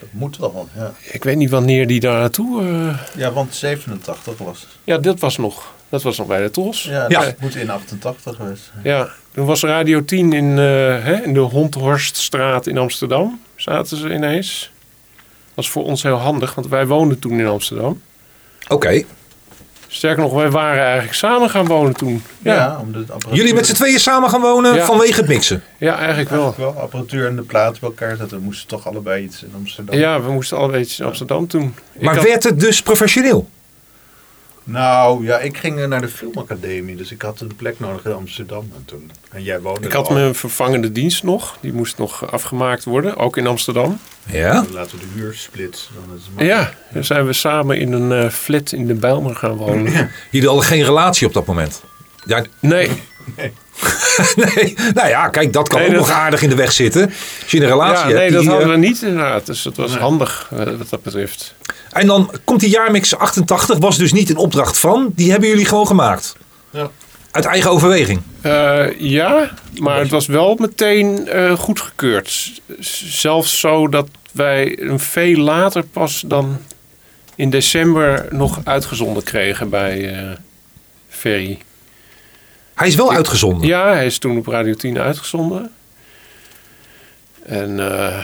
Speaker 4: Dat moet wel, ja.
Speaker 3: ik weet niet wanneer die daar naartoe... eh,
Speaker 4: Ja, want 87 was het.
Speaker 3: Ja, dat was nog. Dat was nog bij de Tros.
Speaker 4: Ja, dus
Speaker 2: Ja.
Speaker 4: dat moet in 88 geweest zijn.
Speaker 3: Ja, toen was Radio 10 in, eh, hè, in de Hondhorststraat in Amsterdam. Zaten ze ineens. Dat was voor ons heel handig, want wij woonden toen in Amsterdam.
Speaker 2: Oké.
Speaker 3: Sterker nog, wij waren eigenlijk samen gaan wonen toen.
Speaker 4: Ja,
Speaker 3: Ja, ja,
Speaker 4: om de apparatuur-
Speaker 2: Jullie met z'n tweeën samen gaan wonen
Speaker 3: Ja.
Speaker 2: vanwege het mixen.
Speaker 3: eigenlijk wel.
Speaker 4: Wel, apparatuur en de plaat bij elkaar zetten. We moesten toch allebei iets in Amsterdam.
Speaker 3: Ja, we moesten allebei iets in Amsterdam toen. Ik
Speaker 2: Maar
Speaker 3: had-
Speaker 2: werd het dus professioneel?
Speaker 4: Nou ja, ik ging eh, naar de filmacademie, dus ik had een plek nodig in Amsterdam. En, toen, en jij woonde
Speaker 3: ik
Speaker 4: er
Speaker 3: had
Speaker 4: al.
Speaker 3: mijn vervangende dienst nog. Die moest nog afgemaakt worden, ook in Amsterdam.
Speaker 2: Ja.
Speaker 4: Dan Laten we de huur splitsen. Dan is het
Speaker 3: Ja, dan zijn we samen in een eh, flat in de Bijlmer gaan wonen.
Speaker 2: Jullie hadden geen relatie op dat moment. Ja,
Speaker 3: Nee,
Speaker 2: <laughs> Nee, nou ja, kijk, dat kan
Speaker 3: Nee,
Speaker 2: ook
Speaker 3: dat-
Speaker 2: nog aardig in de weg zitten. Als je een relatie
Speaker 3: ja,
Speaker 2: hebt.
Speaker 3: nee dat
Speaker 2: die,
Speaker 3: hadden
Speaker 2: eh,
Speaker 3: we niet inderdaad. Dus dat was handig eh, wat dat betreft.
Speaker 2: eh, En dan komt die jaarmix 88, was dus niet een opdracht van. Die hebben jullie gewoon gemaakt.
Speaker 4: Ja.
Speaker 2: Uit eigen overweging.
Speaker 3: Eh, ja, maar het was wel meteen eh goedgekeurd. Z- Zelfs zo dat wij een veel later pas dan in december nog uitgezonden kregen bij eh Ferry.
Speaker 2: Hij is wel uitgezonden.
Speaker 3: Ja, hij is toen op Radio 10 uitgezonden. En eh,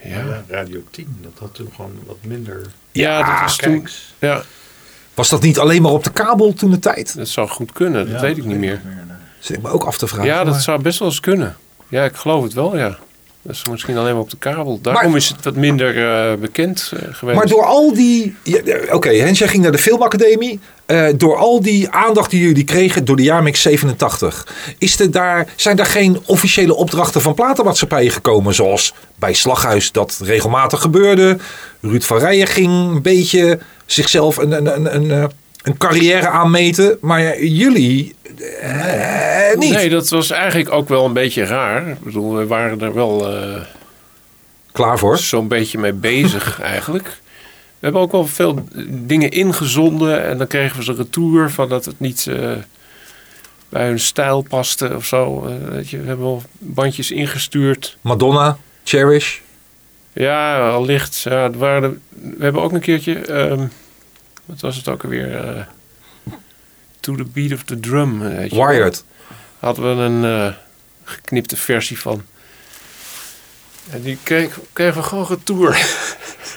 Speaker 3: ja.
Speaker 4: Ja, Radio 10, dat had toen gewoon wat minder
Speaker 3: ja, dat was toen.
Speaker 4: kijks.
Speaker 3: Ja,
Speaker 2: Was dat niet alleen maar op de kabel toen de tijd?
Speaker 3: dat zou goed kunnen. Dat
Speaker 4: Ja,
Speaker 3: weet ik niet meer.
Speaker 4: nee.
Speaker 2: Zit ik me ook af te vragen.
Speaker 3: Ja,
Speaker 2: Maar-
Speaker 3: dat zou best wel eens kunnen. Ja, ik geloof het wel, ja. Dat is misschien alleen maar op de kabel. Daarom
Speaker 2: Maar-
Speaker 3: is het wat minder eh, bekend eh, geweest.
Speaker 2: Maar door al die. ja, ja, Oké, Hens, jij ging naar de Filmacademie. Eh, door al die aandacht die jullie kregen door de jaarmix 87. Is er daar, zijn daar geen officiële opdrachten van platenmaatschappijen gekomen? Zoals bij Slaghuis dat regelmatig gebeurde. Ruud van Rijen ging een beetje zichzelf een, een, een, een, eh, een carrière aanmeten. Maar jullie eh, niet.
Speaker 3: Nee, dat was eigenlijk ook wel een beetje raar. Ik bedoel, we waren er wel eh,
Speaker 2: Klaar voor?
Speaker 3: zo'n beetje mee bezig eigenlijk. We hebben ook wel veel eh, dingen ingezonden en dan kregen we ze retour van dat het niet eh, bij hun stijl paste of zo. Eh, weet je, we hebben wel bandjes ingestuurd.
Speaker 2: Madonna, Cherish.
Speaker 3: Ja, allicht. Ja, het waren de- we hebben ook een keertje. ehm, wat was het ook alweer? eh, to the beat of the drum. Weet je.
Speaker 2: Wired.
Speaker 3: Hadden we een eh, geknipte versie van. En die kreeg- kregen we gewoon retour. <laughs>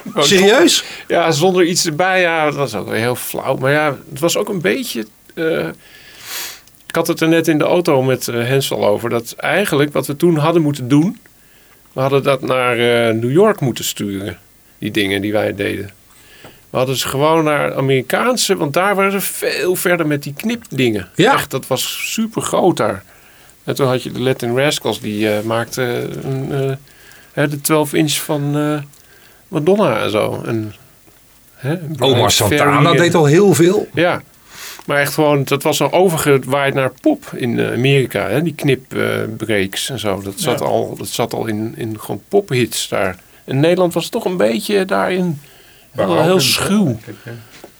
Speaker 3: Gewoon
Speaker 2: Serieus?
Speaker 3: zonder- Ja, zonder iets erbij. Ja, dat was ook weer heel flauw. Maar ja, het was ook een beetje. eh, ik had het er net in de auto met eh, Hens al over. Dat eigenlijk wat we toen hadden moeten doen. We hadden dat naar eh, New York moeten sturen. Die dingen die wij deden. We hadden ze gewoon naar Amerikaanse. Want daar waren ze veel verder met die knipdingen.
Speaker 2: Ja.
Speaker 3: Echt, dat was super groot daar. En toen had je de Latin Rascals. Die eh maakte een, eh, hè, de 12 inch van eh, Madonna en zo. En Hè?
Speaker 2: Omar
Speaker 3: Brian Ferry eh,
Speaker 2: Santana
Speaker 3: en-
Speaker 2: deed al heel veel.
Speaker 3: Ja, maar echt gewoon, dat was al overgewaaid naar pop in eh, Amerika. Hè? Die knipbreaks en zo. Dat zat, al, dat zat al in, in gewoon pophits daar. In Nederland was het toch een beetje daarin heel, heel schuw.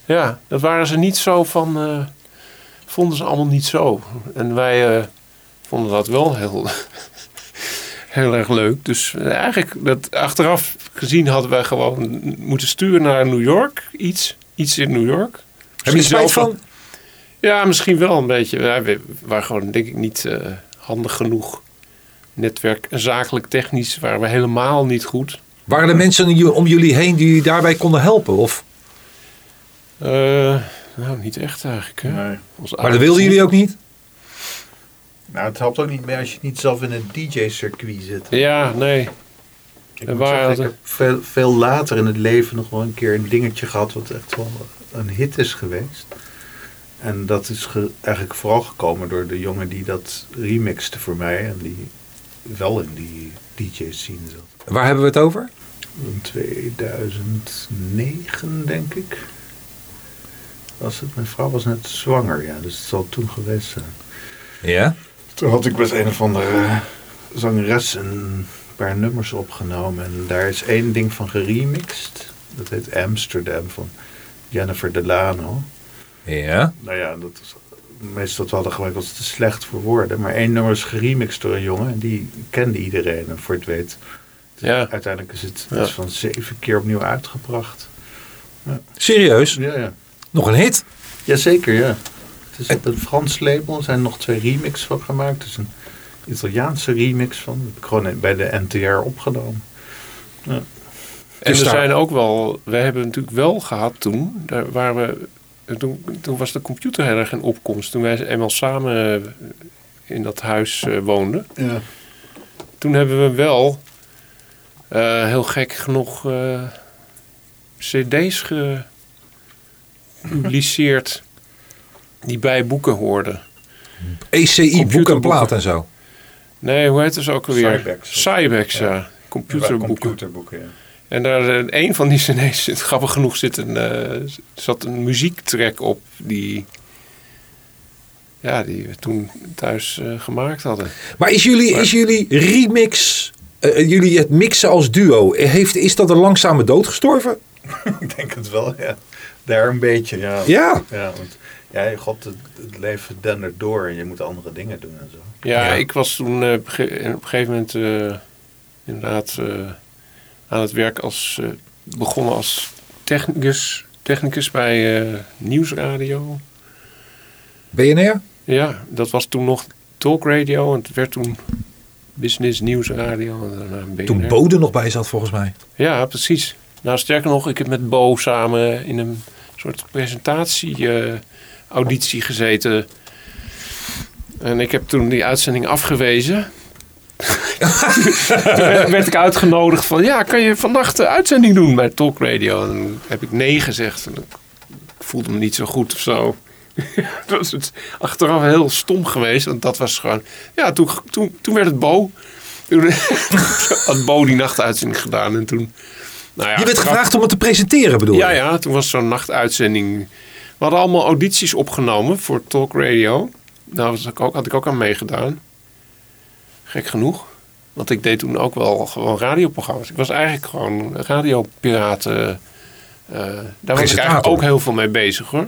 Speaker 3: Ja, dat waren ze niet zo van. eh, vonden ze allemaal niet zo. En wij eh, vonden dat wel heel. <laughs> Heel erg leuk. Dus eh, eigenlijk, dat, achteraf gezien hadden wij gewoon moeten sturen naar New York. Iets, iets in New York.
Speaker 2: Heb je er spijt
Speaker 3: zelf-
Speaker 2: van?
Speaker 3: Ja, misschien wel een beetje. Ja, we waren gewoon, denk ik, niet eh, handig genoeg. Netwerk, zakelijk, technisch waren we helemaal niet goed.
Speaker 2: Waren er mensen die- om jullie heen die je daarbij konden helpen? Of,
Speaker 3: Eh, nou, niet echt eigenlijk. Hè?
Speaker 4: Nee.
Speaker 3: Ons
Speaker 2: maar dat wilden jullie ook niet?
Speaker 4: Nou, het helpt ook niet meer als je niet zelf in een DJ-circuit zit.
Speaker 3: Ja, nee.
Speaker 4: Ik,
Speaker 3: En
Speaker 4: moet
Speaker 3: waar
Speaker 4: zeggen, ik
Speaker 3: hadden-
Speaker 4: heb veel, veel later in het leven nog wel een keer een dingetje gehad wat echt wel een hit is geweest. En dat is ge- eigenlijk vooral gekomen door de jongen die dat remixte voor mij. En die wel in die DJ-scene zat.
Speaker 2: Waar hebben we het over?
Speaker 4: In 2009, denk ik. Was het, mijn vrouw was net zwanger, ja, dus het zal toen geweest zijn.
Speaker 2: Ja.
Speaker 4: Toen had ik best een of andere eh, zangeres een paar nummers opgenomen. En daar is één ding van geremixed. Dat heet Amsterdam van Jennifer Delano.
Speaker 2: Ja.
Speaker 4: Nou ja, dat is meestal wat we hadden gemaakt was te slecht voor woorden. Maar één nummer is geremixed door een jongen. En die kende iedereen. En voor het weet,
Speaker 3: Ja.
Speaker 4: uiteindelijk is het
Speaker 3: Ja.
Speaker 4: iets van zeven keer opnieuw uitgebracht.
Speaker 2: Serieus?
Speaker 4: Ja, ja.
Speaker 2: Nog een hit?
Speaker 4: Jazeker, ja. Het is op een Frans label. Er zijn nog twee remixen van gemaakt. Er is een Italiaanse remix van. Dat heb ik gewoon bij de NTR opgenomen.
Speaker 3: En
Speaker 2: Dus
Speaker 3: er
Speaker 2: daar-
Speaker 3: zijn ook wel, we hebben natuurlijk wel gehad toen, daar waar we, toen, toen was de computer heel erg in opkomst. Toen wij eenmaal samen eh, in dat huis eh, woonden.
Speaker 4: Ja. <laughs>
Speaker 3: toen hebben we wel eh, heel gek genoeg eh, CD's gepubliceerd die bij boeken hoorden.
Speaker 2: ECI, boek en
Speaker 3: Computerboeken.
Speaker 2: plaat en zo.
Speaker 3: Nee, hoe heet het ook alweer?
Speaker 4: Cybex.
Speaker 3: Cybex, ja. Computerboeken.
Speaker 4: Computerboeken, ja.
Speaker 3: En daar eh, een van die cd's zit, grappig genoeg, zit een, eh, zat een muziektrack op die, ja, die we toen thuis eh, gemaakt hadden.
Speaker 2: Maar is jullie, is jullie remix, eh, jullie het mixen als duo, heeft, is dat een langzame dood gestorven?
Speaker 4: Ik denk het wel, ja. Daar een beetje, ja.
Speaker 2: Ja.
Speaker 4: Ja, want ja, god, het, het leven dendert door en je moet andere dingen doen en zo.
Speaker 3: Ja,
Speaker 2: Ja.
Speaker 3: ik was toen eh, op ge- en op een gegeven moment eh, inderdaad eh, aan het werk als eh, begonnen als technicus, technicus bij eh, nieuwsradio.
Speaker 2: BNR?
Speaker 3: Ja, dat was toen nog talkradio en het werd toen business nieuwsradio en daarna BNR.
Speaker 2: Toen Bode nog bij zat volgens mij.
Speaker 3: Ja, precies. Nou, sterker nog, ik heb met Bo samen in een soort presentatie-auditie gezeten. En ik heb toen die uitzending <laughs> afgewezen. toen werd- werd ik uitgenodigd van, ja, kan je vannacht de uitzending doen bij Talk Radio? En toen heb ik nee gezegd. En ik voelde me niet zo goed of zo. <laughs> dat was het achteraf heel stom geweest. Want dat was gewoon... Ja, toen, toen, toen werd het Bo. <laughs> Toen had Bo die nachtuitzending gedaan. En toen... Nou ja,
Speaker 2: Je werd
Speaker 3: achteraf-
Speaker 2: gevraagd om het te presenteren bedoel je?
Speaker 3: ja, ja, toen was zo'n nachtuitzending. We hadden allemaal audities opgenomen voor Talk Radio. Daar was ik ook, had ik ook aan meegedaan. Gek genoeg. Want ik deed toen ook wel gewoon radioprogramma's. Ik was eigenlijk gewoon radiopiraten. eh daar was ik eigenlijk
Speaker 2: Presentator.
Speaker 3: ook heel veel mee bezig hoor.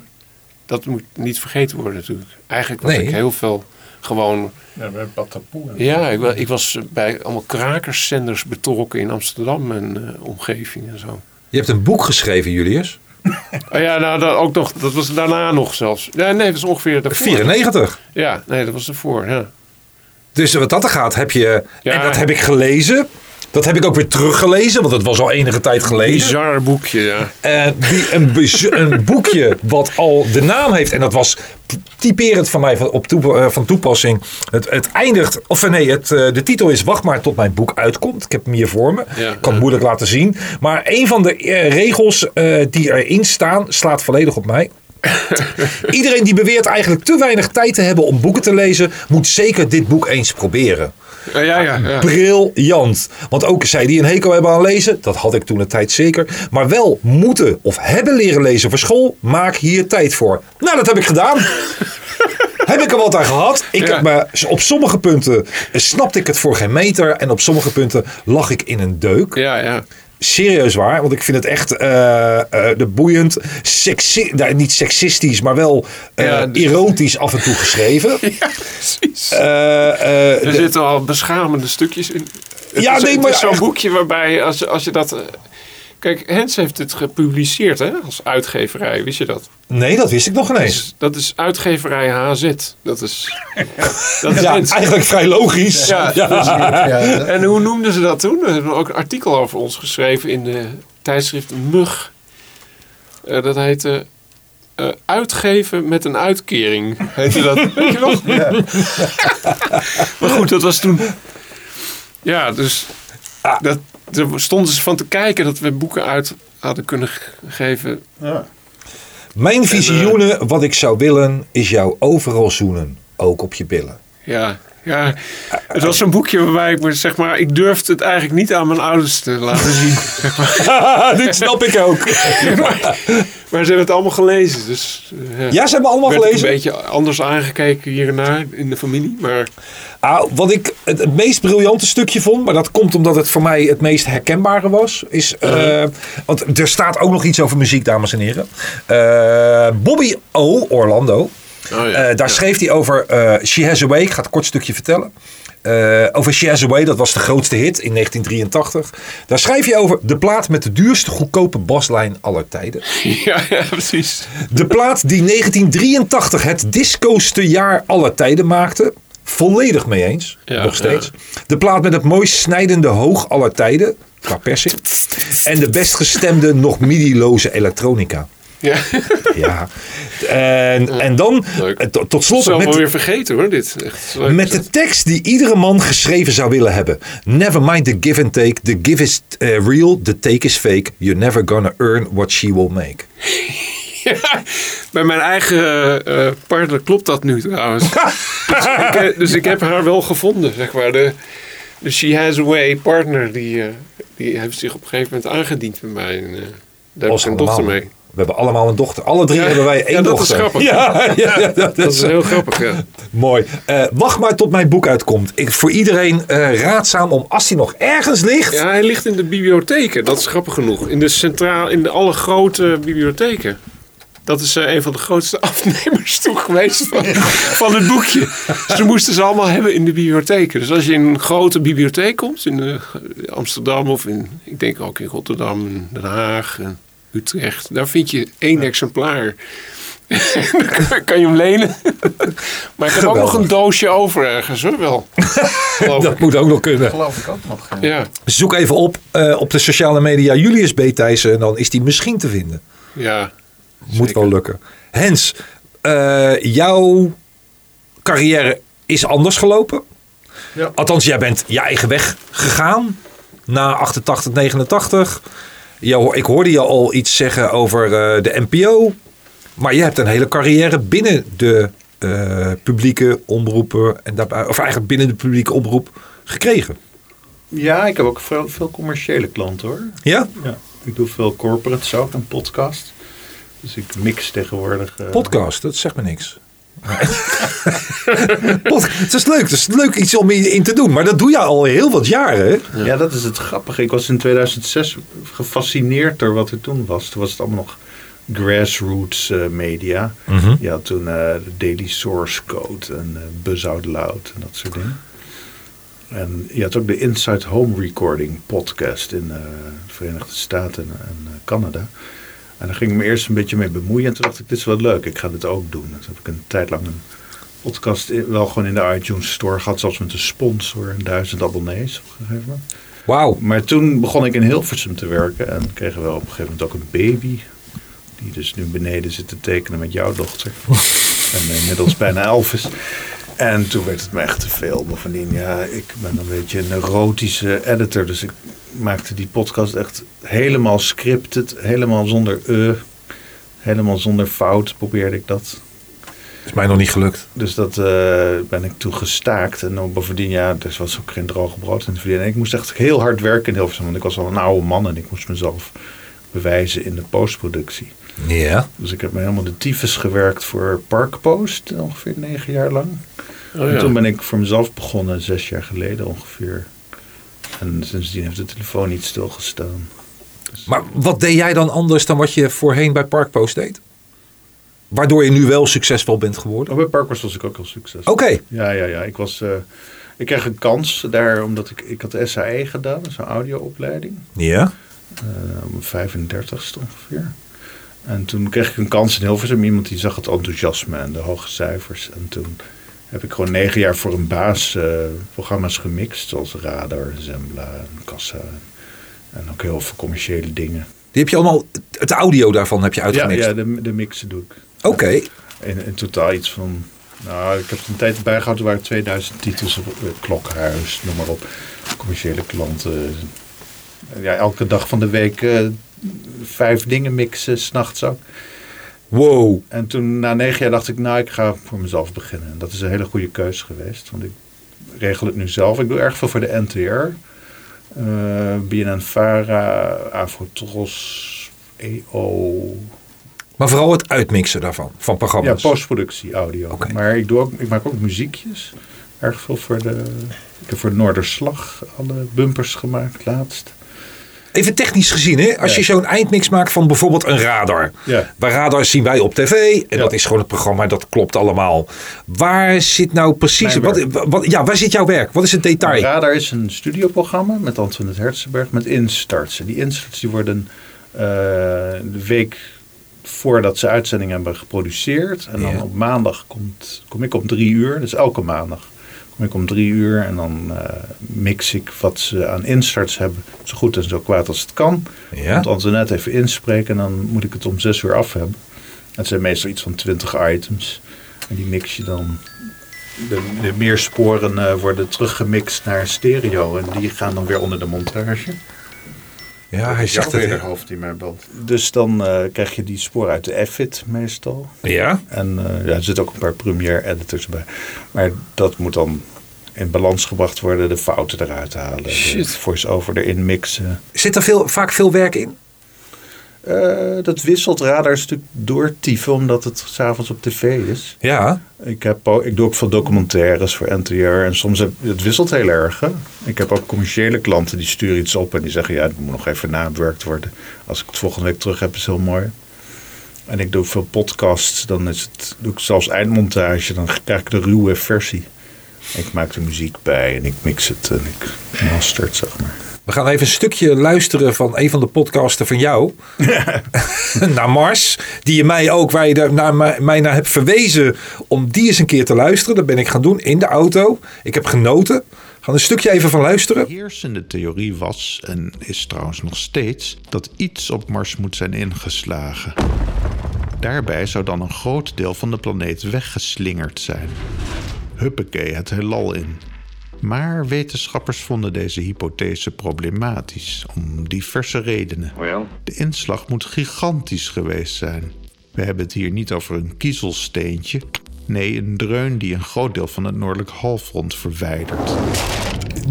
Speaker 3: Dat moet niet vergeten worden natuurlijk. Eigenlijk was
Speaker 2: Nee.
Speaker 3: ik heel veel gewoon
Speaker 4: Ja, bij Patapoe.
Speaker 3: ja, ik, wa- ik was bij allemaal krakerszenders betrokken in Amsterdam en eh, omgeving en zo.
Speaker 2: Je hebt een boek geschreven, Julius.
Speaker 3: Oh ja, nou, dat, ook nog, dat was daarna nog zelfs. Ja, nee, dat is ongeveer daarvoor.
Speaker 2: 94.
Speaker 3: Ja, nee, dat was ervoor, ja.
Speaker 2: Dus wat dat er gaat, heb je...
Speaker 3: Ja.
Speaker 2: En dat heb ik gelezen. Dat heb ik ook weer teruggelezen, want het was al enige tijd gelezen.
Speaker 3: Bizar boekje, ja.
Speaker 2: Eh, die een, bez-
Speaker 3: <laughs>
Speaker 2: een boekje wat al de naam heeft. En dat was p- typerend van mij van, op toep- eh, van toepassing. Het, het eindigt, of nee, het, eh, de titel is Wacht maar tot mijn boek uitkomt. Ik heb hem hier voor me.
Speaker 3: Ja,
Speaker 2: ik kan het moeilijk laten zien. Maar een van de eh, regels eh, die erin staan, slaat volledig op
Speaker 3: <laughs>
Speaker 2: mij. Iedereen die beweert eigenlijk te weinig tijd te hebben om boeken te lezen, moet zeker dit boek eens proberen.
Speaker 3: Ja, ja, ja. ja.
Speaker 2: Ah, Briljant. Want ook zij die een hekel hebben aan lezen, dat had ik toen een tijd zeker. Maar wel moeten of hebben leren lezen voor school, maak hier tijd voor. Nou, dat heb ik
Speaker 3: <laughs>
Speaker 2: gedaan. heb ik er wat aan gehad? Ik
Speaker 3: Ja.
Speaker 2: heb me, op sommige punten eh, snapte ik het voor geen meter. En op sommige punten lag ik in een deuk.
Speaker 3: ja, ja.
Speaker 2: Serieus waar, want ik vind het echt eh, eh, de boeiend, sexi nou, niet seksistisch, maar wel eh,
Speaker 3: Ja, dus-
Speaker 2: erotisch af en toe
Speaker 3: <laughs>
Speaker 2: geschreven.
Speaker 3: precies.
Speaker 2: Eh, eh,
Speaker 3: Er
Speaker 2: de-
Speaker 3: zitten al beschamende stukjes in. Het
Speaker 2: Ja,
Speaker 3: is,
Speaker 2: nee,
Speaker 3: het
Speaker 2: maar-
Speaker 3: is zo'n boekje waarbij als, als je dat... eh, Kijk, Hens heeft het gepubliceerd hè, als uitgeverij, wist je dat? Dus
Speaker 2: nee, dat wist ik nog ineens.
Speaker 3: Dat is uitgeverij HZ. Dat
Speaker 2: <laughs>
Speaker 3: is, dat is
Speaker 2: ja,
Speaker 3: Hens.
Speaker 2: eigenlijk vrij logisch.
Speaker 3: Ja.
Speaker 4: Ja,
Speaker 3: En hoe noemden ze dat toen? Er hebben ook een artikel over ons geschreven in de tijdschrift Mug. Eh, dat heette eh, Uitgeven met een uitkering. Heette dat, <laughs> weet je nog? maar goed, dat was toen... Ja, dus... Dat, er stonden ze van te kijken dat we boeken uit hadden kunnen ge- geven.
Speaker 2: Mijn
Speaker 3: eh,
Speaker 2: visioenen, wat ik zou willen, is jou overal zoenen. Ook op je
Speaker 3: <laughs>
Speaker 2: billen. <laughs>
Speaker 3: Ja, ja. Het was zo'n boekje waarbij ik me, zeg maar... Ik durfde het eigenlijk niet aan mijn ouders te laten zien.
Speaker 2: Dit snap ik ook.
Speaker 3: Maar ze hebben het allemaal gelezen, dus... eh,
Speaker 2: Ja, ze hebben allemaal
Speaker 3: werd ik
Speaker 2: gelezen.
Speaker 3: een beetje anders aangekeken hierna in de familie. Maar
Speaker 2: Ah, wat ik het, het meest briljante stukje vond, maar dat komt omdat het voor mij het meest herkenbare was, is.
Speaker 3: Mhm.
Speaker 2: eh, want er staat ook nog iets over muziek, dames en heren. Eh, Bobby O. Orlando.
Speaker 3: Oh ja.
Speaker 2: Eh, daar schreef hij over eh, She Has Away. Ik ga het kort stukje vertellen. Eh, over She Has Away, dat was de grootste hit in 1983. Daar schrijf je over de plaat met de duurste goedkope baslijn aller tijden.
Speaker 3: ja, ja, precies.
Speaker 2: De plaat die 1983 het discoste jaar aller tijden maakte. Volledig mee eens.
Speaker 3: Ja,
Speaker 2: nog steeds. De plaat met het mooist snijdende hoog aller tijden. Qua persing. En de best gestemde, nog midi-loze elektronica.
Speaker 3: Ja.
Speaker 2: Ja. En, en dan,
Speaker 3: Leuk.
Speaker 2: eh, to- tot
Speaker 3: Dat is
Speaker 2: slot,
Speaker 3: allemaal
Speaker 2: met,
Speaker 3: weer vergeten hoor, dit. Echt leuk.
Speaker 2: met de tekst die iedere man geschreven zou willen hebben. Never mind the give and take. The give is eh, real, the take is fake. You're never gonna earn what she will make.
Speaker 3: Ja, bij mijn eigen eh, eh, partner klopt dat nu trouwens. dus, ik, eh, dus ik heb haar wel gevonden, zeg maar. De, de She Has Away partner, die, eh, die heeft zich op een gegeven moment aangediend bij mij. En, eh, daar heb
Speaker 2: Ons
Speaker 3: ik een dochter
Speaker 2: allemaal.
Speaker 3: mee.
Speaker 2: We hebben allemaal een dochter. Alle drie
Speaker 3: Ja,
Speaker 2: hebben wij
Speaker 3: ja,
Speaker 2: één
Speaker 3: dat is
Speaker 2: dochter.
Speaker 3: grappig. <laughs>
Speaker 2: Ja, ja, ja, dat,
Speaker 3: Dat
Speaker 2: is <laughs>
Speaker 3: is heel grappig, ja.
Speaker 2: mooi. Eh, wacht maar tot mijn boek uitkomt. Ik, voor iedereen eh, raadzaam om, als die nog ergens ligt.
Speaker 3: Ja, hij ligt in de bibliotheken. Dat is grappig genoeg. In de centraal, in de alle grote bibliotheken. Dat is eh, een van de grootste <laughs> afnemers toen geweest van, van het boekje. Ze moesten ze allemaal hebben in de bibliotheken. Dus als je in een grote bibliotheek komt, in eh, Amsterdam of in, ik denk ook in Rotterdam, in Den Haag, en Utrecht, daar vind je één exemplaar. <laughs> Dan kan je hem lenen. Maar ik heb ook nog een doosje over ergens, hoor <laughs> wel. Geloof ik.
Speaker 2: Dat moet ook nog kunnen.
Speaker 4: geloof ik ook nog. ja.
Speaker 3: Ja,
Speaker 2: Zoek even op eh, op de sociale media Julius B. Thijssen. En dan is die misschien te vinden.
Speaker 3: ja.
Speaker 2: Moet wel lukken. Hens, eh, jouw carrière is anders gelopen.
Speaker 4: Ja.
Speaker 2: Althans, jij bent je eigen weg gegaan. Na 88, 89. Jou, ho- ik hoorde je al iets zeggen over eh, de NPO. Maar je hebt een hele carrière binnen de eh, publieke omroepen. En daarbij, of eigenlijk binnen de publieke omroep gekregen.
Speaker 4: ik heb ook veel, veel commerciële klanten hoor.
Speaker 2: Ja?
Speaker 4: Ja. Ik doe veel corporates ook en podcast. Dus ik mix tegenwoordig. eh,
Speaker 2: Podcast, dat zegt me niks. <laughs> Pod- het is leuk, het is leuk iets om in in te doen. Maar dat doe je al heel wat jaren. hè?
Speaker 4: Ja, dat is het grappige. Ik was in 2006 gefascineerd door wat er toen was. Toen was het allemaal nog grassroots eh, media. Je had toen eh, de Daily Source Code en eh, Buzz Out Loud en dat soort dingen. En je had ook de Inside Home Recording podcast in eh, de Verenigde Staten en, en, eh, Canada. En daar ging ik me eerst een beetje mee bemoeien. En toen dacht ik, dit is wel leuk. Ik ga dit ook doen. En toen heb ik een tijd lang een podcast in- wel gewoon in de iTunes Store gehad. Zelfs met een sponsor en duizend abonnees op een gegeven moment.
Speaker 2: Wauw.
Speaker 4: Maar toen begon ik in Hilversum te werken en kregen we op een gegeven moment ook een baby. Die dus nu beneden zit te tekenen met jouw dochter. en inmiddels bijna elf is. En toen werd het me echt te veel. Bovendien, ja, ik ben een beetje een erotische editor. Dus ik maakte die podcast echt helemaal e, scripted. Helemaal zonder eh. helemaal zonder fout probeerde ik dat.
Speaker 2: Is mij nog niet gelukt.
Speaker 4: Dus dat eh, ben ik toen gestaakt. En dan bovendien, ja, er was ook geen droog brood in te verdienen. En ik moest echt heel hard werken in Hilversum. Want ik was al een oude man en ik moest mezelf bewijzen in de postproductie.
Speaker 2: Ja.
Speaker 4: Dus ik heb me helemaal de tyfus gewerkt voor Parkpost ongeveer negen jaar lang.
Speaker 3: Oh,
Speaker 4: En
Speaker 3: ja.
Speaker 4: toen ben ik voor mezelf begonnen, zes jaar geleden ongeveer. En sindsdien heeft de telefoon niet stilgestaan.
Speaker 2: Maar wat deed jij dan anders dan wat je voorheen bij Parkpost deed? Waardoor je nu wel succesvol bent geworden?
Speaker 4: Oh, bij Parkpost was ik ook heel succesvol.
Speaker 2: Oké.
Speaker 4: Ja, ja, ja. Ik, was, eh, ik kreeg een kans daar, omdat ik, ik had SAE gedaan, dat is een audioopleiding.
Speaker 2: Ja.
Speaker 4: eh, om 35ste ongeveer. En toen kreeg ik een kans in Hilversum. Iemand die zag het enthousiasme en de hoge cijfers. En toen heb ik gewoon negen jaar voor een baas eh, programma's gemixt. Zoals Radar, Zembla en Kassa. En ook heel veel commerciële dingen.
Speaker 2: Die heb je allemaal, het audio daarvan heb je
Speaker 4: Ja,
Speaker 2: uitgemixt.
Speaker 4: ja de, de mixen doe ik.
Speaker 2: Oké.
Speaker 4: In, in totaal iets van... Nou, ik heb een tijd bijgehouden. Er waren 2000 titels op eh, Klokhuis, noem maar op. Commerciële klanten. Ja, elke dag van de week eh, vijf dingen mixen, s'nachts ook.
Speaker 2: Wow.
Speaker 4: En toen na negen jaar dacht ik, nou, ik ga voor mezelf beginnen. En dat is een hele goede keuze geweest. Want ik regel het nu zelf. Ik doe erg veel voor de NTR. eh BNN Vara, E Afrotros, EO.
Speaker 2: Maar vooral het uitmixen daarvan, van
Speaker 4: Ja,
Speaker 2: programma's.
Speaker 4: postproductie audio.
Speaker 2: Oké.
Speaker 4: Maar ik, doe ook, ik maak ook muziekjes. Erg veel voor de. Ik heb voor Noorderslag alle bumpers gemaakt laatst.
Speaker 2: Even technisch gezien, hè? als
Speaker 4: Ja.
Speaker 2: je zo'n eindmix maakt van bijvoorbeeld een radar.
Speaker 4: Ja.
Speaker 2: Bij radar zien wij op tv en
Speaker 4: Ja.
Speaker 2: dat is gewoon het programma, dat klopt allemaal. Waar zit nou precies,
Speaker 4: Mijn
Speaker 2: wat, wat, ja, waar zit jouw werk? Wat is het detail?
Speaker 4: Radar is een studioprogramma met Antoinette Herzenberg met instarts. En die instarts die worden eh, de week voordat ze uitzending hebben geproduceerd. En dan
Speaker 2: Ja.
Speaker 4: op maandag komt, kom ik om drie uur, dus elke maandag kom ik om drie uur. En dan eh, mix ik wat ze aan instarts hebben, zo goed en zo kwaad als het kan.
Speaker 2: Ja.
Speaker 4: Moet Antoinette even inspreken en dan moet ik het om zes uur af hebben. Het zijn meestal iets van twintig items. En die mix je dan de, de meer sporen eh, worden teruggemixt naar stereo. En die gaan dan weer onder de montage.
Speaker 2: Ja, hij zegt het. hè.
Speaker 4: hoofd die mij belt. Dus dan eh, krijg je die sporen uit de Effit meestal.
Speaker 2: Ja,
Speaker 4: En eh, ja, er zitten ook een paar premiere editors bij. Maar dat moet dan in balans gebracht worden. De fouten eruit halen.
Speaker 3: Shit.
Speaker 4: De voice-over erin mixen.
Speaker 2: zit er veel, vaak veel werk in?
Speaker 4: Eh, dat wisselt radar is natuurlijk door tyfen. Omdat het s'avonds op tv is.
Speaker 2: Ja,
Speaker 4: Ik, heb ook, ik doe ook veel documentaires voor NTR. En soms heb, het wisselt heel erg. Hè? Ik heb ook commerciële klanten die sturen iets op en die zeggen: Ja, het moet nog even nabewerkt worden. Als ik het volgende week terug heb, is heel mooi. En ik doe veel podcasts. Dan is het, doe ik zelfs eindmontage. Dan krijg ik de ruwe versie. Ik maak de muziek bij en ik mix het en ik master het, zeg maar.
Speaker 2: we gaan even een stukje luisteren van een van de podcasten van
Speaker 4: <laughs>
Speaker 2: jou. naar Mars, die je mij ook, waar je daar- naar, mij- mij naar hebt verwezen om die eens een keer te luisteren. Dat ben ik gaan doen in de auto. Ik heb genoten. We gaan een stukje even van luisteren.
Speaker 7: heersende theorie was, en is trouwens nog steeds, dat iets op Mars moet zijn ingeslagen. Daarbij zou dan een groot deel van de planeet weggeslingerd zijn. Huppakee, het heelal in. Maar wetenschappers vonden deze hypothese problematisch om diverse redenen. De inslag moet gigantisch geweest zijn. We hebben het hier niet over een kiezelsteentje. Nee, een dreun die een groot deel van het noordelijk halfrond verwijdert.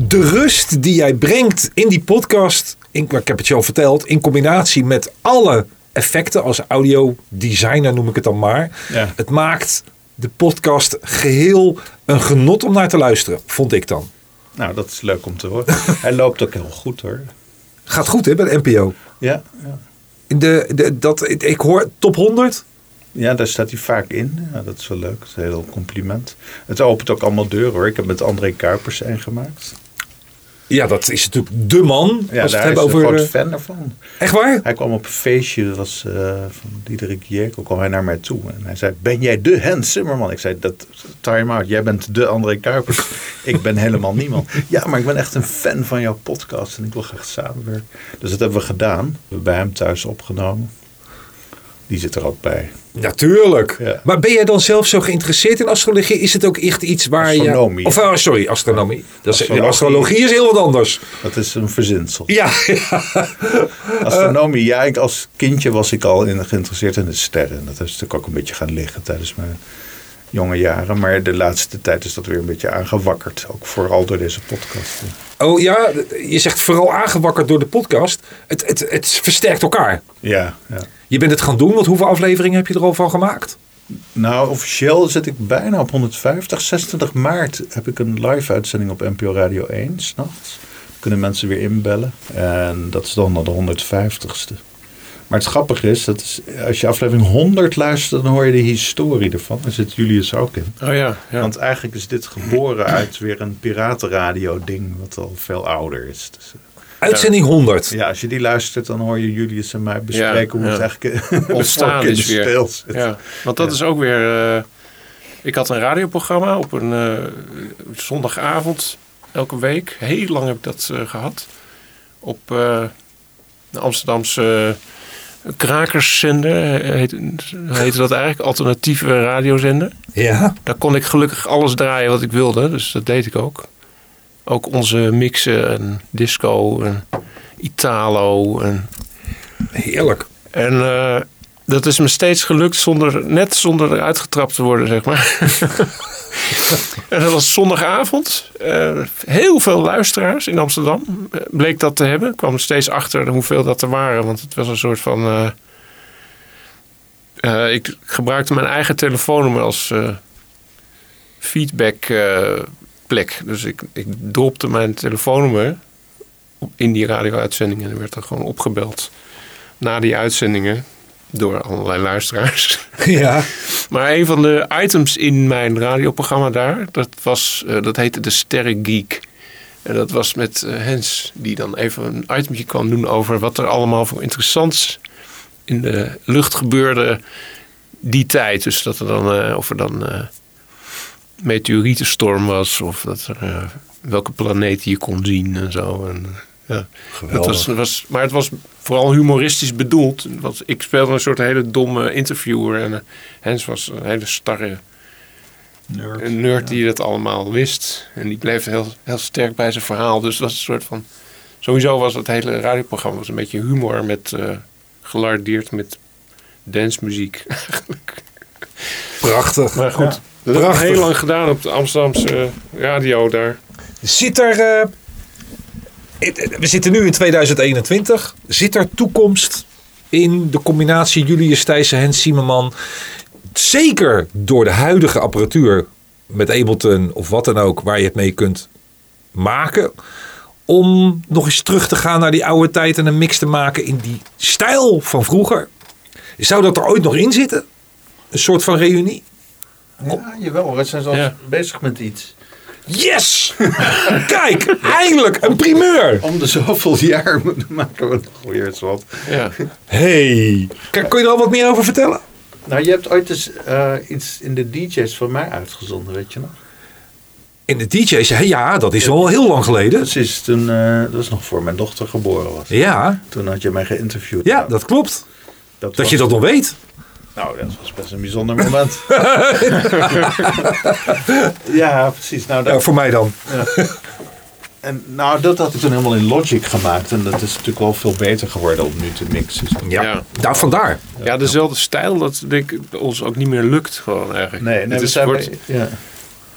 Speaker 2: de rust die jij brengt in die podcast, in, nou, ik heb het je al verteld, in combinatie met alle effecten als audio-designer noem ik het dan maar.
Speaker 4: Ja.
Speaker 2: Het maakt de podcast geheel een genot om naar te luisteren, vond ik dan.
Speaker 4: Nou, dat is leuk om
Speaker 2: <laughs>
Speaker 4: te horen. Hij loopt ook heel goed hoor.
Speaker 2: Gaat goed hè, bij de NPO.
Speaker 4: Ja, ja.
Speaker 2: De, de, dat, ik hoor top 100.
Speaker 4: Ja, daar staat hij vaak in. Ja, dat is wel leuk. Dat is een heel compliment. Het opent ook allemaal deuren hoor. Ik heb met André Kuipers een gemaakt.
Speaker 2: Ja, dat is natuurlijk de man.
Speaker 4: Ja,
Speaker 2: als we
Speaker 4: daar
Speaker 2: het hebben
Speaker 4: is een
Speaker 2: over.
Speaker 4: groot
Speaker 2: eh,
Speaker 4: fan ervan.
Speaker 2: Echt waar?
Speaker 4: Hij kwam op een feestje, dat was eh, van Diederik Jekel, kwam hij naar mij toe. En hij zei, ben jij de Hans Zimmerman? Ik zei, dat, time out, jij bent de André Kuipers. ik ben helemaal niemand. Ja, maar ik ben echt een fan van jouw podcast en ik wil graag samenwerken. Dus dat hebben we gedaan. We hebben bij hem thuis opgenomen. Die zit er ook bij.
Speaker 2: Natuurlijk.
Speaker 4: Ja.
Speaker 2: Maar ben jij dan zelf zo geïnteresseerd in astrologie? Is het ook echt iets waar
Speaker 4: Astronomie.
Speaker 2: je... Of, oh, sorry, astronomie. Dat is,
Speaker 4: Astrologie.
Speaker 2: Astrologie is heel wat anders.
Speaker 4: Dat is een verzinsel.
Speaker 2: Ja, <laughs>
Speaker 4: Astronomie, ja, ik, als kindje was ik al in, geïnteresseerd in de sterren. Dat is natuurlijk ook een beetje gaan liggen tijdens mijn jonge jaren. Maar de laatste tijd is dat weer een beetje aangewakkerd. Ook vooral door deze podcast.
Speaker 2: Oh ja, je zegt vooral aangewakkerd door de podcast. Het, het, het versterkt elkaar.
Speaker 4: Ja, ja.
Speaker 2: Je bent het gaan doen, want hoeveel afleveringen heb je er al van gemaakt?
Speaker 4: Nou, officieel zit ik bijna op 150. 26 maart heb ik een live uitzending op NPO Radio 1, s'nachts. Kunnen mensen weer inbellen. En dat is dan de 150ste. Maar het grappige is, dat is, als je aflevering 100 luistert, dan hoor je de historie ervan. Daar zit Julius ook in.
Speaker 3: Oh ja, ja.
Speaker 4: Want eigenlijk is dit geboren uit weer een piratenradio-ding, wat al veel ouder is. Dus, eh,
Speaker 2: Uitzending 100.
Speaker 4: ja, als je die luistert, dan hoor je Julius en mij bespreken
Speaker 3: Ja,
Speaker 4: hoe het
Speaker 3: ja.
Speaker 4: eigenlijk <laughs> in- ons
Speaker 3: Bestaan
Speaker 4: volk in de
Speaker 3: is weer.
Speaker 4: steel zit.
Speaker 3: Ja, want dat is ook weer. eh, ik had een radioprogramma op een eh, zondagavond elke week. Heel lang heb ik dat eh, gehad. Op eh, de Amsterdamse eh, krakerszender eh, heet, heette dat eigenlijk, alternatieve radiozender.
Speaker 2: Ja.
Speaker 3: Daar kon ik gelukkig alles draaien wat ik wilde, dus dat deed ik ook. Ook onze mixen en disco en Italo en
Speaker 2: Heerlijk.
Speaker 3: en eh, dat is me steeds gelukt zonder, net zonder eruit getrapt te worden, zeg maar. <laughs> en dat was zondagavond. Eh, heel veel luisteraars in Amsterdam eh, bleek dat te hebben. Ik kwam er steeds achter hoeveel dat er waren, want het was een soort van... eh, eh, ik gebruikte mijn eigen telefoonnummer als eh, feedback eh, plek. Dus ik, ik dropte mijn telefoonnummer op- in die radio-uitzending en er werd er gewoon opgebeld na die uitzendingen door allerlei luisteraars.
Speaker 2: Ja.
Speaker 3: <laughs> Maar een van de items in mijn radioprogramma daar, dat, was, eh, dat heette De Sterrengeek. En dat was met eh, Hens, die dan even een itemje kwam doen over wat er allemaal voor interessants in de lucht gebeurde die tijd. Dus dat er dan, eh, of er dan eh meteorietenstorm was, of dat er, eh, welke planeet je kon zien en zo. En, eh, ja. Dat was, dat was, maar het was vooral humoristisch bedoeld. Want ik speelde een soort hele domme interviewer. En eh, Hens was een hele starre
Speaker 4: Nerd.
Speaker 3: een nerd die dat allemaal wist. En die bleef heel, heel sterk bij zijn verhaal. Dus het was een soort van... Sowieso was dat hele radioprogramma was een beetje humor met... eh, gelardeerd met dancemuziek <laughs> eigenlijk.
Speaker 2: Prachtig.
Speaker 3: Maar goed, dat heb ik
Speaker 2: Prachtig.
Speaker 3: heel lang gedaan op de Amsterdamse radio daar.
Speaker 2: Zit er. eh, it- we zitten nu in 2021. Zit er toekomst in de combinatie Julius Thijssen, Hens Siemerman? Zeker door de huidige apparatuur met Ableton of wat dan ook, waar je het mee kunt maken. Om nog eens terug te gaan naar die oude tijd en een mix te maken in die stijl van vroeger. Zou dat er ooit nog in zitten? Een soort van reunie?
Speaker 4: Ja, jawel. We zijn zelfs
Speaker 3: Ja.
Speaker 4: bezig met iets.
Speaker 2: Yes! <laughs> Kijk, eindelijk een primeur!
Speaker 4: Om de zoveel jaar <laughs> moeten maken we nog weer eens wat.
Speaker 3: Ja.
Speaker 2: Hey. Kijk, kun je er al wat meer over vertellen?
Speaker 4: Nou, je hebt ooit eens eh, iets in de DJ's van mij uitgezonden, weet je nog?
Speaker 2: In de DJ's, hè, ja, dat is al heel lang geleden.
Speaker 4: Precies, toen, eh, dat was nog voor mijn dochter geboren was.
Speaker 2: Ja,
Speaker 4: Toen had je mij geïnterviewd.
Speaker 2: ja,
Speaker 4: Nou,
Speaker 2: dat klopt. Dat
Speaker 4: was-
Speaker 2: je dat nog weet.
Speaker 4: Nou, dat was best een bijzonder moment. <laughs> ja, precies. Nou, dat,
Speaker 2: Ja, voor mij dan.
Speaker 4: En nou, dat had ik toen helemaal in Logic gemaakt. En dat is natuurlijk wel veel beter geworden om nu te mixen.
Speaker 2: Ja,
Speaker 3: Ja.
Speaker 2: daar vandaar.
Speaker 3: Ja, dezelfde stijl, dat denk ik ons ook niet meer lukt gewoon eigenlijk.
Speaker 4: Nee, nee
Speaker 3: het,
Speaker 4: we
Speaker 3: is,
Speaker 4: zijn
Speaker 3: wordt,
Speaker 4: bij- ja.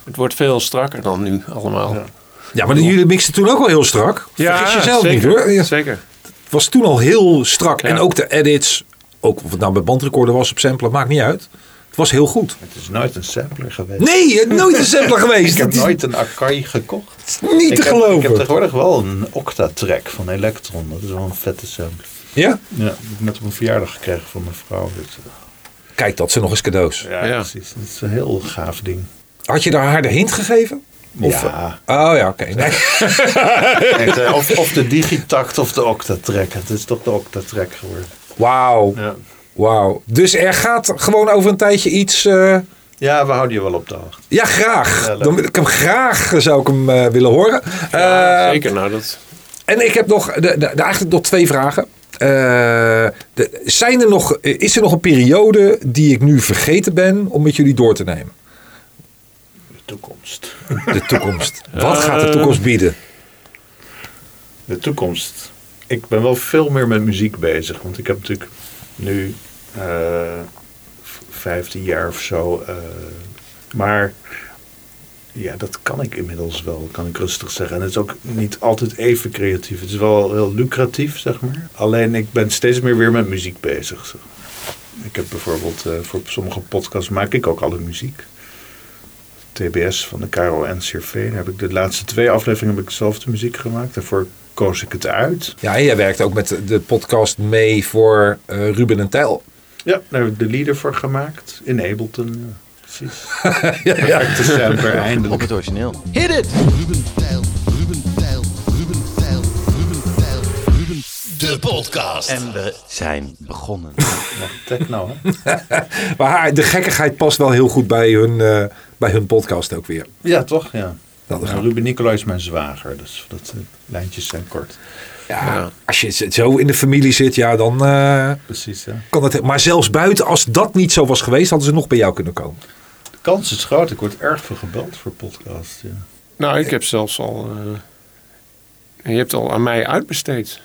Speaker 3: het wordt veel strakker dan nu allemaal. Ja,
Speaker 2: Ja, maar jullie mixten toen ook al heel strak. Vergis jezelf
Speaker 3: zeker,
Speaker 2: niet hoor. Ja,
Speaker 3: Zeker.
Speaker 2: Het was toen al heel strak.
Speaker 3: Ja.
Speaker 2: En ook de edits, ook of het nou bij bandrecorder was op sampler, maakt niet uit. Het was heel goed.
Speaker 4: Het is nooit een sampler geweest.
Speaker 2: Nee, je hebt nooit een <laughs> sampler geweest.
Speaker 4: Ik heb
Speaker 2: Dat is
Speaker 4: nooit een Akai gekocht.
Speaker 2: niet te
Speaker 4: ik Heb, ik heb
Speaker 2: geloven.
Speaker 4: tegenwoordig wel een Octatrack van Electron. Dat is wel een vette sample.
Speaker 2: Ja?
Speaker 4: Ja, dat heb ik net op een verjaardag gekregen van mijn vrouw. Dus, eh,
Speaker 2: Kijk, dat zijn nog eens cadeaus.
Speaker 4: ja,
Speaker 3: Ja.
Speaker 4: precies. Dat is een heel gaaf ding.
Speaker 2: Had je daar haar de hint gegeven? Of-
Speaker 4: ja.
Speaker 2: Oh ja, oké. Nee.
Speaker 4: echt, eh, of, of de Digitact of de Octatrack. Het is toch de Octatrack geworden.
Speaker 2: Wauw.
Speaker 4: Ja.
Speaker 2: Wauw. Dus er gaat gewoon over een tijdje iets. eh,
Speaker 4: ja, we houden je wel op de hoogte.
Speaker 2: ja, graag.
Speaker 4: Ja, leuk.
Speaker 2: Dan wil ik hem graag eh, zou ik hem eh, willen horen.
Speaker 3: Ja,
Speaker 8: Ehm,
Speaker 2: Eh,
Speaker 3: zeker, nou dat...
Speaker 2: en ik heb nog de, de, de- eigenlijk nog twee vragen. Eh, de- zijn er nog, eh, is er nog een periode die ik nu vergeten ben om met jullie door te nemen?
Speaker 4: De toekomst.
Speaker 2: De toekomst. Wat gaat de toekomst bieden?
Speaker 4: De toekomst. Ik ben wel veel meer met muziek bezig. Want ik heb natuurlijk nu eh, v- 15 jaar of zo eh, Maar ja, dat kan ik inmiddels wel, kan ik rustig zeggen. En het is ook niet altijd even creatief. Het is wel heel lucratief, zeg maar. Alleen ik ben steeds meer weer met muziek bezig. zeg. Ik heb bijvoorbeeld eh, voor sommige podcasts maak ik ook alle muziek. TBS van de Caro en Daar heb ik de laatste twee afleveringen heb ik zelf de muziek gemaakt. Daarvoor koos ik het uit.
Speaker 8: Ja, en jij werkt ook met de podcast mee voor eh, Ruben en Tijl.
Speaker 4: Ja, daar heb ik de lieder voor gemaakt. In Ableton, ja, precies.
Speaker 8: ja,
Speaker 2: <laughs>
Speaker 8: ja.
Speaker 4: Perfecte sample, eindelijk.
Speaker 9: het origineel.
Speaker 10: Ruben Tijl, Ruben Tijl, Ruben Tijl, Ruben Tijl, Ruben... De podcast.
Speaker 9: En we zijn begonnen.
Speaker 4: Ja, techno, hè?
Speaker 8: Maar haar- de gekkigheid past wel heel goed bij hun, eh, bij hun podcast ook weer.
Speaker 4: Ja, toch? Ja.
Speaker 8: Dat is-
Speaker 4: Nou, Ruben Nicolai is mijn zwager, dus dat eh, lijntjes zijn kort.
Speaker 8: Ja, Als je z- zo in de familie zit, ja, dan eh,
Speaker 4: Precies, ja.
Speaker 8: kan het. Maar zelfs buiten, als dat niet zo was geweest, hadden ze nog bij jou kunnen komen.
Speaker 4: De kans is groot. Ik word erg veel gebeld voor podcasts. Ja.
Speaker 3: Nou, ik heb zelfs al. eh, je hebt al aan mij uitbesteed.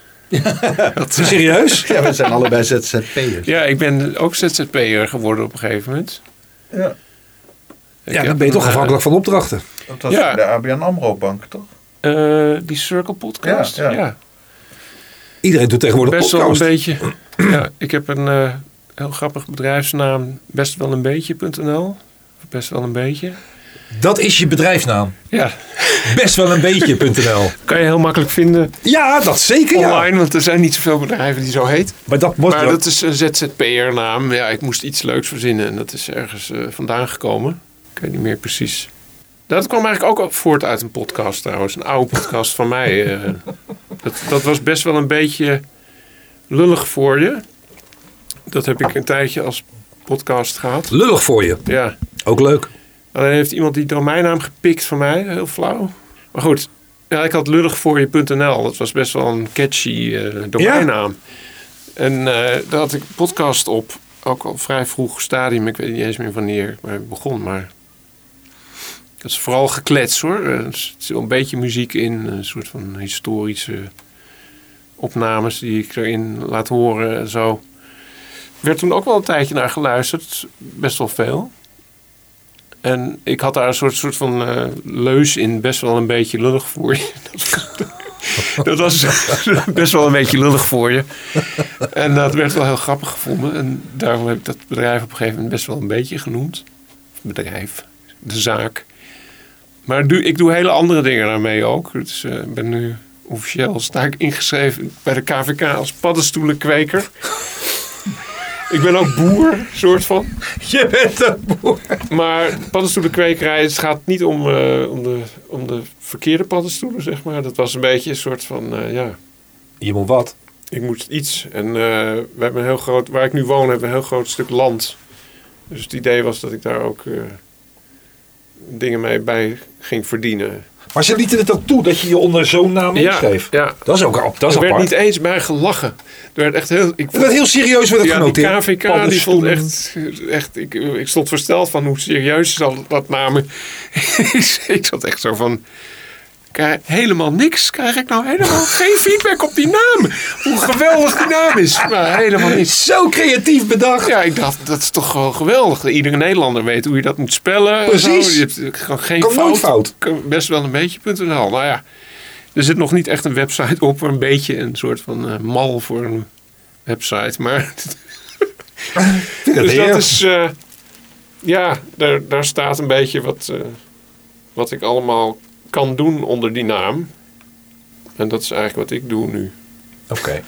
Speaker 8: Serieus?
Speaker 4: ja, we zijn allebei ZZP'ers.
Speaker 3: Ja, ik ben ook ZZP'er geworden op een gegeven moment.
Speaker 4: Ja.
Speaker 3: Ik
Speaker 8: Ja, dan
Speaker 3: heb
Speaker 8: ben je toch
Speaker 3: een, eh,
Speaker 8: afhankelijk van opdrachten.
Speaker 4: Dat was
Speaker 3: Ja.
Speaker 4: de ABN AMRO bank, toch?
Speaker 3: eh, eh, die Circle podcast.
Speaker 4: Ja,
Speaker 3: Ja,
Speaker 4: ja.
Speaker 8: Iedereen doet tegenwoordig
Speaker 3: best wel een
Speaker 8: podcast.
Speaker 3: beetje. ja, ik heb een eh, heel grappig bedrijfsnaam. Best wel een beetje.nl. Best wel een beetje.
Speaker 8: Dat is je bedrijfsnaam.
Speaker 3: Ja,
Speaker 8: Best wel een
Speaker 3: <laughs>
Speaker 8: beetje.nl.
Speaker 3: kan je heel makkelijk vinden
Speaker 8: Ja, dat zeker ja.
Speaker 3: online, want er zijn niet zoveel bedrijven die zo heet.
Speaker 8: Maar dat was
Speaker 3: maar dat is een ZZP'er-naam. Ja, ik moest iets leuks verzinnen en dat is ergens eh, vandaan gekomen. Ik weet niet meer precies. Dat kwam eigenlijk ook voort uit een podcast trouwens. Een oude podcast van mij. eh. dat, dat was best wel een beetje lullig voor je. Dat heb ik een tijdje als podcast gehad.
Speaker 8: lullig voor je.
Speaker 3: Ja.
Speaker 8: Ook leuk.
Speaker 3: Alleen heeft iemand die domeinnaam gepikt van mij. Heel flauw. Maar goed. Ja, ik had lullig voor je.nl. Dat was best wel een catchy eh, domeinnaam. En eh, daar had ik een podcast op. Ook al vrij vroeg stadium. Ik weet niet eens meer wanneer maar het begon. Maar dat is vooral geklets hoor. Eh, Er zit wel een beetje muziek in. Een soort van historische opnames die ik erin laat horen en zo. Werd toen ook wel een tijdje naar geluisterd. Best wel veel. En ik had daar een soort, soort van eh, leus in, best wel een beetje lullig voor je. <laughs> dat was <laughs> best wel een beetje lullig voor je. En dat werd wel heel grappig gevonden. En daarom heb ik dat bedrijf op een gegeven moment best wel een beetje genoemd. Bedrijf, de zaak. Maar doe, ik doe hele andere dingen daarmee ook. Dus eh, ik ben nu officieel sta ik ingeschreven bij de KVK als paddenstoelenkweker. ik ben ook boer, soort van.
Speaker 8: Je bent een boer.
Speaker 3: Maar paddenstoelenkwekerij, het gaat niet om, eh, om, de, om de verkeerde paddenstoelen, zeg maar. Dat was een beetje een soort van, eh, ja,
Speaker 8: Je moet wat.
Speaker 3: ik moest iets. En eh, we hebben een heel groot, waar ik nu woon, hebben we een heel groot stuk land. Dus het idee was dat ik daar ook eh, dingen mee bij ging verdienen.
Speaker 8: Maar ze lieten het ook toe dat je je onder zo'n naam inschreef.
Speaker 3: ja.
Speaker 8: Dat is ook ap- dat is
Speaker 3: er werd
Speaker 8: apart.
Speaker 3: niet eens bij gelachen. Er werd echt heel... Ik
Speaker 8: Het werd heel serieus werd het
Speaker 3: ja, die
Speaker 8: genoteerd.
Speaker 3: KVK die
Speaker 8: Paddenstoelen.
Speaker 3: vond echt, echt ik, ik stond versteld van hoe serieus ze al dat namen. <laughs> ik zat echt zo van, "Krijg- helemaal niks, krijg ik nou helemaal geen feedback op die naam. Hoe geweldig die naam is, maar helemaal niets.
Speaker 8: Zo creatief bedacht.
Speaker 3: Ja, ik dacht, dat is toch gewoon geweldig. Iedere Nederlander weet hoe je dat moet spellen. en
Speaker 8: Precies.
Speaker 3: zo. Je hebt gewoon geen
Speaker 8: Kan nooit
Speaker 3: fout.
Speaker 8: fout.
Speaker 3: Kan Best wel een beetje.nl. Nou ja, er zit nog niet echt een website op. Een beetje een soort van eh, mal voor een website. Maar <laughs>
Speaker 8: vind het
Speaker 3: dus dat
Speaker 8: heerlijk.
Speaker 3: is, eh, ja, daar, daar staat een beetje wat, eh, wat ik allemaal kan doen onder die naam. En dat is eigenlijk wat ik doe nu.
Speaker 8: Oké.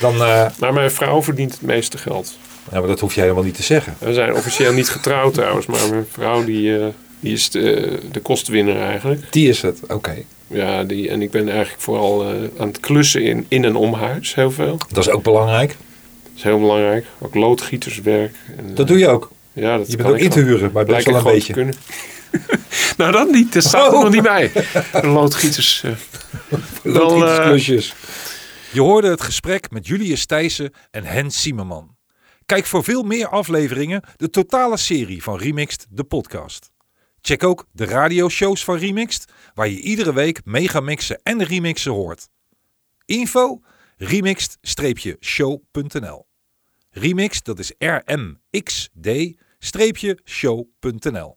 Speaker 8: Dan, eh,
Speaker 3: Maar mijn vrouw verdient het meeste geld.
Speaker 8: ja, maar dat hoef je helemaal niet te zeggen.
Speaker 3: We zijn officieel niet getrouwd trouwens, maar mijn vrouw die, eh, die is de, de kostwinner eigenlijk.
Speaker 8: Die is het. Oké.
Speaker 3: Ja, die, en ik ben eigenlijk vooral eh, aan het klussen in, in en om huis, heel veel. Dat
Speaker 8: Dat is ook belangrijk.
Speaker 3: is heel belangrijk. Ook loodgieterswerk. En,
Speaker 8: Dat doe je ook.
Speaker 3: eh, ja, dat
Speaker 8: Je
Speaker 3: kan
Speaker 8: bent ook
Speaker 3: ik
Speaker 8: in te
Speaker 3: gewoon.
Speaker 8: huren, maar best
Speaker 3: Blijkt
Speaker 8: wel een
Speaker 3: het
Speaker 8: beetje.
Speaker 3: gewoon te kunnen. <laughs> nou, dat niet. Dat staat
Speaker 8: Oh.
Speaker 3: er nog niet bij. De
Speaker 8: <laughs>
Speaker 3: loodgieters. eh. Wel, eh,
Speaker 8: Loodgietersklusjes.
Speaker 2: Je hoorde het gesprek met Julius Thijssen en Hens Siemerman. Kijk voor veel meer afleveringen de totale serie van Remixed, de podcast. Check ook de radioshows van Remixed, waar je iedere week megamixen en remixen hoort. Info remixed-show.nl Remixed, dat is rmxd-show.nl